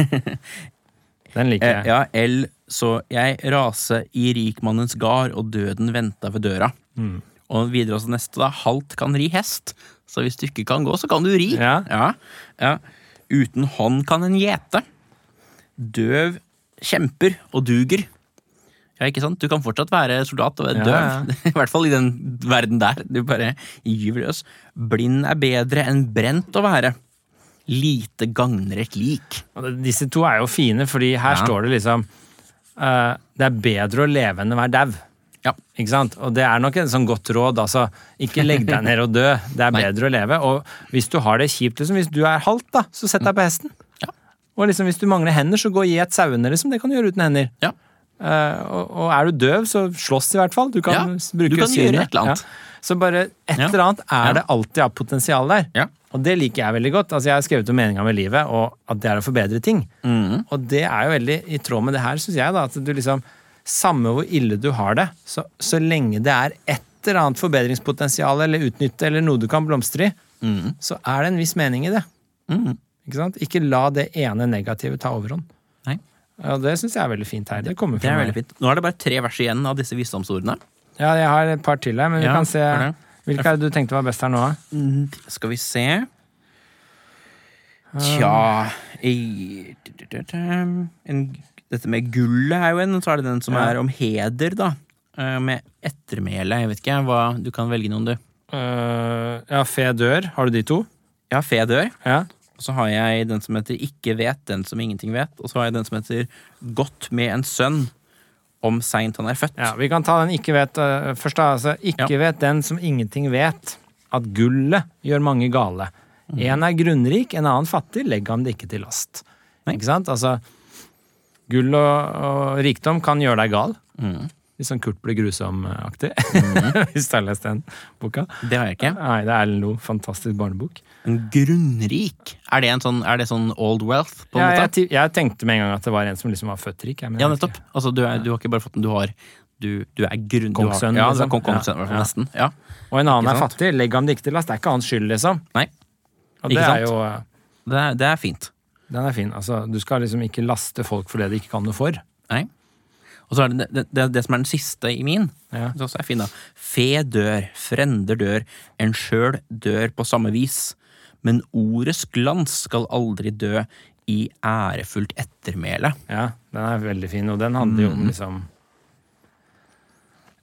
Speaker 1: Den liker
Speaker 2: Eh,
Speaker 1: jeg.
Speaker 2: ja, L, så jeg rase i rikmannens gard, og døden venta ved døra.
Speaker 1: Mm.
Speaker 2: Og videre også neste, da. Halt kan ri hest. Så hvis du ikke kan gå, så kan du ri.
Speaker 1: Ja.
Speaker 2: Ja, ja. Uten hånd kan en gjete. Døv kjemper og duger. Ja, ikke sant? Du kan fortsatt være soldat og
Speaker 1: Ja,
Speaker 2: være døv. <laughs> I hvert fall i den verden der. Du bare gyver løs. Blind er bedre enn brent å være. Lite gagner et lik.
Speaker 1: Og Disse to er jo fine, fordi her
Speaker 2: Ja.
Speaker 1: står det liksom eh, Det er bedre å leve enn å være dau.
Speaker 2: Ja.
Speaker 1: Ikke sant? Og det er nok en sånn godt råd. altså, Ikke legg deg ned og dø. <laughs> Det er
Speaker 2: Nei.
Speaker 1: bedre å leve. Og hvis du har det kjipt, liksom, hvis du er halt, da, så sett deg på hesten.
Speaker 2: Ja.
Speaker 1: Og liksom, hvis du mangler hender, så gå og et sauene. Liksom. Det kan du gjøre uten hender.
Speaker 2: ja.
Speaker 1: Eh, og, og er du døv, så slåss i hvert fall. Du kan
Speaker 2: Ja,
Speaker 1: s- bruke
Speaker 2: du kan
Speaker 1: synet.
Speaker 2: gjøre et eller annet.
Speaker 1: Ja. Så bare et
Speaker 2: Ja.
Speaker 1: eller annet er
Speaker 2: Ja.
Speaker 1: det alltid av potensial der.
Speaker 2: Ja.
Speaker 1: Og det liker jeg veldig godt. Altså, jeg har skrevet om meninga med livet, og at det er å forbedre ting.
Speaker 2: Mhm.
Speaker 1: Og det er jo veldig i tråd med det her, syns jeg, da, at du liksom Samme hvor ille du har det, så, så lenge det er et eller annet forbedringspotensial eller utnytte eller noe du kan blomstre i,
Speaker 2: Mhm.
Speaker 1: så er det en viss mening i det. Ikke sant? Ikke la det ene negative ta overhånd.
Speaker 2: Nei.
Speaker 1: Og det syns jeg er veldig fint her. Det kommer
Speaker 2: Det
Speaker 1: fra
Speaker 2: er
Speaker 1: meg.
Speaker 2: veldig fint. Nå er det bare tre vers igjen av disse visdomsordene.
Speaker 1: Ja, jeg har et par til her, men vi
Speaker 2: Ja,
Speaker 1: kan se
Speaker 2: gjør det.
Speaker 1: Hvilke er det du tenkte var best her nå? da?
Speaker 2: Skal vi se Tja i- en, Dette med gullet er jo en, og så er det den som
Speaker 1: Ja.
Speaker 2: er om heder, da. Eh, Med ettermæle. Jeg vet ikke hva Du kan velge noen, du.
Speaker 1: Øh, ja, Fe dør. Har du de to?
Speaker 2: Ja, fe dør.
Speaker 1: Ja.
Speaker 2: Og så har jeg den som heter ikke vet, den som ingenting vet. Og så har jeg den som heter godt med en sønn, om seint han er født.
Speaker 1: ja vi kan ta den ikke vet øh, først. da. Altså, ikke
Speaker 2: Ja.
Speaker 1: vet den som ingenting vet, at gullet gjør mange gale.
Speaker 2: Mhm.
Speaker 1: En er grunnrik, en annen fattig. Legg ham det ikke til last.
Speaker 2: Nei.
Speaker 1: Ikke sant? Altså, gull og, og rikdom kan gjøre deg gal.
Speaker 2: Mhm.
Speaker 1: Litt sånn Kurt blir grusom-aktig, <laughs> hvis du har lest den boka.
Speaker 2: Det har jeg ikke.
Speaker 1: Nei, det er Erlend Loe. Fantastisk barnebok.
Speaker 2: En grunnrik. Er det, en sånn, er det sånn old wealth? på en
Speaker 1: Ja,
Speaker 2: måte?
Speaker 1: jeg, ti- jeg tenkte med en gang at det var en som liksom var født rik. jeg, men
Speaker 2: Ja,
Speaker 1: jeg vet
Speaker 2: nettopp. Altså, du, er, du har ikke bare fått den, du har Du, du er grunn...
Speaker 1: Kongssønn,
Speaker 2: du har, ja, du
Speaker 1: liksom.
Speaker 2: er kong, kongssønn, i
Speaker 1: Ja,
Speaker 2: hvert fall.
Speaker 1: ja.
Speaker 2: Nesten. Ja.
Speaker 1: ikke. Og en annen
Speaker 2: Ikke
Speaker 1: er
Speaker 2: sant?
Speaker 1: fattig. Legg ham det ikke til last. Det er ikke hans skyld, liksom.
Speaker 2: Nei,
Speaker 1: Og
Speaker 2: Ikke
Speaker 1: det
Speaker 2: sant?
Speaker 1: er jo, eh,
Speaker 2: det er, det er fint.
Speaker 1: den er fin. Altså, du skal liksom ikke laste folk for det de ikke kan noe for.
Speaker 2: Nei. Og så er det det, det, det som er den siste i min.
Speaker 1: Ja.
Speaker 2: Det også er fin, da. Fe dør, frender dør, en sjøl dør på samme vis. Men ordets glans skal aldri dø i ærefullt ettermæle.
Speaker 1: Ja, den er veldig fin, og den handler jo
Speaker 2: Mm.
Speaker 1: om liksom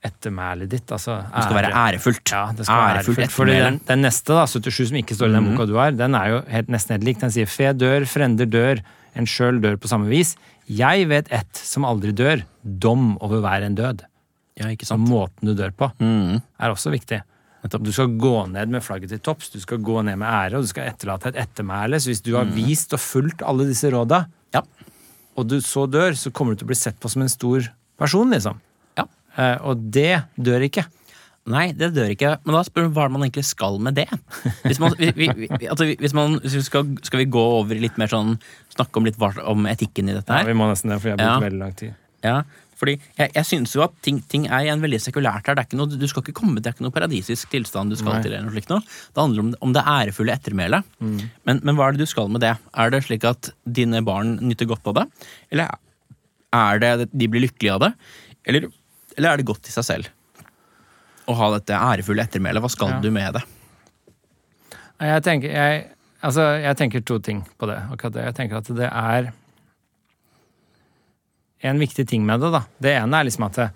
Speaker 1: ettermælet ditt, altså.
Speaker 2: Det skal være ærefullt.
Speaker 1: Ja, det skal være
Speaker 2: ærefullt Mm.
Speaker 1: ærefullt. Fordi
Speaker 2: ettermæle.
Speaker 1: den, den neste, da, 77, som ikke står i den boka du har, den er jo helt, nesten helt lik. Den sier fe dør, frender dør, en sjøl dør på samme vis. Jeg vet ett som aldri dør. Dom over hver en død.
Speaker 2: Ja, ikke
Speaker 1: Så
Speaker 2: sant.
Speaker 1: måten du dør på,
Speaker 2: Mm.
Speaker 1: er også viktig.
Speaker 2: Nettopp.
Speaker 1: Du skal gå ned med flagget til topps, du skal gå ned med ære, og du skal etterlate et ettermæle. Så hvis du
Speaker 2: Mm.
Speaker 1: har vist og fulgt alle disse råda,
Speaker 2: Ja.
Speaker 1: og du så dør, så kommer du til å bli sett på som en stor person, liksom.
Speaker 2: ja.
Speaker 1: Eh, og det dør ikke.
Speaker 2: Nei, det dør ikke. Men da spør man hva er det man egentlig skal med det. Hvis man, vi, vi, vi- altså, hvis man hvis vi skal, skal vi gå over i litt mer sånn Snakke om litt hva, om etikken i dette
Speaker 1: Ja,
Speaker 2: her?
Speaker 1: vi må nesten det, for jeg har brukt
Speaker 2: Ja.
Speaker 1: veldig lang tid.
Speaker 2: Ja, fordi jeg, jeg syns jo at ting, ting er igjen veldig sekulært her. Det er ikke noe, du skal ikke komme, det er ikke noe paradisisk tilstand du skal
Speaker 1: Nei.
Speaker 2: til. eller noe slikt noe. Det handler om, om det ærefulle ettermælet. Men, men hva er det du skal med det? Er det slik at dine barn nyter godt av det? Eller er det at de blir lykkelige av det? Eller, eller er det godt i seg selv? Å ha dette ærefulle ettermælet, hva skal
Speaker 1: Ja.
Speaker 2: du med det?
Speaker 1: Nei, Jeg tenker, jeg, Altså, jeg tenker to ting på det. akkurat det. Jeg tenker at det er en viktig ting med det, da. Det ene er liksom at det,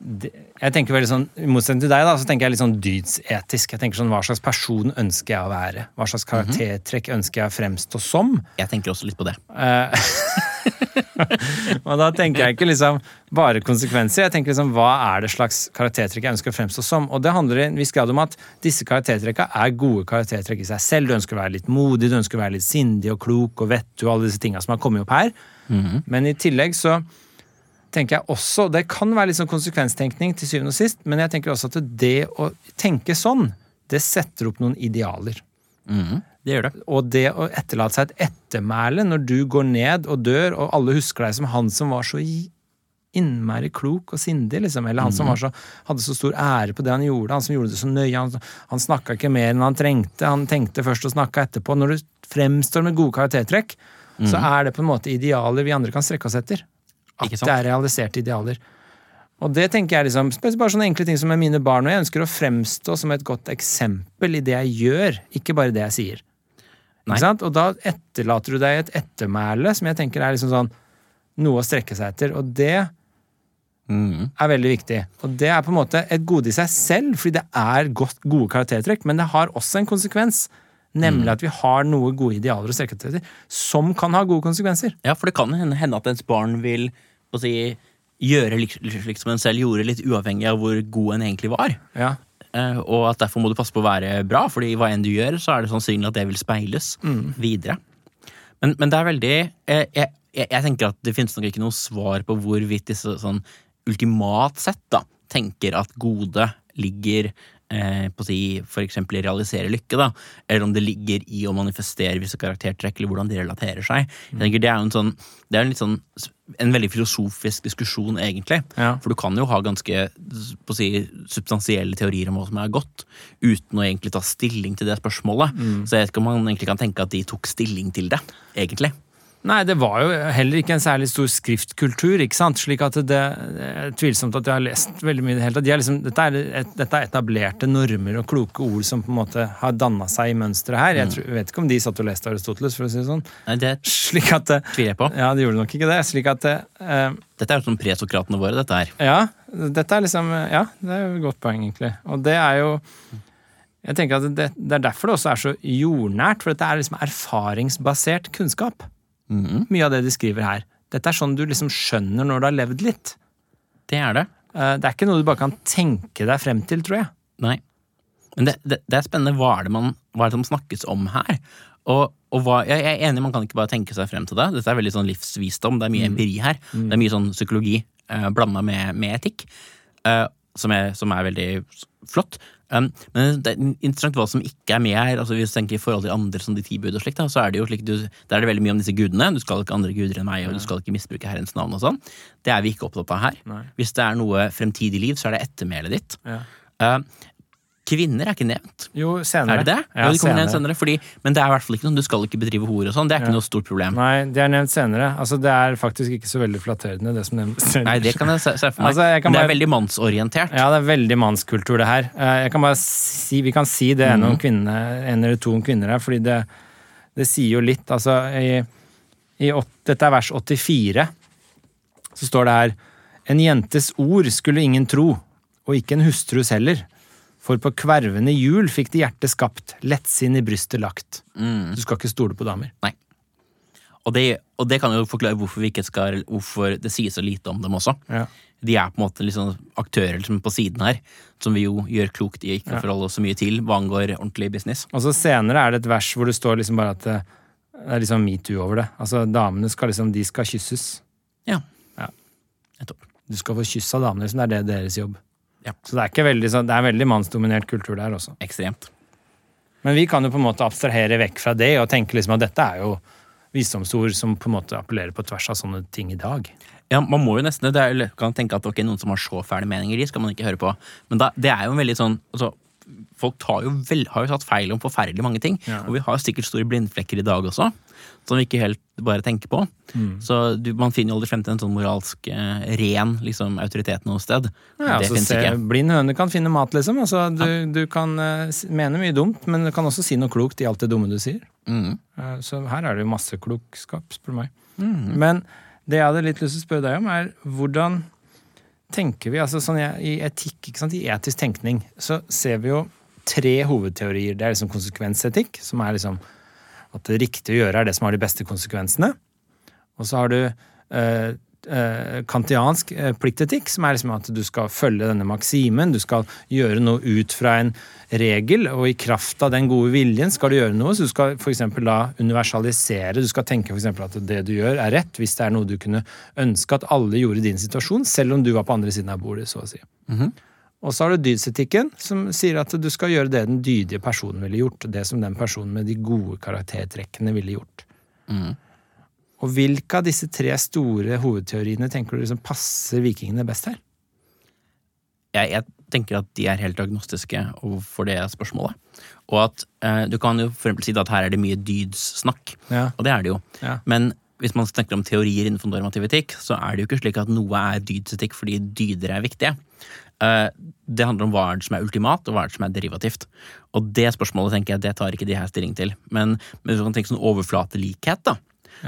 Speaker 1: det- jeg tenker veldig sånn, I motsetning til deg da, så tenker jeg litt sånn dydsetisk. Jeg tenker sånn, Hva slags person ønsker jeg å være? Hva slags karaktertrekk ønsker jeg å fremstå som?
Speaker 2: Jeg tenker også litt på det.
Speaker 1: Og da tenker jeg ikke liksom bare konsekvenser, jeg tenker liksom hva er det slags karaktertrekk jeg ønsker å fremstå som? Og det handler i en viss grad om at disse karaktertrekka er gode karaktertrekk i seg selv. Du ønsker å være litt modig, du ønsker å være litt sindig og klok og vettug og alle disse tinga som har kommet opp her. Men i tillegg så tenker jeg også, det kan være litt sånn konsekvenstenkning til syvende og sist, men jeg tenker også at det å tenke sånn, det setter opp noen idealer.
Speaker 2: Det gjør det.
Speaker 1: Og det å etterlate seg et ettermæle når du går ned og dør, og alle husker deg som han som var så i- innmari klok og sindig, liksom. Eller han som var så, hadde så stor ære på det han gjorde, han som gjorde det så nøye. Han, han snakka ikke mer enn han trengte, han tenkte først og snakka etterpå. Når du fremstår med gode karaktertrekk, så er det på en måte idealer vi andre kan strekke oss etter. At
Speaker 2: Mhm. Ikke
Speaker 1: det
Speaker 2: sant?
Speaker 1: er realiserte idealer. Og det tenker jeg liksom, spes- bare sånne enkle ting som med mine barn, og jeg ønsker å fremstå som et godt eksempel i det jeg gjør, ikke bare det jeg sier.
Speaker 2: Nei.
Speaker 1: Ikke sant? Og da etterlater du deg et ettermæle som jeg tenker er liksom sånn noe å strekke seg etter, og det er veldig viktig. Og det er på en måte et gode i seg selv, fordi det er godt, gode karaktertrekk, men det har også en konsekvens. Nemlig at vi har noe gode idealer å strekke oss etter, som kan ha gode konsekvenser.
Speaker 2: Ja, for det kan hende hende at ens barn vil på å si, gjøre lik- slik som en selv gjorde, litt uavhengig av hvor god en egentlig var.
Speaker 1: Ja.
Speaker 2: Eh, Og at derfor må du passe på å være bra, fordi hva enn du gjør, så er det sannsynlig at det vil speiles videre. Men, men det er veldig eh, jeg, jeg, jeg tenker at det finnes nok ikke noe svar på hvorvidt disse sånn ultimat sett da, tenker at gode ligger eh, på å si for eksempel i realisere lykke, da, eller om det ligger i å manifestere visse karaktertrekk, eller hvordan de relaterer seg. Jeg tenker Det er jo en sånn, det er en litt sånn en veldig filosofisk diskusjon, egentlig.
Speaker 1: Ja.
Speaker 2: For du kan jo ha ganske på å si, substansielle teorier om hva som er godt, uten å egentlig ta stilling til det spørsmålet. Så jeg vet ikke om man egentlig kan tenke at de tok stilling til det, egentlig.
Speaker 1: Nei, det var jo heller ikke en særlig stor skriftkultur, ikke sant? slik at det, det er tvilsomt at jeg har lest veldig mye i det hele tatt. De er liksom, dette, er et, dette er etablerte normer og kloke ord som på en måte har danna seg i mønsteret her. Jeg, tror, jeg vet ikke om de satt og leste Aristoteles, for å si det sånn.
Speaker 2: Nei, det
Speaker 1: Slik at det,
Speaker 2: tviler jeg på.
Speaker 1: Ja, de gjorde nok ikke det. Slik at det, eh,
Speaker 2: Dette er jo sånn presokratene våre, dette her.
Speaker 1: Ja, dette er liksom Ja, det er jo et godt poeng, egentlig. Og det er jo Jeg tenker at det, det er derfor det også er så jordnært, for dette er liksom erfaringsbasert kunnskap. Mye av det de skriver her. Dette er sånn du liksom skjønner når du har levd litt.
Speaker 2: Det er det.
Speaker 1: Eh, Det er ikke noe du bare kan tenke deg frem til, tror jeg.
Speaker 2: Nei. Men det, det, det er spennende. Hva er det, man, hva er det som snakkes om her? Og, og hva, jeg jeg er enig, man kan ikke bare tenke seg frem til det. Dette er veldig sånn livsvisdom. Det er mye empiri her. Det er mye sånn psykologi eh, blanda med, med etikk, eh, som, er, som er veldig s- flott. Um, men det er interessant hva som ikke er med her. altså Hvis du tenker i forhold til andre som de ti bud og slikt, da, så er det jo slik du, der er det veldig mye om disse gudene. Du skal ikke andre guder enn meg, og du skal ikke misbruke Herrens navn og sånn. Det er vi ikke opptatt av her. Hvis det er noe fremtidig liv, så er det ettermælet ditt. Eh, Kvinner er ikke nevnt.
Speaker 1: Jo, senere.
Speaker 2: Er det det?
Speaker 1: Ja,
Speaker 2: Ja, de kommer sånn- nevnt
Speaker 1: senere.
Speaker 2: senere, fordi, men det er i hvert fall ikke noe du skal ikke bedrive hore og sånn. Det er ikke noe stort problem.
Speaker 1: Nei, de er nevnt senere. Altså, det er faktisk ikke så veldig flatterende, det som nevnes.
Speaker 2: Nei, det kan jeg se, se for meg.
Speaker 1: Altså, jeg kan
Speaker 2: men det er
Speaker 1: bare-
Speaker 2: veldig mannsorientert.
Speaker 1: Ja, det er veldig mannskultur, det her. Eh, Jeg kan bare si, vi kan si det ene om kvinnene, en eller to om kvinner her, fordi det, det sier jo litt. Altså, i, i, åt- dette er vers 84. Så står det her En jentes ord skulle ingen tro, og ikke en hustrus heller. For på kvervende hjul fikk de hjertet skapt, lettsinn i brystet lagt. Du skal ikke stole på damer.
Speaker 2: Nei. Og det, og det kan jo forklare hvorfor, vi ikke skal, hvorfor det sies så lite om dem også.
Speaker 1: Ja.
Speaker 2: De er på en måte liksom aktører liksom på siden her, som vi jo gjør klokt i å ikke forholde oss så mye til hva angår ordentlig business.
Speaker 1: Og så senere er det et vers hvor det står liksom bare at det det er liksom metoo over det. Altså, damene skal liksom, de skal kysses.
Speaker 2: Ja.
Speaker 1: Ja.
Speaker 2: Nettopp.
Speaker 1: du skal få kyss av damene, liksom. Det er det deres jobb.
Speaker 2: Ja.
Speaker 1: Så det er, ikke veldig, sånn- det er veldig mannsdominert kultur der også.
Speaker 2: Ekstremt.
Speaker 1: Men vi kan jo på en måte abstrahere vekk fra det og tenke liksom at dette er jo visdomsord som på en måte appellerer på tvers av sånne ting i dag.
Speaker 2: Ja, man må jo nesten det. det er, jo- kan tenke at ok, noen som har så fæle meninger, de skal man ikke høre på. Men da, det er jo en veldig sånn altså, folk tar jo vel, har jo tatt feil om forferdelig mange ting.
Speaker 1: Ja.
Speaker 2: Og vi har sikkert store blindflekker i dag også, som vi ikke helt bare tenker på.
Speaker 1: Mm.
Speaker 2: Så du, man finner jo aldri frem til en sånn moralsk eh, ren liksom, autoritet noe sted.
Speaker 1: Ja,
Speaker 2: det
Speaker 1: altså,
Speaker 2: fins
Speaker 1: se,
Speaker 2: ikke.
Speaker 1: Blind høne kan finne mat, liksom. Altså, du, du kan eh, s- mene mye dumt, men du kan også si noe klokt i alt det dumme du sier.
Speaker 2: Mm.
Speaker 1: Eh, Så her er det jo masse klokskap, spør du meg.
Speaker 2: Mm.
Speaker 1: Men det jeg hadde litt lyst til å spørre deg om, er hvordan tenker vi altså sånn jeg, I etikk, ikke sant? i etisk tenkning, så ser vi jo tre hovedteorier. Det er liksom konsekvensetikk, som er liksom at det riktige å gjøre er det som har de beste konsekvensene. Og så har du eh, eh, kantiansk eh, pliktetikk, som er liksom at du skal følge denne maksimen. Du skal gjøre noe ut fra en regel, og i kraft av den gode viljen skal du gjøre noe. Så du skal f.eks. da universalisere. Du skal tenke f.eks. at det du gjør, er rett, hvis det er noe du kunne ønske at alle gjorde i din situasjon, selv om du var på andre siden av bordet, så å si. Og så har du dydsetikken, som sier at du skal gjøre det den dydige personen ville gjort. Det som den personen med de gode karaktertrekkene ville gjort. Og hvilke av disse tre store hovedteoriene tenker du liksom passer vikingene best her?
Speaker 2: jeg, jeg tenker at de er helt agnostiske overfor det spørsmålet. Og at eh, du kan jo for eksempel si da at her er det mye dydssnakk,
Speaker 1: Ja.
Speaker 2: og det er det jo.
Speaker 1: Ja.
Speaker 2: Men hvis man snakker om teorier innenfor normativ etikk, så er det jo ikke slik at noe er dydsetikk fordi dyder er viktige. Eh, det handler om hva er det som er ultimat, og hva er det som er derivativt. Og det spørsmålet tenker jeg, det tar ikke de her stilling til. Men, men hvis man tenker sånn overflatelikhet, da,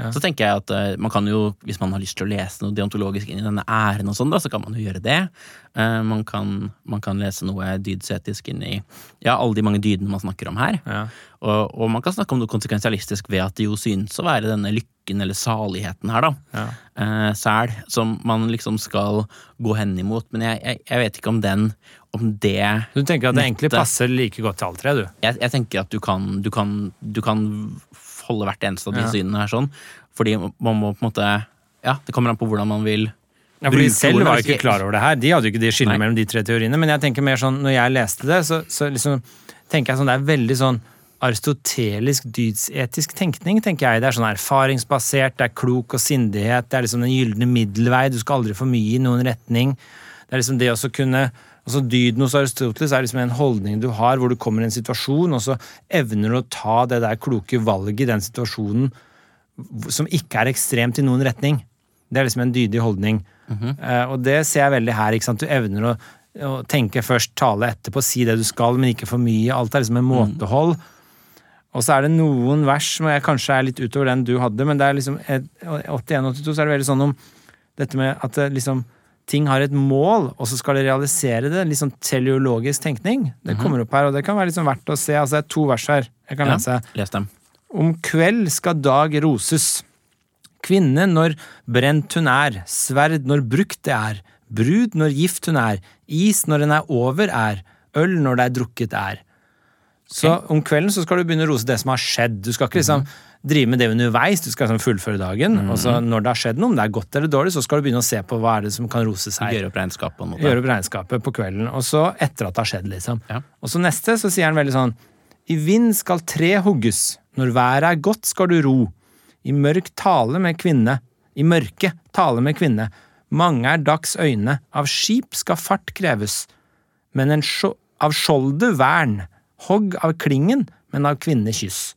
Speaker 2: så tenker jeg at eh, man kan jo, hvis man har lyst til å lese noe deontologisk inn i denne æren, og sånn da, så kan man jo gjøre det. Eh, man, kan, man kan lese noe dydsetisk inn i ja, alle de mange dydene man snakker om her.
Speaker 1: Ja.
Speaker 2: Og, og man kan snakke om noe konsekvensialistisk ved at det jo synes å være denne lykken eller saligheten her, da.
Speaker 1: Ja.
Speaker 2: Eh, sæl, som man liksom skal gå hen imot. Men jeg, jeg, jeg vet ikke om den Om det
Speaker 1: Du tenker at det egentlig
Speaker 2: Nettet.
Speaker 1: passer like godt til alle tre, du?
Speaker 2: jeg, jeg tenker at du kan, du kan, du kan holde hvert eneste av de
Speaker 1: Ja.
Speaker 2: synene her sånn. Fordi man må på en måte Ja, det kommer an på hvordan man vil
Speaker 1: Ja, for de
Speaker 2: bruke
Speaker 1: selv
Speaker 2: ordene,
Speaker 1: var
Speaker 2: hvis
Speaker 1: jo ikke klar over det her. De hadde jo ikke de skillene
Speaker 2: Nei.
Speaker 1: mellom de tre teoriene. Men jeg tenker mer sånn, når jeg leste det, så, så liksom, tenker jeg sånn, det er veldig sånn aristotelisk dydsetisk tenkning, tenker jeg. Det er sånn erfaringsbasert, det er klok og sindighet, det er liksom den gylne middelvei, du skal aldri for mye i noen retning. Det er liksom det å så kunne altså Dyden hos Aristoteles er liksom en holdning du har hvor du kommer i en situasjon, og så evner du å ta det der kloke valget i den situasjonen som ikke er ekstremt i noen retning. Det er liksom en dydig holdning. Eh, og det ser jeg veldig her. ikke sant? Du evner å, å tenke først, tale etterpå, si det du skal, men ikke for mye. Alt er liksom en måtehold. Og så er det noen vers som jeg kanskje er litt utover den du hadde, men det er liksom et- 81-82 så er det veldig sånn om dette med at det liksom ting har et mål, og så skal det realisere det. Litt sånn teleologisk tenkning. Det kommer opp her, og det kan være liksom verdt å se. Altså, det er to vers her. Jeg kan
Speaker 2: Ja,
Speaker 1: lese.
Speaker 2: les dem.
Speaker 1: Om kveld skal dag roses. Kvinne når brent hun er, sverd når brukt det er, brud når gift hun er, is når den er over er, øl når det er drukket er. Så om kvelden så skal du begynne å rose det som har skjedd. Du skal ikke liksom drive med det underveis, du skal liksom fullføre dagen. Og så når det har skjedd noe, om det er godt eller dårlig, så skal du begynne å se på hva er det som kan roses her.
Speaker 2: Gjøre opp regnskap på en måte.
Speaker 1: Gjøre opp regnskapet på kvelden, og så etter at det har skjedd, liksom.
Speaker 2: Ja.
Speaker 1: Og så neste, så sier han veldig sånn I vind skal tre hugges, når været er godt skal du ro. I mørk tale med kvinne, i mørke tale med kvinne. Mange er dags øyne, av skip skal fart kreves. Men en skjo- av skjoldet vern, hogg av klingen, men av kvinne kyss.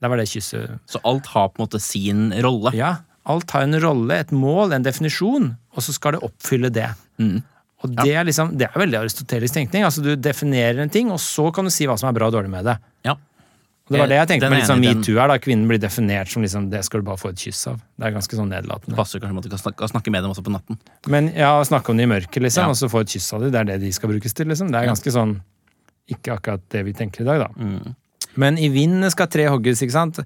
Speaker 1: Der var det kysset
Speaker 2: Så alt har på en måte sin rolle.
Speaker 1: ja, alt har en rolle, et mål, en definisjon, og så skal det oppfylle det.
Speaker 2: Mm.
Speaker 1: Og det er liksom, det er veldig aristotelisk tenkning. altså Du definerer en ting, og så kan du si hva som er bra og dårlig med det.
Speaker 2: Ja.
Speaker 1: Og Det var det jeg tenkte
Speaker 2: Den
Speaker 1: med
Speaker 2: er
Speaker 1: liksom
Speaker 2: enig, den-
Speaker 1: metoo her. da, Kvinnen blir definert som liksom, det skal du bare få et kyss av. Det er ganske sånn nedlatende.
Speaker 2: Passer kanskje om at du kan snakke, kan snakke med dem også på natten.
Speaker 1: Men ja, å snakke om det i mørket, liksom,
Speaker 2: Ja.
Speaker 1: og så få et kyss av det, det er det de skal brukes til. liksom. Det er ganske sånn Ikke akkurat det vi tenker i dag, da.
Speaker 2: Mm.
Speaker 1: Men i vinden skal tre hogges, ikke sant?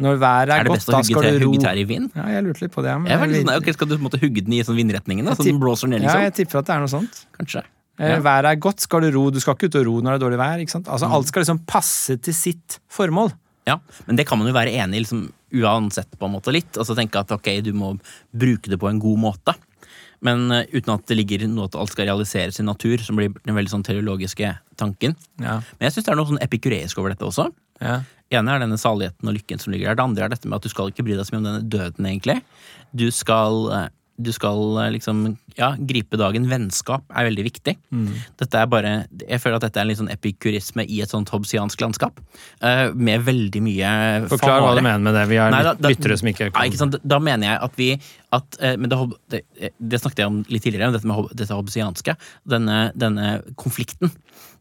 Speaker 1: Når været er,
Speaker 2: Er det
Speaker 1: godt,
Speaker 2: best å
Speaker 1: da
Speaker 2: hugge
Speaker 1: skal
Speaker 2: tre,
Speaker 1: du ro.
Speaker 2: hugge trær i vind?
Speaker 1: Ja, jeg lurte litt på det. men
Speaker 2: Jeg er veldig
Speaker 1: jeg-
Speaker 2: sånn, ok, Skal du på en måte hugge den i sånn vindretningen? da,
Speaker 1: Jeg
Speaker 2: Så den
Speaker 1: tipp-
Speaker 2: blåser ned,
Speaker 1: Ja,
Speaker 2: liksom?
Speaker 1: jeg tipper at det er noe sånt.
Speaker 2: Kanskje.
Speaker 1: Eh,
Speaker 2: Ja. Mm.
Speaker 1: Været er godt, skal du ro. Du skal ikke ut og ro når det er dårlig vær. ikke sant? Altså, Alt skal liksom passe til sitt formål.
Speaker 2: Ja, men det kan man jo være enig i liksom, uansett på en måte litt. Altså tenke at ok, du må bruke det på en god måte. Men eh, uten at det ligger noe at alt skal realiseres i natur, som blir den veldig sånn teleologiske tanken.
Speaker 1: Ja.
Speaker 2: Men jeg syns det er noe sånn epikureisk over dette også.
Speaker 1: Ja.
Speaker 2: Det ene er denne saligheten og lykken som ligger der. Det andre er dette med at du skal ikke bry deg så mye om denne døden, egentlig. Du skal eh, du skal eh, liksom ja, gripe dagen. Vennskap er veldig viktig.
Speaker 1: Mm.
Speaker 2: Dette er bare, Jeg føler at dette er en litt sånn epikurisme i et sånt hobbesiansk landskap. eh, med veldig mye
Speaker 1: Forklar hva du mener med det. Vi er
Speaker 2: Nei, da- da-
Speaker 1: lyttere som ikke
Speaker 2: Nei, ikke sant? Da mener jeg at vi at, eh, men det, hob- det, det snakket jeg om litt tidligere, om dette med hob- dette hobbesianske. Denne, denne konflikten.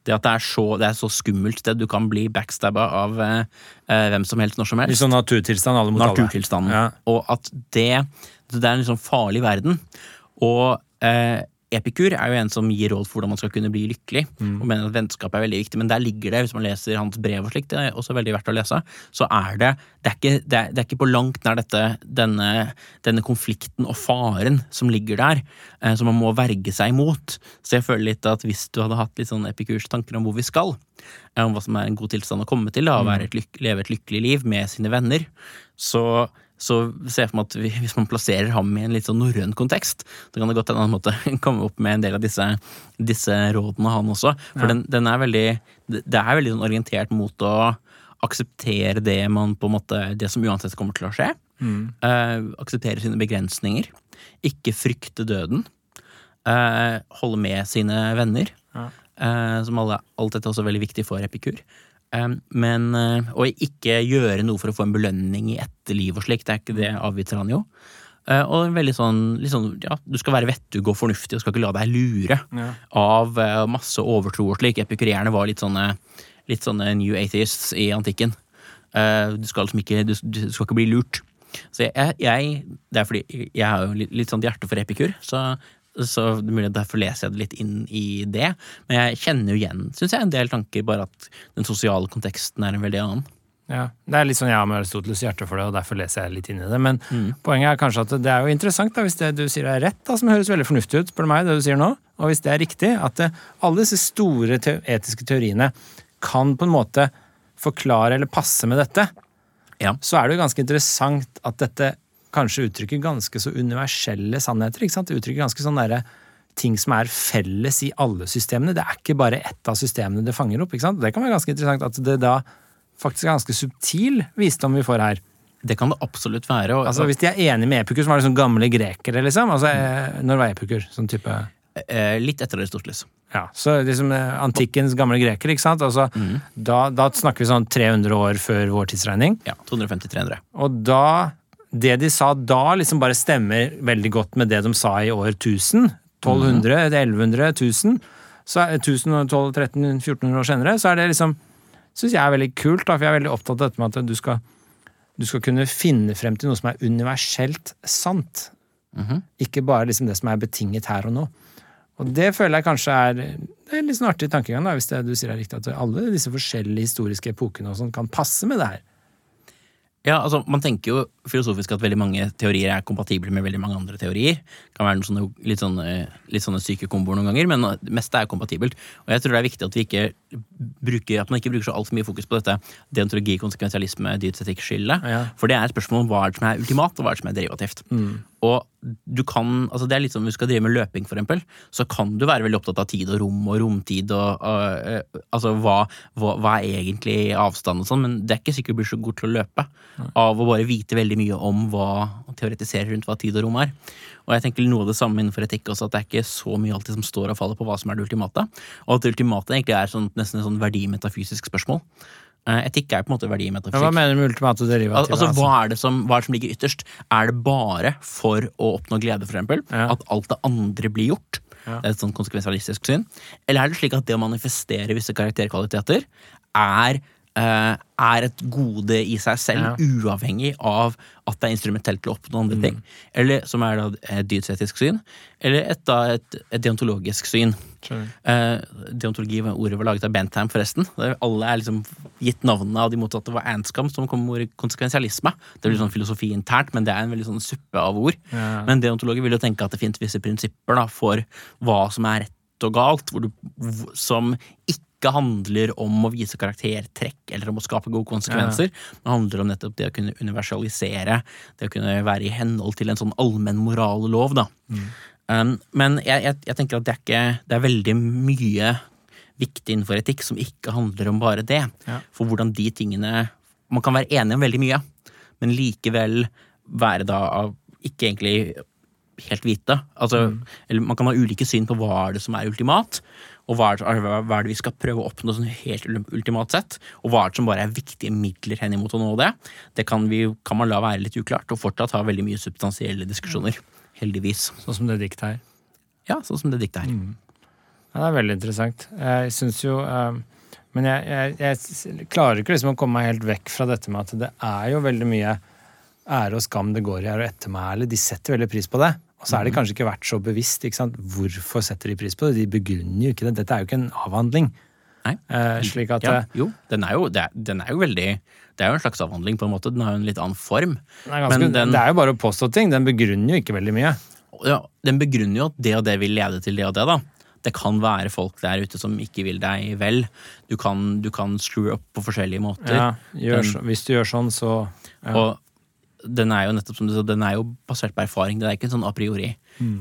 Speaker 2: Det at det er så, det er så skummelt sted. Du kan bli backstabba av eh, eh, hvem som helst når som helst.
Speaker 1: Litt sånn naturtilstand, alle mot alle.
Speaker 2: Naturtilstanden.
Speaker 1: Ja.
Speaker 2: Og at det, det er en liksom farlig verden. Og eh, Epikur er jo en som gir råd for hvordan man skal kunne bli lykkelig,
Speaker 1: Mm.
Speaker 2: og mener at vennskap er veldig viktig. Men der ligger det, hvis man leser hans brev og slikt, det er også veldig verdt å lese, så er det Det er ikke, det er, det er ikke på langt nær dette, denne, denne konflikten og faren som ligger der, eh, som man må verge seg imot. Så jeg føler litt at hvis du hadde hatt litt sånn Epikurs tanker om hvor vi skal, eh, om hva som er en god tilstand å komme til, da,
Speaker 1: Mm.
Speaker 2: å være et lyk leve et lykkelig liv med sine venner, så så ser jeg for meg at vi, hvis man plasserer ham i en litt sånn norrøn kontekst, så kan det godt hende han måtte <laughs> komme opp med en del av disse, disse rådene, han også. For den, den er veldig Det det er veldig sånn orientert mot å akseptere det man på en måte Det som uansett kommer til å skje.
Speaker 1: Mm.
Speaker 2: Eh, akseptere sine begrensninger. Ikke frykte døden. eh, holde med sine venner.
Speaker 1: Ja.
Speaker 2: eh, som alle, alt dette er også veldig viktig for epikur. Eh, men, eh, og ikke gjøre noe for å få en belønning i etterliv og slik, det er ikke det avviser han jo. Eh, og en veldig sånn, litt sånn ja, du skal være vettug og fornuftig og skal ikke la deg lure
Speaker 1: Ja.
Speaker 2: av eh, masse overtro og slik. Epikurerne var litt sånne, litt sånne new atheists i antikken. Eh, du, skal liksom ikke, du, du skal ikke bli lurt. Så jeg, jeg, det er fordi jeg har jo litt, litt sånt hjerte for epikur, så, så det er mulig at derfor leser jeg det litt inn i det. Men jeg kjenner jo igjen synes jeg, en del tanker, bare at den sosiale konteksten er en veldig annen.
Speaker 1: Ja, Det er litt sånn jeg har med Aristoteles hjerte for det, og derfor leser jeg litt inn i det. Men poenget er kanskje at det er jo interessant, da, hvis det du sier er rett, da, som høres veldig fornuftig ut, spør du meg, det du sier nå, og hvis det er riktig, at det, alle disse store te etiske teoriene kan på en måte forklare eller passe med dette,
Speaker 2: Ja.
Speaker 1: så er det jo ganske interessant at dette kanskje uttrykker ganske så universelle sannheter. ikke sant? Det uttrykker ganske sånn derre ting som er felles i alle systemene. Det er ikke bare ett av systemene det fanger opp. ikke sant? Det kan være ganske interessant at det da faktisk er ganske subtil visdom vi får her.
Speaker 2: Det kan det absolutt være. Og,
Speaker 1: Altså Hvis de er enige med Epikur, som er det sånn gamle grekere, liksom. Altså, eh, Når var Epikur? Sånn type
Speaker 2: eh, litt etter Aristoteles.
Speaker 1: ja, så liksom eh, Antikkens gamle grekere, ikke sant? Altså, da, da snakker vi sånn 300 år før vår tidsregning.
Speaker 2: Ja, 250-300.
Speaker 1: Og da Det de sa da, liksom bare stemmer veldig godt med det de sa i år 1000. 1200, 1100, 1000. Så er 1000, og 1200, 1300, 1400 år senere, så er det liksom Syns jeg er veldig kult, da, for jeg er veldig opptatt av dette med at du skal du skal kunne finne frem til noe som er universelt sant. Ikke bare liksom det som er betinget her og nå. Og det føler jeg kanskje er det er en litt sånn artig tankegang, da, hvis det du sier er riktig, at alle disse forskjellige historiske epokene og sånn kan passe med det her.
Speaker 2: Ja, altså Man tenker jo filosofisk at veldig mange teorier er kompatible med veldig mange andre teorier. Det kan være noen sånne, litt, sånne, litt sånne syke komboer noen ganger, men det meste er kompatibelt. Og jeg tror det er viktig at, vi ikke bruker, at man ikke bruker så altfor mye fokus på dette deontologi, konsekvensialisme, dydsetikkskille.
Speaker 1: Ja.
Speaker 2: For det er et spørsmål om hva er det som er ultimat, og hva er det som er derivativt.
Speaker 1: Mm.
Speaker 2: Og du kan, altså det er litt som om du skal drive med løping, for eksempel, så kan du være veldig opptatt av tid og rom og romtid og, og eh, altså hva, hva, hva er egentlig avstand og sånn, men det er ikke sikkert du blir så god til å løpe av å bare vite veldig mye om hva og teoretisere rundt hva tid og rom er. Og jeg tenker noe av det samme innenfor etikk også, at det er ikke så mye alltid som står og faller på hva som er det ultimate, og at det ultimate egentlig er sånn, nesten et sånn verdimetafysisk spørsmål. Eh, Etikk er på en måte
Speaker 1: Ja, hva
Speaker 2: verdimetafysikk.
Speaker 1: mener du med ultimate derivativ?
Speaker 2: Al altså, hva, er det som, hva er det som ligger ytterst? Er det bare for å oppnå glede, for eksempel?
Speaker 1: Ja.
Speaker 2: At alt det andre blir gjort?
Speaker 1: Ja.
Speaker 2: Det er et sånn konsekvensialistisk syn. Eller er det slik at det å manifestere visse karakterkvaliteter er, eh, er et gode i seg selv,
Speaker 1: Ja. Mm.
Speaker 2: uavhengig av at det er instrumentelt til å oppnå andre ting? Eller som er da et dydsetisk syn? Eller et, da, et, et deontologisk syn?
Speaker 1: Skjønner.
Speaker 2: Eh, deontologi var ordet var laget av Bentham, forresten. Der alle er liksom gitt navnene av de motsatte. Det var Anscombe som kom med ordet konsekvensialisme. Det blir sånn filosofi internt, men det er en veldig sånn suppe av ord.
Speaker 1: Ja.
Speaker 2: Men deontologer vil jo tenke at det finnes visse prinsipper da, for hva som er rett og galt, hvor du, hvor- som ikke handler om å vise karaktertrekk eller om å skape gode konsekvenser. Det handler om nettopp det å kunne universalisere, det å kunne være i henhold til en sånn allmenn morallov. da.
Speaker 1: Mm.
Speaker 2: Um, men jeg, jeg, jeg tenker at det er, ikke, det er veldig mye viktig innenfor etikk som ikke handler om bare det.
Speaker 1: Ja.
Speaker 2: For hvordan de tingene Man kan være enige om veldig mye, men likevel være da av ikke egentlig helt vite. Altså,
Speaker 1: Mm.
Speaker 2: eller man kan ha ulike syn på hva er det som er ultimat, og hva er, det, hva er det vi skal prøve å oppnå sånn helt ultimat sett, og hva er det som bare er viktige midler henimot å nå det. Det kan, vi, kan man la være litt uklart, og fortsatt ha veldig mye substansielle diskusjoner. Heldigvis.
Speaker 1: Sånn som det diktet her.
Speaker 2: Ja, sånn som det diktet her.
Speaker 1: Mm. Ja, det er veldig interessant. Jeg syns jo eh, Men jeg, jeg, jeg s- klarer ikke liksom å komme meg helt vekk fra dette med at det er jo veldig mye ære og skam det går i her og ettermæle. De setter veldig pris på det. Og så er de kanskje ikke vært så bevisst. ikke sant? Hvorfor setter de pris på det? De begrunner jo ikke det. Dette er jo ikke en avhandling.
Speaker 2: Nei.
Speaker 1: Eh, slik at
Speaker 2: ja,
Speaker 1: eh,
Speaker 2: jo, den er jo, det er, den er jo veldig Det er jo en slags avhandling, på en måte. Den har jo en litt annen form.
Speaker 1: den er ganske,
Speaker 2: Men den-
Speaker 1: Det er jo bare å påstå ting. Den begrunner jo ikke veldig mye.
Speaker 2: ja, den begrunner jo at det og det vil lede til det og det, da. Det kan være folk der ute som ikke vil deg vel. Du kan, du kan screw up på forskjellige måter.
Speaker 1: Ja, gjør
Speaker 2: den-
Speaker 1: så, hvis du gjør sånn, så
Speaker 2: Og den er jo nettopp som du sa, den er jo basert på erfaring. Det er ikke en sånn a priori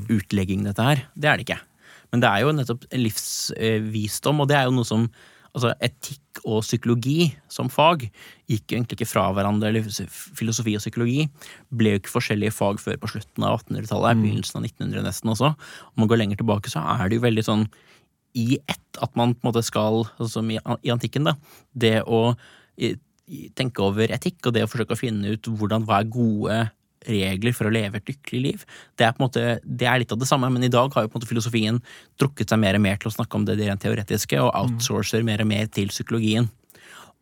Speaker 2: utlegging, dette her. Det er det ikke. Men det er jo nettopp en livsvisdom, og det er jo noe som altså Etikk og psykologi som fag gikk jo egentlig ikke fra hverandre. eller f- Filosofi og psykologi ble jo ikke forskjellige fag før på slutten av 1800-tallet, begynnelsen av 1900 nesten også. Om man går lenger tilbake, så er det jo veldig sånn i ett at man på en måte skal, altså som i, i antikken, da, det å i, i, tenke over etikk og det å forsøke å finne ut hvordan hva er gode regler for å leve et lykkelig liv, det er på en måte, det er litt av det samme, men i dag har jo på en måte filosofien drukket seg mer og mer til å snakke om det rent teoretiske, og outsourcer mer og mer til psykologien.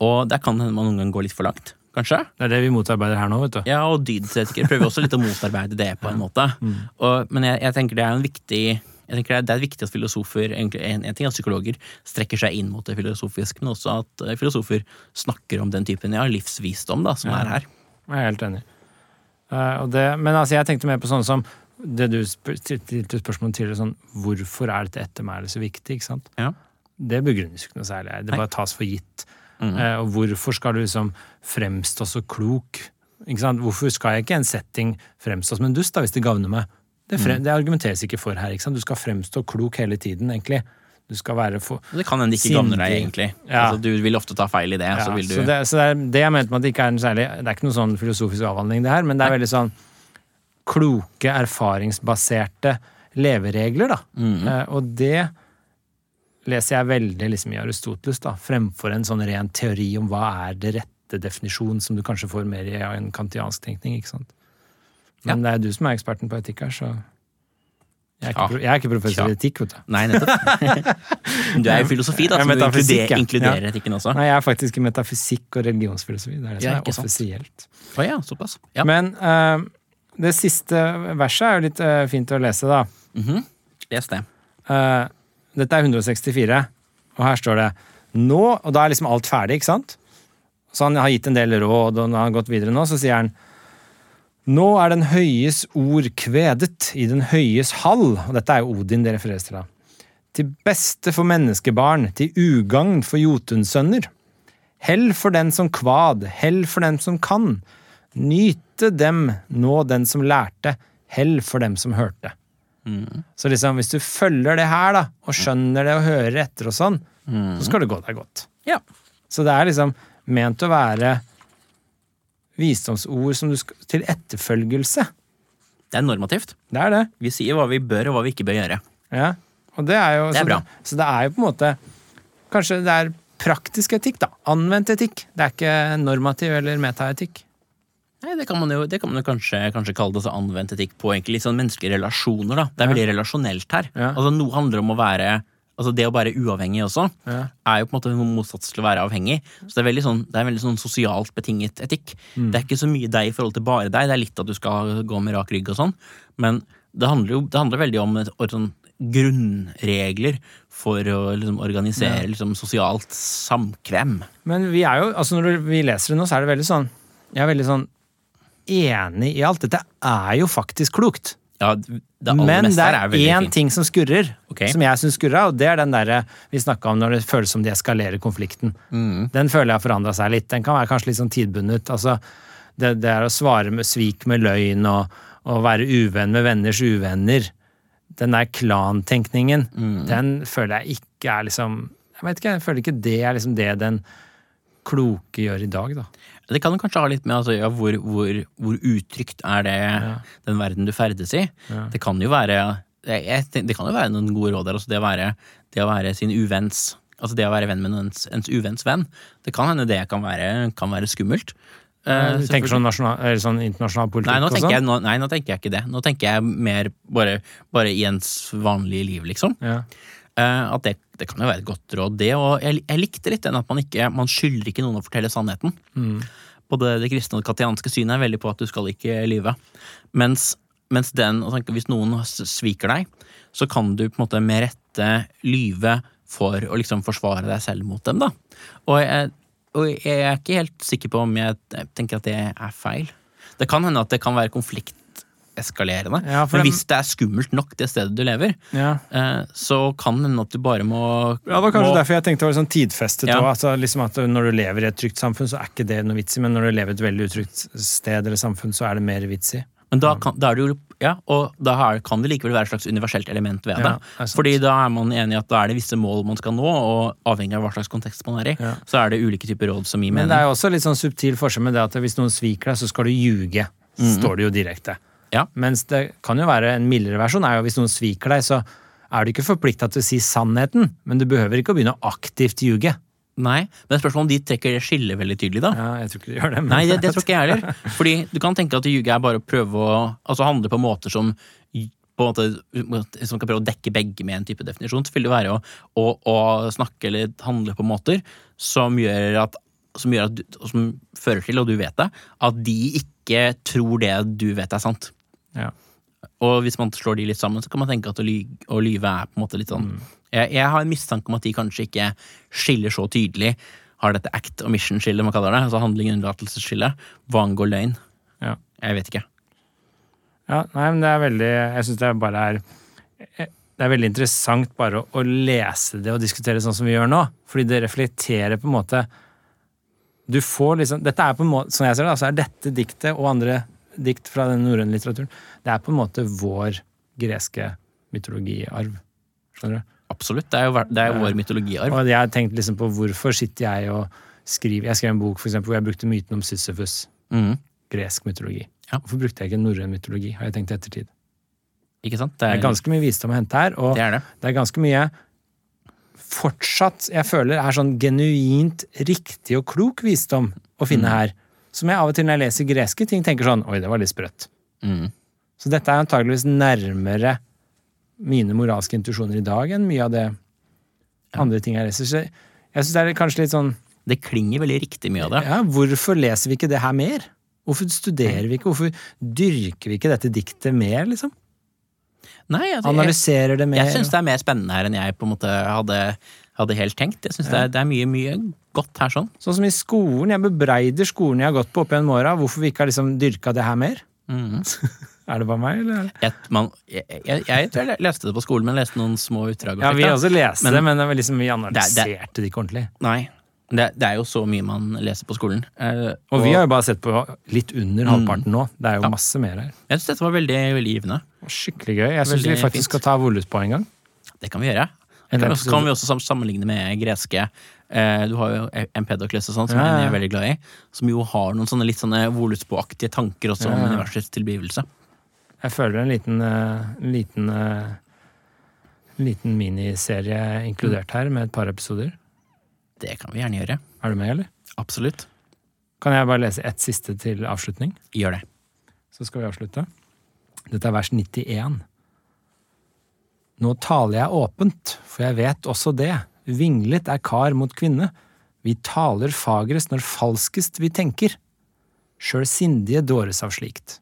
Speaker 2: Og der kan det hende man noen gang går litt for langt, kanskje.
Speaker 1: Det er det vi motarbeider her nå, vet du.
Speaker 2: Ja, og dydsetikere prøver også litt å motarbeide det, på en måte.
Speaker 1: Mm.
Speaker 2: Og, men jeg, jeg tenker det er en viktig jeg tenker det er, det er viktig at filosofer, egentlig, en, en ting er at psykologer strekker seg inn mot det filosofiske, men også at eh, filosofer snakker om den typen ja, livsvisdom da, som er her.
Speaker 1: Jeg er helt enig. Eh, og det, men altså, jeg tenkte mer på sånne som det du spør- stilte spørsmål tidligere, sånn hvorfor er dette ettermælet så viktig? ikke sant?
Speaker 2: Ja.
Speaker 1: Det begrunnes jo ikke noe særlig. Det bare tas for gitt. Eh, og hvorfor skal du liksom fremstå så klok? Ikke sant? Hvorfor skal jeg ikke i en setting fremstå som en dust, da, hvis det gagner meg? Det, frem, det argumenteres ikke for her. ikke sant? Du skal fremstå klok hele tiden, egentlig. Du skal være for,
Speaker 2: Og Det kan hende det ikke gagner deg, egentlig.
Speaker 1: Sindig. Ja.
Speaker 2: Altså, du vil ofte ta feil i det.
Speaker 1: Ja,
Speaker 2: så vil du...
Speaker 1: det, så det, er, det jeg mente med at det ikke er en særlig Det er ikke noen sånn filosofisk avhandling, det her, men det er veldig sånn kloke, erfaringsbaserte leveregler, da.
Speaker 2: Mhm.
Speaker 1: Eh, og det leser jeg veldig liksom, i Aristoteles, da, fremfor en sånn ren teori om hva er det rette definisjon, som du kanskje får mer i en kantiansk tenkning, ikke sant. Men det er du som er eksperten på etikk her, så Jeg er ikke,
Speaker 2: Ja.
Speaker 1: pro- jeg er ikke professor
Speaker 2: Ja.
Speaker 1: i etikk, vet du. <laughs>
Speaker 2: Nei, nettopp. du er jo filosofi, da,
Speaker 1: Ja,
Speaker 2: så du
Speaker 1: metafysikk,
Speaker 2: inkluderer,
Speaker 1: ja.
Speaker 2: inkluderer etikken også.
Speaker 1: Nei, jeg er faktisk i metafysikk og religionsfilosofi. Det er det
Speaker 2: Ja, ikke
Speaker 1: som
Speaker 2: sant.
Speaker 1: er offisielt.
Speaker 2: Å ja, såpass. Ja.
Speaker 1: Men eh, det siste verset er jo litt eh, fint å lese, da.
Speaker 2: Mhm. Les det.
Speaker 1: Eh, dette er 164, og her står det Nå Og da er liksom alt ferdig, ikke sant? Så han har gitt en del råd, og når han har gått videre nå, så sier han Nå er den høyes ord kvedet i den høyes hall. Og dette er jo Odin det refereres til, da. Til beste for menneskebarn, til ugagn for Jotunsønner. Hell for den som kvad, hell for den som kan. Nyte dem, nå den som lærte, hell for dem som hørte. Så liksom, hvis du følger det her, da, og skjønner det og hører etter og sånn,
Speaker 2: Mhm.
Speaker 1: så skal det gå deg godt.
Speaker 2: Ja.
Speaker 1: Så det er liksom ment å være visdomsord som du skal, til etterfølgelse.
Speaker 2: Det er normativt.
Speaker 1: Det er det.
Speaker 2: Vi sier hva vi bør, og hva vi ikke bør gjøre.
Speaker 1: Ja. Og det er jo
Speaker 2: Det er
Speaker 1: så,
Speaker 2: bra.
Speaker 1: så det er jo på en måte Kanskje det er praktisk etikk, da. Anvendt etikk. Det er ikke normativ eller metaetikk.
Speaker 2: Nei, Det kan man jo, det kan man jo kanskje, kanskje kalle det altså anvendt etikk på egentlig litt sånn menneskelige relasjoner. da. Det er veldig relasjonelt her.
Speaker 1: Ja.
Speaker 2: Altså Noe handler om å være altså Det å være uavhengig også
Speaker 1: Ja.
Speaker 2: er jo på en måte noe motsats til å være avhengig. Så Det er veldig sånn, det er veldig sånn sosialt betinget etikk.
Speaker 1: Mm.
Speaker 2: Det er ikke så mye deg i forhold til bare deg. Det er litt at du skal gå med rak rygg og sånn. Men det handler jo det handler veldig om et, et sånn grunnregler for å liksom, organisere liksom, sosialt samkvem.
Speaker 1: Men vi er jo, altså når vi leser det nå, så er det veldig sånn Jeg er veldig sånn enig i alt. Dette er jo faktisk klokt.
Speaker 2: Ja, det aller
Speaker 1: Men
Speaker 2: meste
Speaker 1: det
Speaker 2: her
Speaker 1: er
Speaker 2: er veldig
Speaker 1: én
Speaker 2: fint.
Speaker 1: ting som skurrer,
Speaker 2: Ok.
Speaker 1: som jeg syns skurra, og det er den derre vi snakka om når det føles som de eskalerer konflikten.
Speaker 2: Mm.
Speaker 1: Den føler jeg har forandra seg litt. Den kan være kanskje litt sånn tidbundet. Altså, det, det er å svare med svik med løgn og, og være uvenn med venners uvenner. Den der klantenkningen,
Speaker 2: Mm.
Speaker 1: den føler jeg ikke er liksom Jeg vet ikke, jeg føler ikke det er liksom det den kloke gjør i dag, da.
Speaker 2: Det kan kanskje ha litt med altså, ja, hvor, hvor, hvor utrygt er det den verden du ferdes i. Det kan jo være jeg, jeg tenk- det kan jo være noen gode råd der. Altså det, å være, det å være sin uvenns Altså det å være venn med ens, ens uvenns venn. Det kan hende det kan være, kan være skummelt. Eh,
Speaker 1: Du tenker sånn, nasjonal, eller sånn internasjonal politikk
Speaker 2: Nei nå,
Speaker 1: og
Speaker 2: tenker
Speaker 1: sånn?
Speaker 2: jeg, nå, nei, nå tenker jeg ikke det. Nå tenker jeg mer bare, bare i ens vanlige liv, liksom.
Speaker 1: Ja.
Speaker 2: Eh, at det, det kan jo være et godt råd, det. Og jeg, jeg likte litt den at man ikke man skylder ikke noen å fortelle sannheten.
Speaker 1: Mm.
Speaker 2: Både det kristne og det katianske synet er veldig på at du skal ikke lyve. Mens, mens den, altså, hvis noen s- sviker deg, så kan du på en måte med rette lyve for å liksom forsvare deg selv mot dem, da. Og jeg, og jeg er ikke helt sikker på om jeg tenker at det er feil. Det kan hende at det kan være konflikteskalerende.
Speaker 1: Ja, for
Speaker 2: men
Speaker 1: dem-
Speaker 2: hvis det er skummelt nok, det stedet du lever,
Speaker 1: Ja.
Speaker 2: Eh, så kan det hende at du bare må
Speaker 1: Ja, Det var kanskje
Speaker 2: må,
Speaker 1: derfor jeg tenkte det var sånn tidfestet.
Speaker 2: Ja.
Speaker 1: også, Altså, liksom at Når du lever i et trygt samfunn, så er ikke det noe vits i, men når du lever i et veldig utrygt sted eller samfunn, så er det mer vits i.
Speaker 2: Men da, kan, da er det jo ja, og da er, kan det likevel være et slags universelt element ved det.
Speaker 1: Ja, det er sant.
Speaker 2: Fordi da er man enig i at da er det visse mål man skal nå, og avhengig av hva slags kontekst man er i,
Speaker 1: Ja.
Speaker 2: så er det ulike typer råd som gir
Speaker 1: Men
Speaker 2: mening.
Speaker 1: det er jo også litt sånn subtil forskjell med det at hvis noen sviker deg, så skal du ljuge. Står det jo direkte.
Speaker 2: Ja.
Speaker 1: Mens det kan jo være en mildere versjon er jo hvis noen sviker deg, så er du ikke forplikta til å si sannheten, men du behøver ikke å begynne å aktivt ljuge.
Speaker 2: Nei, men spørsmålet om de trekker det skillet veldig tydelig, da.
Speaker 1: Ja, jeg tror ikke du gjør det. Men...
Speaker 2: Nei, det, det tror ikke jeg heller. Fordi du kan tenke at å ljuge er bare å prøve å altså handle på måter som på en måte, som kan prøve å dekke begge med en type definisjon. Så vil det være å, å, å snakke eller handle på måter som gjør at som, gjør at du, og som fører til, og du vet det, at de ikke tror det du vet er sant.
Speaker 1: Ja.
Speaker 2: Og hvis man slår de litt sammen, så kan man tenke at å lyve, å lyve er på en måte litt sånn
Speaker 1: Mm.
Speaker 2: jeg, jeg har en mistanke om at de kanskje ikke skiller så tydelig. Har dette act og mission-skillet, man kaller det. Altså handling- og unnlatelsesskillet. Hva angår løgn.
Speaker 1: Ja.
Speaker 2: Jeg vet ikke.
Speaker 1: Ja, nei, men det er veldig Jeg syns det er bare er eh, Det er veldig interessant bare å, å lese det og diskutere sånn som vi gjør nå, fordi det reflekterer på en måte Du får liksom Dette er på en måte, som jeg ser det, altså er dette diktet og andre dikt fra den norrøne litteraturen Det er på en måte vår greske mytologiarv. Skjønner du?
Speaker 2: Absolutt. Det er jo, ver- det er jo vår mytologiarv.
Speaker 1: Og jeg har tenkt liksom på hvorfor sitter jeg og skriver Jeg skrev en bok for eksempel, hvor jeg brukte myten om Sisyfus.
Speaker 2: Mhm.
Speaker 1: Gresk mytologi.
Speaker 2: Ja.
Speaker 1: Hvorfor brukte jeg ikke norrøn mytologi, har jeg tenkt i ettertid.
Speaker 2: Ikke sant? Det
Speaker 1: Det
Speaker 2: er,
Speaker 1: er ganske mye visdom å hente her, og
Speaker 2: det er det.
Speaker 1: det er ganske mye fortsatt jeg føler er sånn genuint riktig og klok visdom å
Speaker 2: Mm.
Speaker 1: finne her. Som jeg av og til når jeg leser greske ting, tenker sånn Oi, det var litt sprøtt.
Speaker 2: Mhm.
Speaker 1: Så dette er antageligvis nærmere mine moralske intuisjoner i dag enn mye av det andre ting jeg leser. Så jeg syns det er kanskje litt sånn
Speaker 2: Det klinger veldig riktig mye av det.
Speaker 1: ja, hvorfor leser vi ikke det her mer? Hvorfor
Speaker 2: Mm.
Speaker 1: studerer vi ikke? Hvorfor dyrker vi ikke dette diktet mer, liksom?
Speaker 2: Nei, altså, jeg-
Speaker 1: Analyserer det mer?
Speaker 2: Jeg syns det er mer spennende her enn jeg på en måte hadde, hadde helt tenkt. Jeg synes det, er, det er mye, mye godt her sånn.
Speaker 1: Sånn som i skolen, jeg bebreider skolen jeg har gått på opp igjen morgen, hvorfor vi ikke har liksom dyrka det her mer? Mm. er det bare meg, eller?
Speaker 2: Jeg, man, jeg, jeg, jeg tror jeg leste det på skolen, men leste noen små utdrag. og
Speaker 1: Ja,
Speaker 2: slikt,
Speaker 1: vi
Speaker 2: da.
Speaker 1: også leste
Speaker 2: Men-
Speaker 1: det, men det var liksom, vi
Speaker 2: Det er-
Speaker 1: analyserte det, ikke ordentlig.
Speaker 2: Nei. Det, det er jo så mye man leser på skolen. Eh,
Speaker 1: Og Mm. vi har jo bare sett på litt under halvparten nå. Det er jo masse mer her.
Speaker 2: Jeg syns dette var veldig, veldig givende.
Speaker 1: Skikkelig gøy. Jeg syns
Speaker 2: Veldig
Speaker 1: vi faktisk
Speaker 2: fint.
Speaker 1: skal ta Vollus på en gang.
Speaker 2: Det kan vi gjøre.
Speaker 1: En
Speaker 2: Det kan,
Speaker 1: episode.
Speaker 2: kan vi også sam- sammenligne med greske. Eh, du har jo Empedokles og sånn, som
Speaker 1: Ja, ja, ja.
Speaker 2: jeg er veldig glad i. Som jo har noen sånne litt sånne Volutsbo-aktige tanker også om universets tilblivelse.
Speaker 1: Jeg føler en liten, eh, en liten, eh, en liten miniserie inkludert her, med et par episoder.
Speaker 2: Det kan vi gjerne gjøre.
Speaker 1: Er du med, eller?
Speaker 2: Absolutt.
Speaker 1: Kan jeg bare lese ett siste til avslutning?
Speaker 2: Gjør det.
Speaker 1: så skal vi avslutte. Dette er vers 91. Nå taler jeg åpent, for jeg vet også det. Vinglet er kar mot kvinne. Vi taler fagrest når falskest vi tenker. Sjøl sindige dåres av slikt.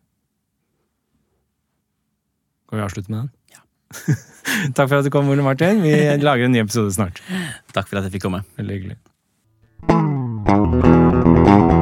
Speaker 1: Kan vi avslutte med den? Ja. <laughs> Takk for at du kom, Ole Martin. Vi lager en ny episode snart.
Speaker 2: Takk for at jeg fikk komme.
Speaker 1: Veldig hyggelig.